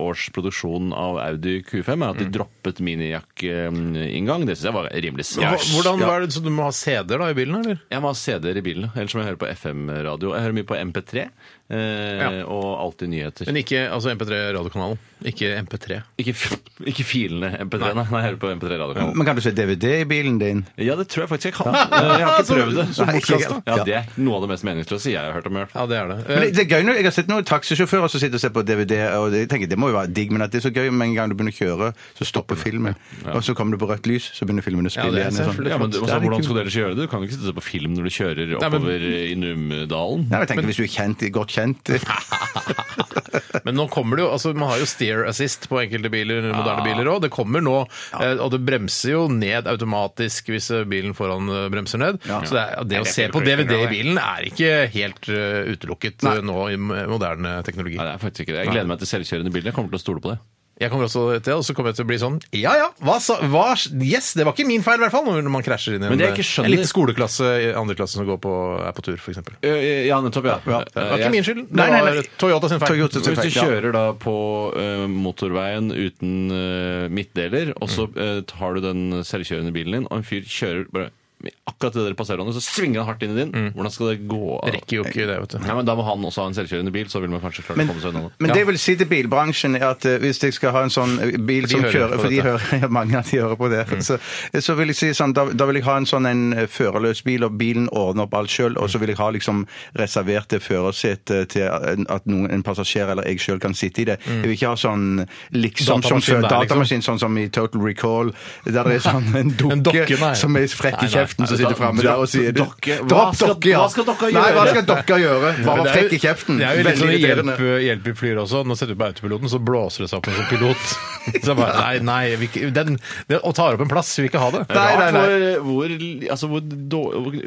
[SPEAKER 6] års produksjon av Audi Q5, er at
[SPEAKER 4] Mm.
[SPEAKER 6] de droppet minijakk-inngang. Det syns jeg var rimelig
[SPEAKER 4] Hva-
[SPEAKER 6] snæsj.
[SPEAKER 4] Hvordan var det, Så du må ha CD-er da i bilen, eller?
[SPEAKER 6] Jeg må ha CD-er i bilen, ellers må jeg høre på FM-radio. Jeg hører mye på MP3, eh, og alltid nyheter.
[SPEAKER 4] Men ikke altså MP3-radiokanalen. Ikke MP3.
[SPEAKER 6] Ikke, f- ikke filene MP3, nei. nei. Jeg hører på MP3-radiokanalen.
[SPEAKER 5] Men kan du se DVD i bilen din?
[SPEAKER 6] Ja, det tror jeg faktisk jeg kan. Eh, Jeg har ikke prøvd det.
[SPEAKER 5] Nei, ikke helt.
[SPEAKER 6] Ja, Det er noe av det mest meningsløse jeg har hørt om. i hvert
[SPEAKER 4] Ja,
[SPEAKER 6] fall.
[SPEAKER 4] det Eh, er det.
[SPEAKER 5] Men det, det er gøy når Jeg har sett noen taxisjåfører som sitter og ser på DVD, og jeg tenker det må jo være digg, men at det er så gøy med en gang du begynner å kjøre, så stopper filmen. Og så kommer du på rødt lys, så begynner filmen å spille
[SPEAKER 4] det er
[SPEAKER 5] igjen. og
[SPEAKER 4] selvfølgelig.
[SPEAKER 5] Sånn.
[SPEAKER 6] Ja, men
[SPEAKER 5] Det
[SPEAKER 6] altså,
[SPEAKER 5] er litt
[SPEAKER 6] Hvordan
[SPEAKER 5] kult.
[SPEAKER 6] skal dere gjøre det? Du kan jo ikke sitte og se på film når du kjører
[SPEAKER 4] Nei, men-
[SPEAKER 6] oppover i
[SPEAKER 5] Nei,
[SPEAKER 6] Numedalen.
[SPEAKER 5] men jeg tenker Hvis du er kjent, godt kjent
[SPEAKER 4] Men nå kommer det jo, altså man har jo steer assist på enkelte biler, moderne biler òg. Det kommer nå, eh, og det bremser jo ned automatisk hvis eh, bilen foran eh, bremser ned. Så det, er, det å se på DVD i bilen er ikke helt eh, utelukket eh, nå i m- moderne teknologi.
[SPEAKER 6] Nei, det er faktisk ikke det. Jeg gleder meg til selvkjørende biler. Jeg kommer til å stole på det.
[SPEAKER 4] Jeg kommer også til, og så kommer jeg til å bli sånn Ja ja, hva sa hva, Yes, det var ikke min feil, i hvert fall, når man krasjer inn i en,
[SPEAKER 6] Men det jeg ikke skjønner-
[SPEAKER 4] en liten skoleklasse i andre klasse som går på, er på tur, f.eks. Det
[SPEAKER 6] Ø, Ja, nettopp, ja.
[SPEAKER 4] var ikke min skyld. Det
[SPEAKER 5] Nei, nei, nei.
[SPEAKER 4] var Toyota sin feil.
[SPEAKER 5] Toyota sin
[SPEAKER 6] Hvis du
[SPEAKER 5] feil, ja.
[SPEAKER 6] kjører da på ø, motorveien uten ø, midtdeler, og så
[SPEAKER 4] Mm.
[SPEAKER 6] ø, tar du den selvkjørende bilen din, og en fyr kjører bare akkurat det dere passerer han, så svinger han hardt inn i din. Hvordan skal det gå? av?
[SPEAKER 4] Det Mm. rekker jo ikke det, vet du.
[SPEAKER 6] Nei, men Da må han også ha en selvkjørende bil, så vil man kanskje klare
[SPEAKER 5] Men,
[SPEAKER 6] å komme seg unna det.
[SPEAKER 5] men det jeg vil si til bilbransjen, er at eh, hvis jeg skal ha en sånn eh, bil
[SPEAKER 4] de
[SPEAKER 5] som
[SPEAKER 4] hører
[SPEAKER 5] kjører
[SPEAKER 4] på
[SPEAKER 5] For de
[SPEAKER 4] dette. Mm.
[SPEAKER 5] hører ja, mange av de hører på det. Så, så vil jeg si sånn, da, da vil jeg ha en sånn en eh, førerløs bil, og bilen ordner opp alt sjøl. Og så vil jeg ha liksom reservert det førersetet til en- at noen, en passasjer eller jeg sjøl kan sitte i det. Jeg vil ikke ha sånn liksom som
[SPEAKER 4] Mm. Datamaskin
[SPEAKER 5] før
[SPEAKER 4] der, liksom.
[SPEAKER 5] datamaskin, sånn som i Total Recall, der det er sånn en dukke,
[SPEAKER 4] dokke, nei. Altså,
[SPEAKER 5] som er frekk i kjeften, som sitter framme der og sier
[SPEAKER 6] Dokke. Hva
[SPEAKER 5] Dropp
[SPEAKER 6] skal-
[SPEAKER 5] dokke, ja.
[SPEAKER 6] hva skal dokka
[SPEAKER 5] Nei, hva
[SPEAKER 6] gjøre?
[SPEAKER 5] skal dokka gjøre? Bare
[SPEAKER 4] Men det er jo-
[SPEAKER 5] frekk i kjeften.
[SPEAKER 4] Det er jo litt
[SPEAKER 5] Veldig
[SPEAKER 4] sånn
[SPEAKER 5] irriterende.
[SPEAKER 4] hjelp, hjelp i flyr også. Når du setter på autopiloten, så blåser det seg opp en sånn pilot. Så bare, nei, nei, vi, ikke- den, den, og tar opp en plass. Vi vil ikke ha det.
[SPEAKER 5] Nei, nei, nei.
[SPEAKER 6] Hvor, hvor, altså, hvor, då- hvor,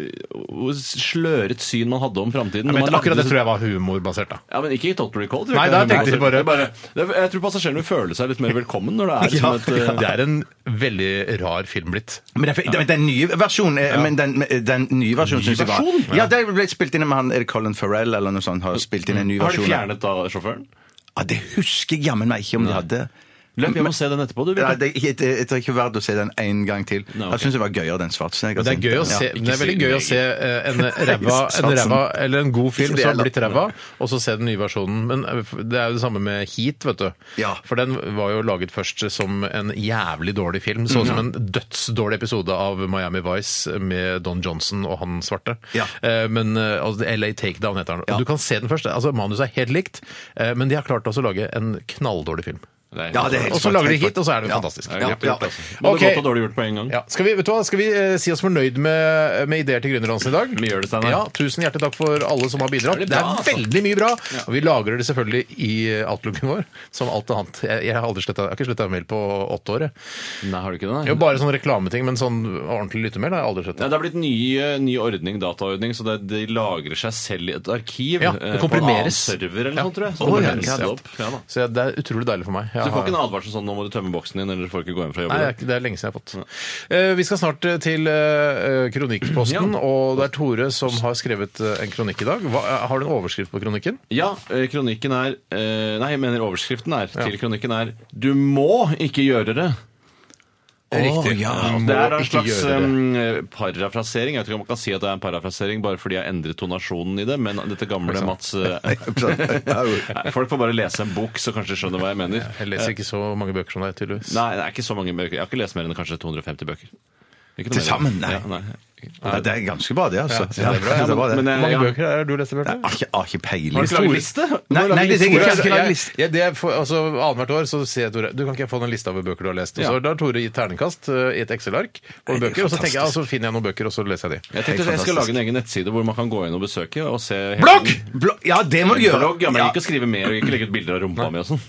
[SPEAKER 6] hvor sløret syn man hadde om framtiden.
[SPEAKER 4] Men
[SPEAKER 6] når man
[SPEAKER 4] akkurat
[SPEAKER 6] lagde
[SPEAKER 4] det tror jeg var humorbasert, da.
[SPEAKER 6] Ja, men ikke i Total Recall. tror jeg
[SPEAKER 4] Nei,
[SPEAKER 6] ikke.
[SPEAKER 4] der tenkte de bare-
[SPEAKER 6] Det er- Jeg tror passasjerene vil føle seg litt mer velkommen når det er som et eh,
[SPEAKER 4] Det er en veldig rar film blitt.
[SPEAKER 5] Men den, den, den nye versjonen er, men den, den nye versjonen synes jeg
[SPEAKER 6] versjon?
[SPEAKER 5] var Ja, det ble spilt inn med han Er det Colin Farrell eller noe sånt. Har spilt inn en ny
[SPEAKER 6] Har de
[SPEAKER 5] versjon.
[SPEAKER 6] fjernet da sjåføren?
[SPEAKER 5] Ja, det husker jeg jammen meg ikke om de hadde.
[SPEAKER 6] Løp hjem og se den etterpå, du.
[SPEAKER 5] Nei,
[SPEAKER 6] Bjarte.
[SPEAKER 5] det, jeg, jeg, jeg tror ikke verdt å se den en gang til.
[SPEAKER 6] Nei, ok.
[SPEAKER 5] Jeg syns det var gøyere den Schwarzenegger.
[SPEAKER 4] Men det er, gøy å
[SPEAKER 5] sin.
[SPEAKER 4] se,
[SPEAKER 5] Ja.
[SPEAKER 4] men det er veldig
[SPEAKER 6] si
[SPEAKER 4] gøy å
[SPEAKER 6] det,
[SPEAKER 4] se eh, en ræva, en ræva eller en god film
[SPEAKER 5] Ikke det
[SPEAKER 4] som har
[SPEAKER 5] heller.
[SPEAKER 4] blitt ræva, og så se den nye versjonen. Men eh, det er jo det samme med Heat, vet du.
[SPEAKER 5] Ja.
[SPEAKER 4] For den var jo laget først som en jævlig dårlig film. Sånn
[SPEAKER 5] Mhm.
[SPEAKER 4] som en dødsdårlig episode av Miami Vice med Don Johnson og han svarte.
[SPEAKER 5] Ja.
[SPEAKER 4] Eh, Men eh, altså, det er LA Takedown heter den. Og
[SPEAKER 5] Ja.
[SPEAKER 4] du kan se den først. Altså, Manuset er helt likt, eh, men de har klart også å lage en knalldårlig film.
[SPEAKER 6] Nei,
[SPEAKER 5] Ja, det er helt
[SPEAKER 4] Og så
[SPEAKER 5] sant,
[SPEAKER 4] lager de
[SPEAKER 5] helt
[SPEAKER 4] Heat, og så er det jo
[SPEAKER 5] Ja.
[SPEAKER 4] fantastisk.
[SPEAKER 6] Det er greit
[SPEAKER 5] Ja,
[SPEAKER 6] gjort,
[SPEAKER 5] ja.
[SPEAKER 6] altså. Men
[SPEAKER 4] Ok.
[SPEAKER 6] det er godt og dårlig gjort på en gang.
[SPEAKER 4] Ja. Skal vi, vet du hva? Skal vi eh, si oss fornøyd med, med ideer til Gründerdansen i dag?
[SPEAKER 6] Vi gjør det, Steinar.
[SPEAKER 4] Ja, tusen hjertelig takk for alle som har bidratt.
[SPEAKER 6] Det
[SPEAKER 4] Det
[SPEAKER 6] er
[SPEAKER 4] er,
[SPEAKER 6] bra, altså.
[SPEAKER 4] veldig mye bra. Og vi lagrer det selvfølgelig i eh, outlooken vår, som alt annet. Jeg, jeg har aldri slettet, jeg har ikke sletta mail på åtte år. jeg.
[SPEAKER 6] Nei, har du ikke det?
[SPEAKER 4] Det er jo bare sånn reklameting, men sånn ordentlig lyttemail har jeg aldri
[SPEAKER 6] Nei,
[SPEAKER 4] sletta.
[SPEAKER 6] det har blitt ny, eh, ny ordning, dataordning, så det, de lagrer seg selv i et arkiv.
[SPEAKER 4] Ja,
[SPEAKER 6] eh,
[SPEAKER 4] det
[SPEAKER 6] På en annen
[SPEAKER 4] komprimeres.
[SPEAKER 6] server eller noe sånt, Sånn tror jeg. Så
[SPEAKER 4] Å,
[SPEAKER 6] det
[SPEAKER 4] ja,
[SPEAKER 6] renses
[SPEAKER 4] ja, ja.
[SPEAKER 6] opp. Ja, da.
[SPEAKER 4] Så jeg- det er utrolig deilig for meg. Jeg
[SPEAKER 6] Så du får
[SPEAKER 4] har-
[SPEAKER 6] ikke en advarsel sånn 'nå må du tømme boksen din', eller du får ikke gå hjem fra jobb.
[SPEAKER 4] Nei,
[SPEAKER 6] i
[SPEAKER 4] det
[SPEAKER 6] dag.
[SPEAKER 4] er, ikke- det er lenge siden jeg har fått. Eh, vi skal snart eh, til eh, Kronikkposten, og det er Tore som har skrevet eh, en kronikk i dag. Hva, eh, har du en overskrift på kronikken?
[SPEAKER 6] Ja, eh, kronikken er eh, Nei, jeg mener overskriften er til kronikken er 'Du må ikke gjøre det'.
[SPEAKER 4] Riktig.
[SPEAKER 6] Altså, Det er en
[SPEAKER 4] ikke
[SPEAKER 6] slags um,
[SPEAKER 4] gjøre det.
[SPEAKER 6] em, parafrasering. Jeg vet ikke om man kan si at det er en parafrasering bare fordi jeg endret tonasjonen i det, men dette gamle Mats eh, Nei, Folk får bare lese en bok, så kanskje de skjønner hva jeg mener.
[SPEAKER 4] Jeg leser ikke så mange bøker som deg, tydeligvis.
[SPEAKER 6] eh, Nei, det er ikke så mange bøker. Jeg har ikke lest mer enn kanskje 250 bøker. Ikke
[SPEAKER 5] Til
[SPEAKER 6] noe mer.
[SPEAKER 5] sammen? Nei.
[SPEAKER 6] Ja,
[SPEAKER 5] Ja, det er ganske bra, det, altså.
[SPEAKER 4] Ja, det er bra.
[SPEAKER 5] det var det.
[SPEAKER 6] Men, eh,
[SPEAKER 4] Hvor
[SPEAKER 6] men,
[SPEAKER 4] mange
[SPEAKER 6] jeg,
[SPEAKER 4] bøker er det du leser, Bjarte?
[SPEAKER 5] Jeg har ikke- har ikke peiling.
[SPEAKER 6] Har du ikke laget liste?
[SPEAKER 5] Nei,
[SPEAKER 6] Du har laget
[SPEAKER 5] nei, det,
[SPEAKER 6] liste.
[SPEAKER 5] jeg,
[SPEAKER 4] Tore,
[SPEAKER 5] jeg, jeg,
[SPEAKER 4] jeg,
[SPEAKER 5] har ikke laget
[SPEAKER 4] jeg,
[SPEAKER 5] liste.
[SPEAKER 4] jeg, det er for, altså, Annethvert år så sier jeg Tore du kan ikke jeg få den lista over bøker du har lest. Og så
[SPEAKER 6] Ja.
[SPEAKER 4] Da har Tore gitt terningkast eh, i et Excel-ark over bøker, og så tenker jeg, ja, så finner jeg noen bøker, og så leser jeg de.
[SPEAKER 6] jeg tenkte at jeg skal
[SPEAKER 5] fantastisk.
[SPEAKER 6] lage en egen nettside hvor man kan gå inn og besøke og se hele-
[SPEAKER 5] Blogg! Blogg! Ja, det må du gjøre.
[SPEAKER 6] Blogg, ja, men
[SPEAKER 5] Ja.
[SPEAKER 6] ikke skrive mer og ikke legge ut bilder av rumpa mi og sånn.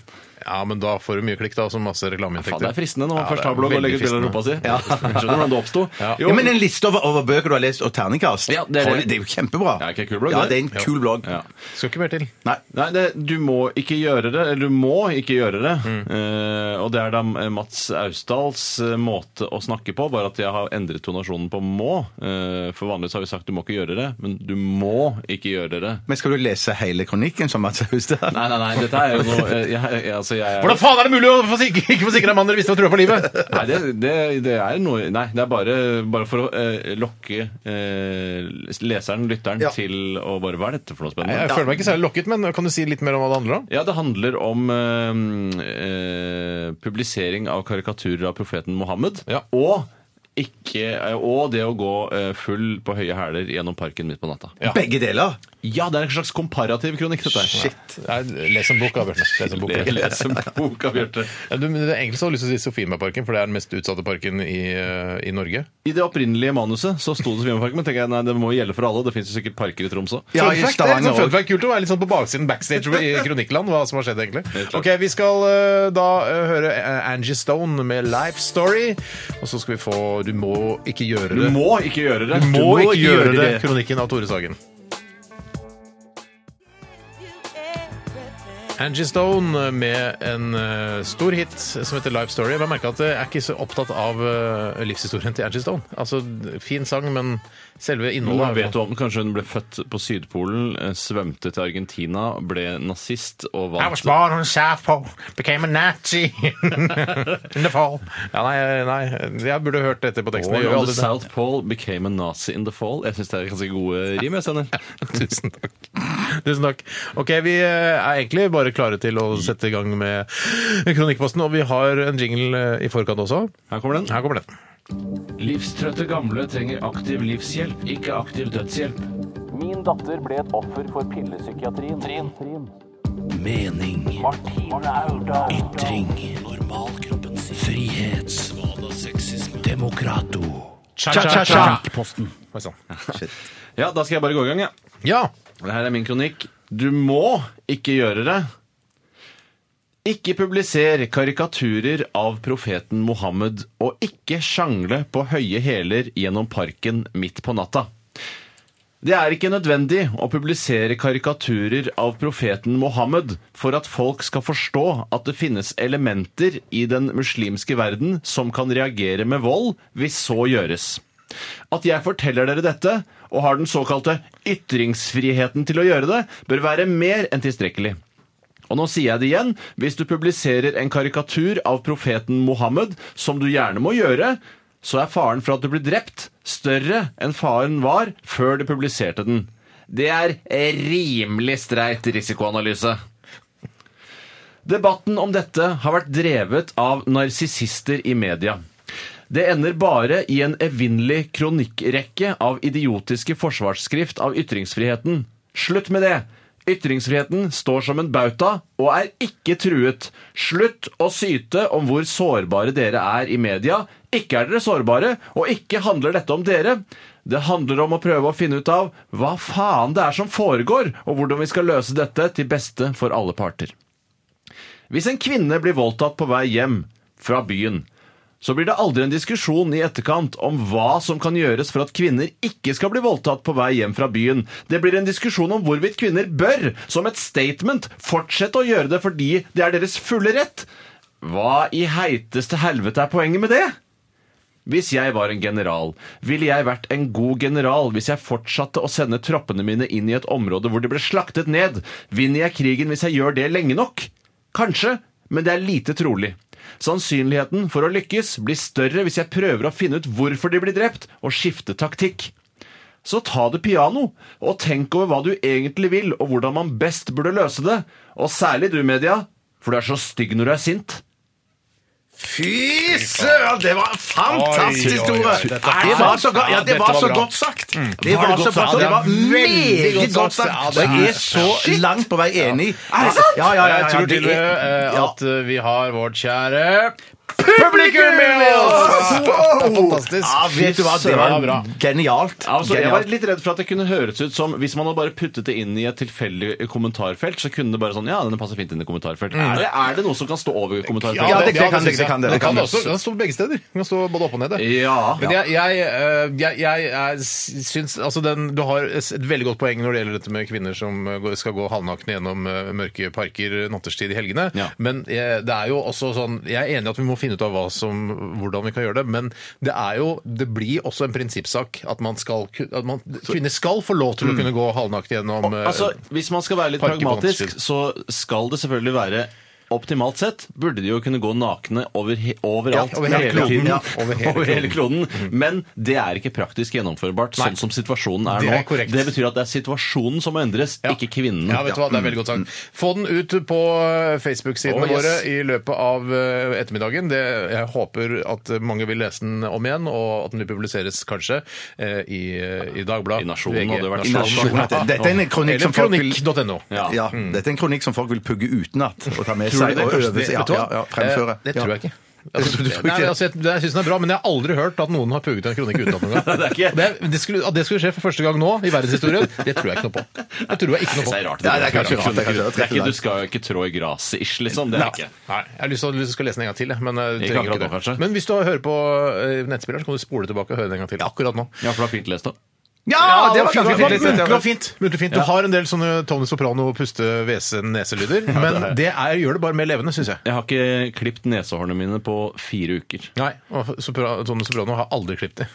[SPEAKER 4] Ja, men da får du mye klikk, da, og så masse
[SPEAKER 6] Faen,
[SPEAKER 4] reklameinntekter.
[SPEAKER 6] det er fristende når man
[SPEAKER 4] Ja, det
[SPEAKER 6] først
[SPEAKER 4] er
[SPEAKER 6] har blogg og
[SPEAKER 4] veldig
[SPEAKER 6] legger ut bilder av rumpa si. Skjønner du hvordan det oppsto? Jo,
[SPEAKER 5] Ja, men en liste over, over bøker du har lest, og terningkast.
[SPEAKER 6] Ja, det er det.
[SPEAKER 5] Hold- det er jo kjempebra.
[SPEAKER 6] Det er ikke en kul blogg,
[SPEAKER 5] Ja,
[SPEAKER 6] det.
[SPEAKER 5] det er en kul blogg.
[SPEAKER 6] Ja.
[SPEAKER 4] Skal ikke mer til.
[SPEAKER 5] Nei.
[SPEAKER 6] Nei, det, du må ikke gjøre det. Eller du må ikke gjøre det.
[SPEAKER 4] Mm.
[SPEAKER 6] Eh, og det er da Mats Austdals eh, måte å snakke på, bare at jeg har endret tonasjonen på må. Eh, for vanligvis har vi sagt du må ikke gjøre det, men du må ikke gjøre det.
[SPEAKER 5] Men skal du lese hele kronikken som Mats Austad?
[SPEAKER 6] Nei, nei, nei, dette er jo noe eh, jeg, jeg, altså, jeg,
[SPEAKER 4] Hvordan faen er det mulig å få sikre, ikke få sikre en mann dere visste var trua på livet?
[SPEAKER 6] Nei, det, det, det er noe Nei, det er bare, bare for å eh, lokke eh, leseren, lytteren,
[SPEAKER 4] Ja.
[SPEAKER 6] til å bare Hva er dette for noe
[SPEAKER 4] Nei,
[SPEAKER 6] spennende?
[SPEAKER 4] Jeg føler meg ikke særlig lokket, men kan du si litt mer om hva det handler om?
[SPEAKER 6] Ja, det handler om eh, eh, publisering av karikaturer av profeten Mohammed. Og ikke, eh, og det å gå eh, full på høye hæler gjennom parken midt på natta. Ja,
[SPEAKER 5] Begge deler.
[SPEAKER 6] det er en slags komparativ kronikk, dette her.
[SPEAKER 4] Nei, Les en bok, da, Bjarte. Les en bok.
[SPEAKER 6] Le- Les en bok av Bjarte.
[SPEAKER 4] Ja, du, men det er Egentlig så har jeg lyst til å si Sofienbergparken, for det er den mest utsatte parken i, eh, i Norge.
[SPEAKER 6] I det opprinnelige manuset så sto det Svømmeparken, men tenker jeg, nei, det må gjelde for alle. Det fins jo sikkert parker i Tromsø.
[SPEAKER 5] Ja, i
[SPEAKER 4] Fun fact, det er
[SPEAKER 5] Stavanger
[SPEAKER 4] sånn fun
[SPEAKER 5] òg.
[SPEAKER 4] fact, kult å være litt sånn på baksiden backstage i Kronikkland, hva som har skjedd egentlig. Ok, Vi skal eh, da eh, høre eh, Angie Stone med Life Story, og så skal vi få Du må ikke gjøre
[SPEAKER 6] Du
[SPEAKER 4] det.
[SPEAKER 6] må ikke gjøre det!
[SPEAKER 4] Du må ikke gjøre det. Kronikken av Tore Sagen. Angie Stone med en eh, stor hit som heter Life Story. Men Jeg merker at jeg er ikke så opptatt av eh, livshistorien til Angie Stone. Altså, Fin sang, men selve
[SPEAKER 6] Nå
[SPEAKER 4] innholdet
[SPEAKER 6] vet du om Kanskje hun ble født på Sydpolen, eh, svømte til Argentina, ble nazist
[SPEAKER 4] I
[SPEAKER 6] og vant
[SPEAKER 4] was born on the South Pole, became a Nazi in the fall. Ja, nei, nei, jeg burde hørt dette på teksten. Jeg gjør
[SPEAKER 6] Born on
[SPEAKER 4] aldri
[SPEAKER 6] the
[SPEAKER 4] det.
[SPEAKER 6] South Pole became a Nazi in the fall. Jeg syns det er ganske gode rim. jeg sender.
[SPEAKER 4] Tusen takk. Tusen takk. Ok, Vi eh, er egentlig bare klare til å sette i gang med Kronikkposten, og vi har en jingle eh, i forkant også.
[SPEAKER 6] Her kommer den.
[SPEAKER 4] Her kommer den.
[SPEAKER 7] Livstrøtte gamle trenger aktiv livshjelp, ikke aktiv dødshjelp. Min datter ble et offer for pillepsykiatrien. Mening. Ytring. Normalkroppen sin. Frihet. Demokrato.
[SPEAKER 4] Cha-cha-cha!
[SPEAKER 7] Posten.
[SPEAKER 4] Oi, sånn.
[SPEAKER 6] Ja, Da skal jeg bare gå i gang, jeg. Ja.
[SPEAKER 4] Ja!
[SPEAKER 6] Her er min kronikk. Du må ikke gjøre det. Ikke publiser karikaturer av profeten Mohammed, og ikke sjangle på høye hæler gjennom parken midt på natta. Det er ikke nødvendig å publisere karikaturer av profeten Mohammed for at folk skal forstå at det finnes elementer i den muslimske verden som kan reagere med vold hvis så gjøres. At jeg forteller dere dette, og har den såkalte ytringsfriheten til å gjøre det, bør være mer enn tilstrekkelig. Og nå sier jeg det igjen, hvis du publiserer en karikatur av profeten Mohammed, som du gjerne må gjøre, så er faren for at du blir drept større enn faren var før du publiserte den. Det er rimelig streit risikoanalyse. Debatten om dette har vært drevet av narsissister i media. Det ender bare i en evinnelig kronikkrekke av idiotiske forsvarsskrift av ytringsfriheten. Slutt med det! Ytringsfriheten står som en bauta og er ikke truet. Slutt å syte om hvor sårbare dere er i media. Ikke er dere sårbare, og ikke handler dette om dere. Det handler om å prøve å finne ut av hva faen det er som foregår, og hvordan vi skal løse dette til beste for alle parter. Hvis en kvinne blir voldtatt på vei hjem fra byen, så blir det aldri en diskusjon i etterkant om hva som kan gjøres for at kvinner ikke skal bli voldtatt på vei hjem fra byen. Det blir en diskusjon om hvorvidt kvinner bør, som et statement, fortsette å gjøre det fordi det er deres fulle rett. Hva i heiteste helvete er poenget med det? Hvis jeg var en general, ville jeg vært en god general hvis jeg fortsatte å sende troppene mine inn i et område hvor de ble slaktet ned. Vinner jeg krigen hvis jeg gjør det lenge nok? Kanskje, men det er lite trolig. Sannsynligheten for å lykkes blir større hvis jeg prøver å finne ut hvorfor de blir drept, og skifte taktikk. Så ta det piano, og tenk over hva du egentlig vil, og hvordan man best burde løse det. Og særlig du, media, for du er så stygg når du er sint.
[SPEAKER 5] Fy søren, det var fantastisk,
[SPEAKER 4] Oi, oi, oi.
[SPEAKER 5] Tore!
[SPEAKER 4] Dette
[SPEAKER 5] Det var så, godt- ja, det
[SPEAKER 4] Dette
[SPEAKER 5] var
[SPEAKER 4] var
[SPEAKER 5] så
[SPEAKER 4] bra.
[SPEAKER 5] godt sagt. Det var, så
[SPEAKER 4] sagt?
[SPEAKER 5] godt, det
[SPEAKER 4] Ja,
[SPEAKER 5] var
[SPEAKER 4] det er veldig
[SPEAKER 5] meget
[SPEAKER 4] godt sagt.
[SPEAKER 5] godt sagt.
[SPEAKER 4] Ja, det
[SPEAKER 5] Og jeg
[SPEAKER 4] er-
[SPEAKER 5] er så langt på vei enig. Er det
[SPEAKER 4] sant?
[SPEAKER 5] Ja, ja, ja, ja,
[SPEAKER 4] jeg tror
[SPEAKER 5] det
[SPEAKER 4] til og med
[SPEAKER 5] er-
[SPEAKER 4] eh,
[SPEAKER 5] ja.
[SPEAKER 4] at eh, vi har vårt kjære publikum med oss! Det er fantastisk.
[SPEAKER 5] Ja, vet du hva, det
[SPEAKER 4] Søren, det var bra.
[SPEAKER 5] var genialt.
[SPEAKER 6] Altså, jeg var
[SPEAKER 5] Genialt.
[SPEAKER 6] litt redd for at det kunne høres ut som Hvis man hadde bare puttet det inn i et tilfeldig kommentarfelt, så kunne det bare sånn Ja, denne passer fint inn i kommentarfelt. Er, det, er det noe som kan stå over kommentarfeltet?
[SPEAKER 5] Ja, det- det kan det-
[SPEAKER 4] synes jeg.
[SPEAKER 5] det kan det.
[SPEAKER 4] Men
[SPEAKER 5] Det
[SPEAKER 4] Mm.
[SPEAKER 5] kan
[SPEAKER 4] det
[SPEAKER 5] det.
[SPEAKER 4] også- det kan stå begge steder. Det kan stå både opp og ned. det.
[SPEAKER 6] Ja.
[SPEAKER 4] Men jeg, jeg, eh, jeg, jeg, er- syns altså den, Du har et veldig godt poeng når det gjelder dette med kvinner som eh, går- skal gå halvnakne gjennom eh, mørke parker natterstid i helgene.
[SPEAKER 6] Ja.
[SPEAKER 4] Men eh, det er jo også sånn Jeg er enig i at vi må finne ut av hva som, hvordan vi kan gjøre det, men det er jo Det blir også en prinsippsak at man skal ku- at man, Kvinner skal få lov
[SPEAKER 6] Mm.
[SPEAKER 4] til å kunne gå halvnakne gjennom eh,
[SPEAKER 6] Altså, hvis man skal være litt
[SPEAKER 4] Parker på
[SPEAKER 6] pragmatisk,
[SPEAKER 4] nattetid.
[SPEAKER 6] så skal det selvfølgelig være optimalt sett burde de jo kunne gå nakne over, he- overalt.
[SPEAKER 4] Ja, over hele Mm. kloden. Ja,
[SPEAKER 6] over hele, kloden. Men det er ikke praktisk gjennomførbart sånn som situasjonen er,
[SPEAKER 4] Det er
[SPEAKER 6] nå.
[SPEAKER 4] korrekt.
[SPEAKER 6] Det betyr at det er situasjonen som må endres, ikke kvinnen.
[SPEAKER 4] Ja, vet du hva, det er veldig godt sagt. Få den ut på Facebook-sidene
[SPEAKER 6] Oh, yes.
[SPEAKER 4] våre i løpet av eh, ettermiddagen. Det, jeg håper at mange vil lese den om igjen, og at den vil publiseres kanskje eh, i, i Dagbladet.
[SPEAKER 6] I
[SPEAKER 4] VG,
[SPEAKER 6] Nasjonen hadde det vært
[SPEAKER 4] Nasjonen.
[SPEAKER 5] Nasjonen. Dette- dette er en kronikk som folk vil-
[SPEAKER 4] Eller kronikk.no.
[SPEAKER 6] Ja.
[SPEAKER 5] Ja, Dette er en kronikk som folk vil pugge utenat og ta med
[SPEAKER 4] Mm. Tror du det? Kanskje det-
[SPEAKER 5] seg og øve seg. Ja,
[SPEAKER 4] vet du hva?
[SPEAKER 5] ja, ja, fremføre.
[SPEAKER 4] Eh, Det tror jeg ikke.
[SPEAKER 5] Det tror du ikke?
[SPEAKER 4] Nei, men altså, jeg, jeg synes den er bra, men jeg har aldri hørt at noen har pugget en kronikk utenat noen gang.
[SPEAKER 6] Det er ikke-
[SPEAKER 4] Og det, det skulle, at det skulle skje for første gang nå i verdenshistorien, det tror jeg ikke noe på. Det tror jeg ikke noe på.
[SPEAKER 6] Det er rart.
[SPEAKER 5] Nei, det er kanskje rart, det er kanskje rart.
[SPEAKER 6] Det er ikke, du skal jo ikke trå i gresset, ish, liksom. Det er ikke.
[SPEAKER 4] Nei, jeg har lyst til å lyst til å lese den en gang til. jeg, Men, jeg
[SPEAKER 6] Ikke
[SPEAKER 4] trenger
[SPEAKER 6] akkurat nå, kanskje?
[SPEAKER 4] men hvis du hører på eh, nettspilleren, så kan du spole tilbake og høre den en gang til. Akkurat nå.
[SPEAKER 6] Ja, for det er fint lest opp.
[SPEAKER 5] Ja, det var ganske fint.
[SPEAKER 4] muntlig
[SPEAKER 5] Det
[SPEAKER 4] og
[SPEAKER 5] var
[SPEAKER 4] fint. Muntlig og fint. Du har en del sånne Tony Soprano puste-hvese-neselyder, men det er, gjør det bare mer levende, syns jeg.
[SPEAKER 6] Jeg har ikke klippet nesehårene mine på fire uker.
[SPEAKER 4] Nei, og Sopra- Tony Soprano har aldri klippet det.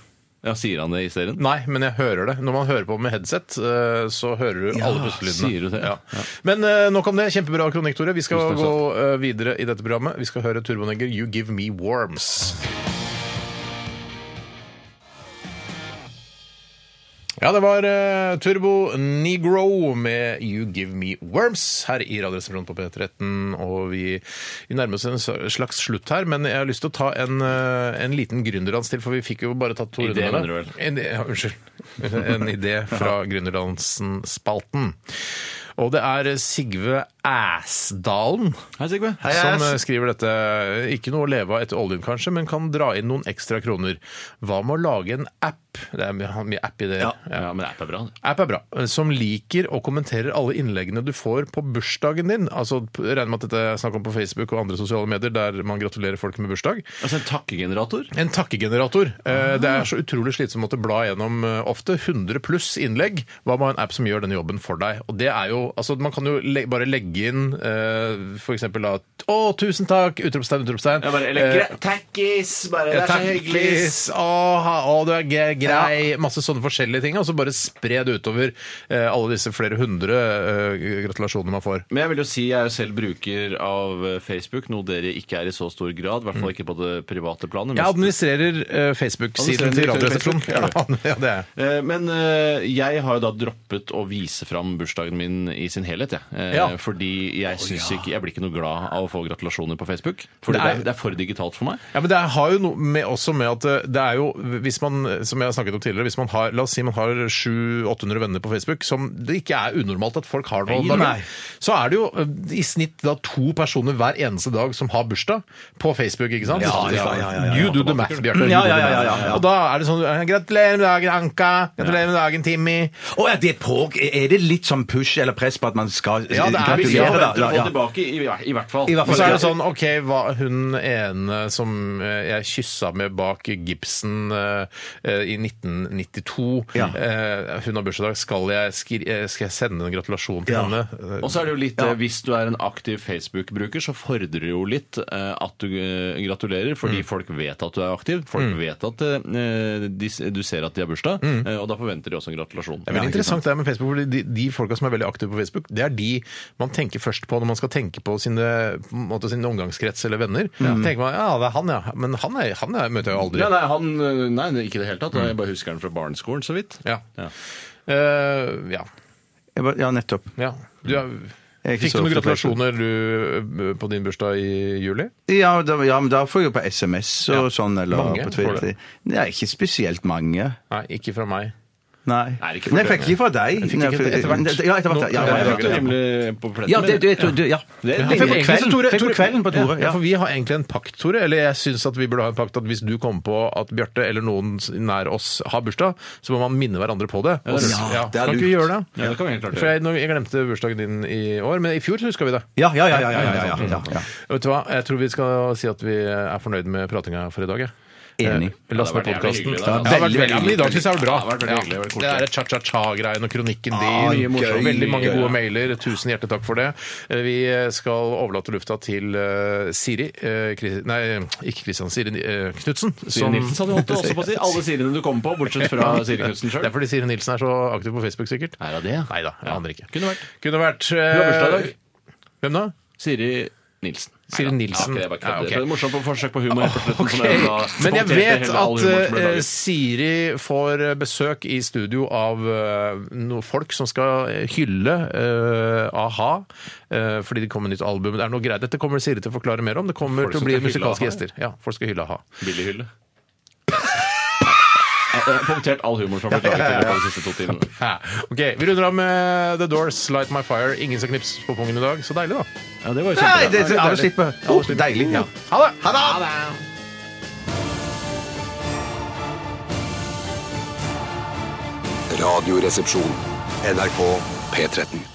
[SPEAKER 6] Ja, Sier han det i serien?
[SPEAKER 4] Nei, men jeg hører det. Når man hører på med headset, eh, så hører du alle pustelydene.
[SPEAKER 6] sier du det?
[SPEAKER 4] Ja. Men eh, nok om det. Kjempebra kronikk, Tore. Vi skal
[SPEAKER 6] Tusen takk
[SPEAKER 4] gå eh, videre i dette programmet. Vi skal høre Turbonegger, You Give Me Worms. Ja, det var eh, Turbo Negro med You Give Me Worms her i Radioresepsjonen på P13. Og vi, vi nærmer oss en slags slutt her, men jeg har lyst til å ta en, eh, en liten gründerdans til, for vi fikk jo bare tatt to runder
[SPEAKER 6] Idé,
[SPEAKER 4] med
[SPEAKER 6] mener du
[SPEAKER 4] det. En, ja, unnskyld. En idé fra Gründerdansen-spalten. Og det er Sigve Æsdalen
[SPEAKER 6] Hei, Sigve.
[SPEAKER 4] som eh, skriver dette. Ikke noe å leve av etter oljen, kanskje, men kan dra inn noen ekstra kroner. Hva med å lage en app? Det er mye mye app i det.
[SPEAKER 6] Ja, ja, men app er bra. det.
[SPEAKER 4] App er bra. Som liker og kommenterer alle innleggene du får på bursdagen din. Altså, p- Regner med at dette er snakk om på Facebook og andre sosiale medier, der man gratulerer folk med bursdag.
[SPEAKER 6] Altså en takkegenerator?
[SPEAKER 4] En takkegenerator. Eh, Det er så utrolig slitsomt å måtte bla gjennom eh, ofte 100 pluss innlegg. Hva med en app som gjør denne jobben for deg? Og det er jo, altså Man kan jo le bare legge inn eh, for eksempel da Å, tusen takk! Utropstegn, utropstegn.
[SPEAKER 6] Ja,
[SPEAKER 4] Eh,
[SPEAKER 6] bare, eller, takkis! Bare, det er så hyggelig!
[SPEAKER 4] Takkis! Å, ha- å, du er ge- grei! Masse sånne forskjellige ting. Og så bare spre det utover eh, alle disse flere hundre eh, gratulasjonene man får.
[SPEAKER 6] Men jeg vil jo si jeg er jo selv bruker av eh, Facebook, noe dere ikke er i så stor grad. I hvert fall ikke på det private
[SPEAKER 4] Jeg
[SPEAKER 6] planet. mest-
[SPEAKER 4] administrerer eh, Facebook-siden
[SPEAKER 6] Administrerer
[SPEAKER 4] til
[SPEAKER 6] Facebook, er
[SPEAKER 4] Radioresepsjonen. Ja, det er jeg.
[SPEAKER 6] Eh, Men eh, jeg har jo da droppet å vise fram bursdagen min i sin helhet, jeg. Eh,
[SPEAKER 4] Ja.
[SPEAKER 6] Fordi jeg syns ikke Jeg blir ikke noe glad av å få gratulasjoner på Facebook. Fordi
[SPEAKER 4] Det
[SPEAKER 6] det
[SPEAKER 4] er-
[SPEAKER 6] er, det er for digitalt for meg.
[SPEAKER 4] Ja, men det har jo noe med, også med at eh, det er jo, hvis man, som jeg har snakket om tidligere, hvis man har, la oss si man har 700-800 venner på Facebook, som det ikke er unormalt at folk har noen
[SPEAKER 6] Nei,
[SPEAKER 4] dager,
[SPEAKER 6] nei.
[SPEAKER 4] så er det jo eh, i snitt da to personer hver eneste dag som har bursdag på Facebook, ikke sant?
[SPEAKER 5] Ja, ja, ja, ja, ja.
[SPEAKER 4] You do the math, Bjarte.
[SPEAKER 5] Ja,
[SPEAKER 4] You do
[SPEAKER 5] ja,
[SPEAKER 4] the
[SPEAKER 5] ja, ja,
[SPEAKER 4] math.
[SPEAKER 5] ja.
[SPEAKER 4] Og da er det sånn, eh, gratulerer med dagen, Anka, gratulerer med dagen, Timmy.
[SPEAKER 5] Å, er, det på, er det litt sånn push eller press på at man skal eh,
[SPEAKER 4] Ja, det er-
[SPEAKER 6] Jeg vil
[SPEAKER 4] gratulerer,
[SPEAKER 6] forvente å
[SPEAKER 5] da?
[SPEAKER 6] få
[SPEAKER 5] Ja.
[SPEAKER 6] tilbake, i, hver- i hvert fall.
[SPEAKER 5] I hvert
[SPEAKER 4] Og
[SPEAKER 5] fall,
[SPEAKER 4] så er
[SPEAKER 5] ja.
[SPEAKER 4] det sånn, ok, hva, hun ene som eh, jeg kyssa med bak Gibson eh, eh, i 1992,
[SPEAKER 5] Ja.
[SPEAKER 4] eh, hun har bursdag, skal jeg, skri eh, skal jeg sende en gratulasjon til
[SPEAKER 5] Ja.
[SPEAKER 4] henne?
[SPEAKER 6] Og så er det jo litt, eh, Hvis du er en aktiv Facebook-bruker, så fordrer det jo litt eh, at du eh, gratulerer, fordi folk vet at du er aktiv. Folk vet at eh, de, s- du ser at de har bursdag, eh, og da forventer de også en gratulasjon.
[SPEAKER 4] Det er veldig interessant det her med Facebook, fordi de, de folka som er veldig aktive på Facebook, det er de man tenker først på når man skal tenke på sine, på en måte, sin omgangskrets eller venner. tenker man, ja, det er han, ja. Men han, er, han er, møter jeg jo aldri.
[SPEAKER 6] Mm. Ja, nei, han, eh, nei, ikke i det hele tatt. Jeg bare husker han fra barneskolen, så vidt.
[SPEAKER 4] Ja.
[SPEAKER 6] Ja.
[SPEAKER 4] Eh, ja.
[SPEAKER 5] Jeg bare- Ja, nettopp.
[SPEAKER 4] ja. Du er...
[SPEAKER 5] Mm. Jeg er ikke
[SPEAKER 4] Fikk
[SPEAKER 5] så
[SPEAKER 4] du noen
[SPEAKER 5] ofte på Facebook.
[SPEAKER 4] gratulasjoner du, eh, på din bursdag i juli?
[SPEAKER 5] Ja, da, ja, men da får jeg jo på SMS og sånn, eller
[SPEAKER 4] Mange
[SPEAKER 5] på
[SPEAKER 4] får
[SPEAKER 5] Twitter.
[SPEAKER 4] det.
[SPEAKER 5] Nei, ikke spesielt mange.
[SPEAKER 4] Nei, ikke fra meg.
[SPEAKER 5] Nei.
[SPEAKER 6] Nei, ikke for
[SPEAKER 5] Nei, jeg
[SPEAKER 6] det.
[SPEAKER 5] fikk ikke fra deg.
[SPEAKER 4] Jeg fikk
[SPEAKER 5] Nei,
[SPEAKER 4] ikke
[SPEAKER 5] for-
[SPEAKER 4] etter hvert.
[SPEAKER 5] Ja, etter hvert. Ja, ja,
[SPEAKER 6] Jeg
[SPEAKER 5] ja,
[SPEAKER 6] fikk det
[SPEAKER 5] ja, ja.
[SPEAKER 6] rimelig på pletten.
[SPEAKER 5] Ja, det, du, du, du, ja. Jeg
[SPEAKER 6] Det-
[SPEAKER 5] fikk på
[SPEAKER 4] Egentlig så,
[SPEAKER 5] kvelden,
[SPEAKER 4] Tore-
[SPEAKER 5] fikk på
[SPEAKER 4] Tore-
[SPEAKER 5] kvelden på Tore.
[SPEAKER 4] Ja,
[SPEAKER 5] Ja.
[SPEAKER 4] for vi har egentlig en pakt, Tore. Eller jeg syns at vi burde ha en pakt at hvis du kommer på at Bjarte eller noen s- nær oss har bursdag, så må man minne hverandre på det. Og-
[SPEAKER 5] Ja, det er
[SPEAKER 4] kan ikke vi
[SPEAKER 5] lurt.
[SPEAKER 4] gjøre det?
[SPEAKER 6] Ja, det kan vi helt klart
[SPEAKER 4] For jeg, nå- jeg glemte bursdagen din i år, men i fjor så huska vi det.
[SPEAKER 5] Ja, ja, ja, ja, ja, ja, ja, ja, ja.
[SPEAKER 4] Vet du hva, Jeg tror vi skal si at vi er fornøyd med pratinga for i dag. jeg.
[SPEAKER 5] Enig.
[SPEAKER 4] Eh, Last med
[SPEAKER 6] Ja, det har vært jævlig
[SPEAKER 4] podkasten.
[SPEAKER 6] hyggelig, da.
[SPEAKER 4] Ja, det har vært
[SPEAKER 5] Veldig,
[SPEAKER 4] veldig-
[SPEAKER 5] veldig
[SPEAKER 4] ja, men I dag syns jeg det
[SPEAKER 6] Ja, det
[SPEAKER 4] var
[SPEAKER 6] har vært
[SPEAKER 4] bra.
[SPEAKER 6] veldig hyggelig,
[SPEAKER 4] Ja.
[SPEAKER 6] veldig
[SPEAKER 4] Det
[SPEAKER 6] koselig.
[SPEAKER 4] er cha-cha-cha-greien og kronikken
[SPEAKER 5] Ah,
[SPEAKER 4] din.
[SPEAKER 5] mye morsomt.
[SPEAKER 4] Veldig mange
[SPEAKER 5] Gøy,
[SPEAKER 4] gode
[SPEAKER 5] ja.
[SPEAKER 4] mailer. Tusen hjertelig takk for det. Eh, Vi skal overlate lufta til eh, Siri eh, Kri- Nei, ikke Kristian. Siri eh, Knutsen.
[SPEAKER 6] Siri Nilsen sa du holdt det også på å si. Alle Siriene du kommer på, bortsett fra Siri Knutsen
[SPEAKER 4] Det er
[SPEAKER 6] sjøl.
[SPEAKER 4] fordi Siri Nilsen er så aktiv på Facebook, sikkert.
[SPEAKER 6] Er hun det?
[SPEAKER 4] Nei da, jeg aner ikke.
[SPEAKER 6] Kunne vært. eh,
[SPEAKER 4] Kunne vært
[SPEAKER 6] Hun har bursdag i dag.
[SPEAKER 4] Hvem da?
[SPEAKER 6] Siri Nilsen.
[SPEAKER 2] Sier
[SPEAKER 6] Neida.
[SPEAKER 2] Nilsen.
[SPEAKER 6] Ja, ok, det var ikke
[SPEAKER 4] Ja, ok.
[SPEAKER 6] det. var et morsomt forsøk på humor. helt på slutten,
[SPEAKER 4] Ok.
[SPEAKER 6] som jeg da
[SPEAKER 4] Men jeg
[SPEAKER 6] kommenterte
[SPEAKER 4] vet
[SPEAKER 6] hele all
[SPEAKER 4] at
[SPEAKER 6] humoren som ble
[SPEAKER 4] eh,
[SPEAKER 6] laget.
[SPEAKER 4] Siri får eh, besøk i studio av eh, noen folk som skal hylle eh, a-ha eh, fordi det kommer nytt album. Det er noe greit. Dette kommer Siri til å forklare mer om. Det kommer
[SPEAKER 6] Folk
[SPEAKER 4] til å
[SPEAKER 6] som
[SPEAKER 4] bli
[SPEAKER 6] skal hylle
[SPEAKER 4] musikalske
[SPEAKER 6] a-ha, ja.
[SPEAKER 4] gjester. Ja, folk skal hylle a-ha.
[SPEAKER 6] Billig hylle. Jeg har Punktert all humor som har blitt laget i løpet av de siste to timene.
[SPEAKER 4] Ja. Ok, Vi runder av med The Doors, Light My Fire. Ingen som knipser på pungen i dag. Så deilig, da.
[SPEAKER 6] Ja, det
[SPEAKER 5] Nei,
[SPEAKER 6] var jo kjempebra.
[SPEAKER 5] det, det, alle slipper. Oh, deilig. Ja.
[SPEAKER 4] Ha det!
[SPEAKER 1] Radioresepsjon. NRK P13.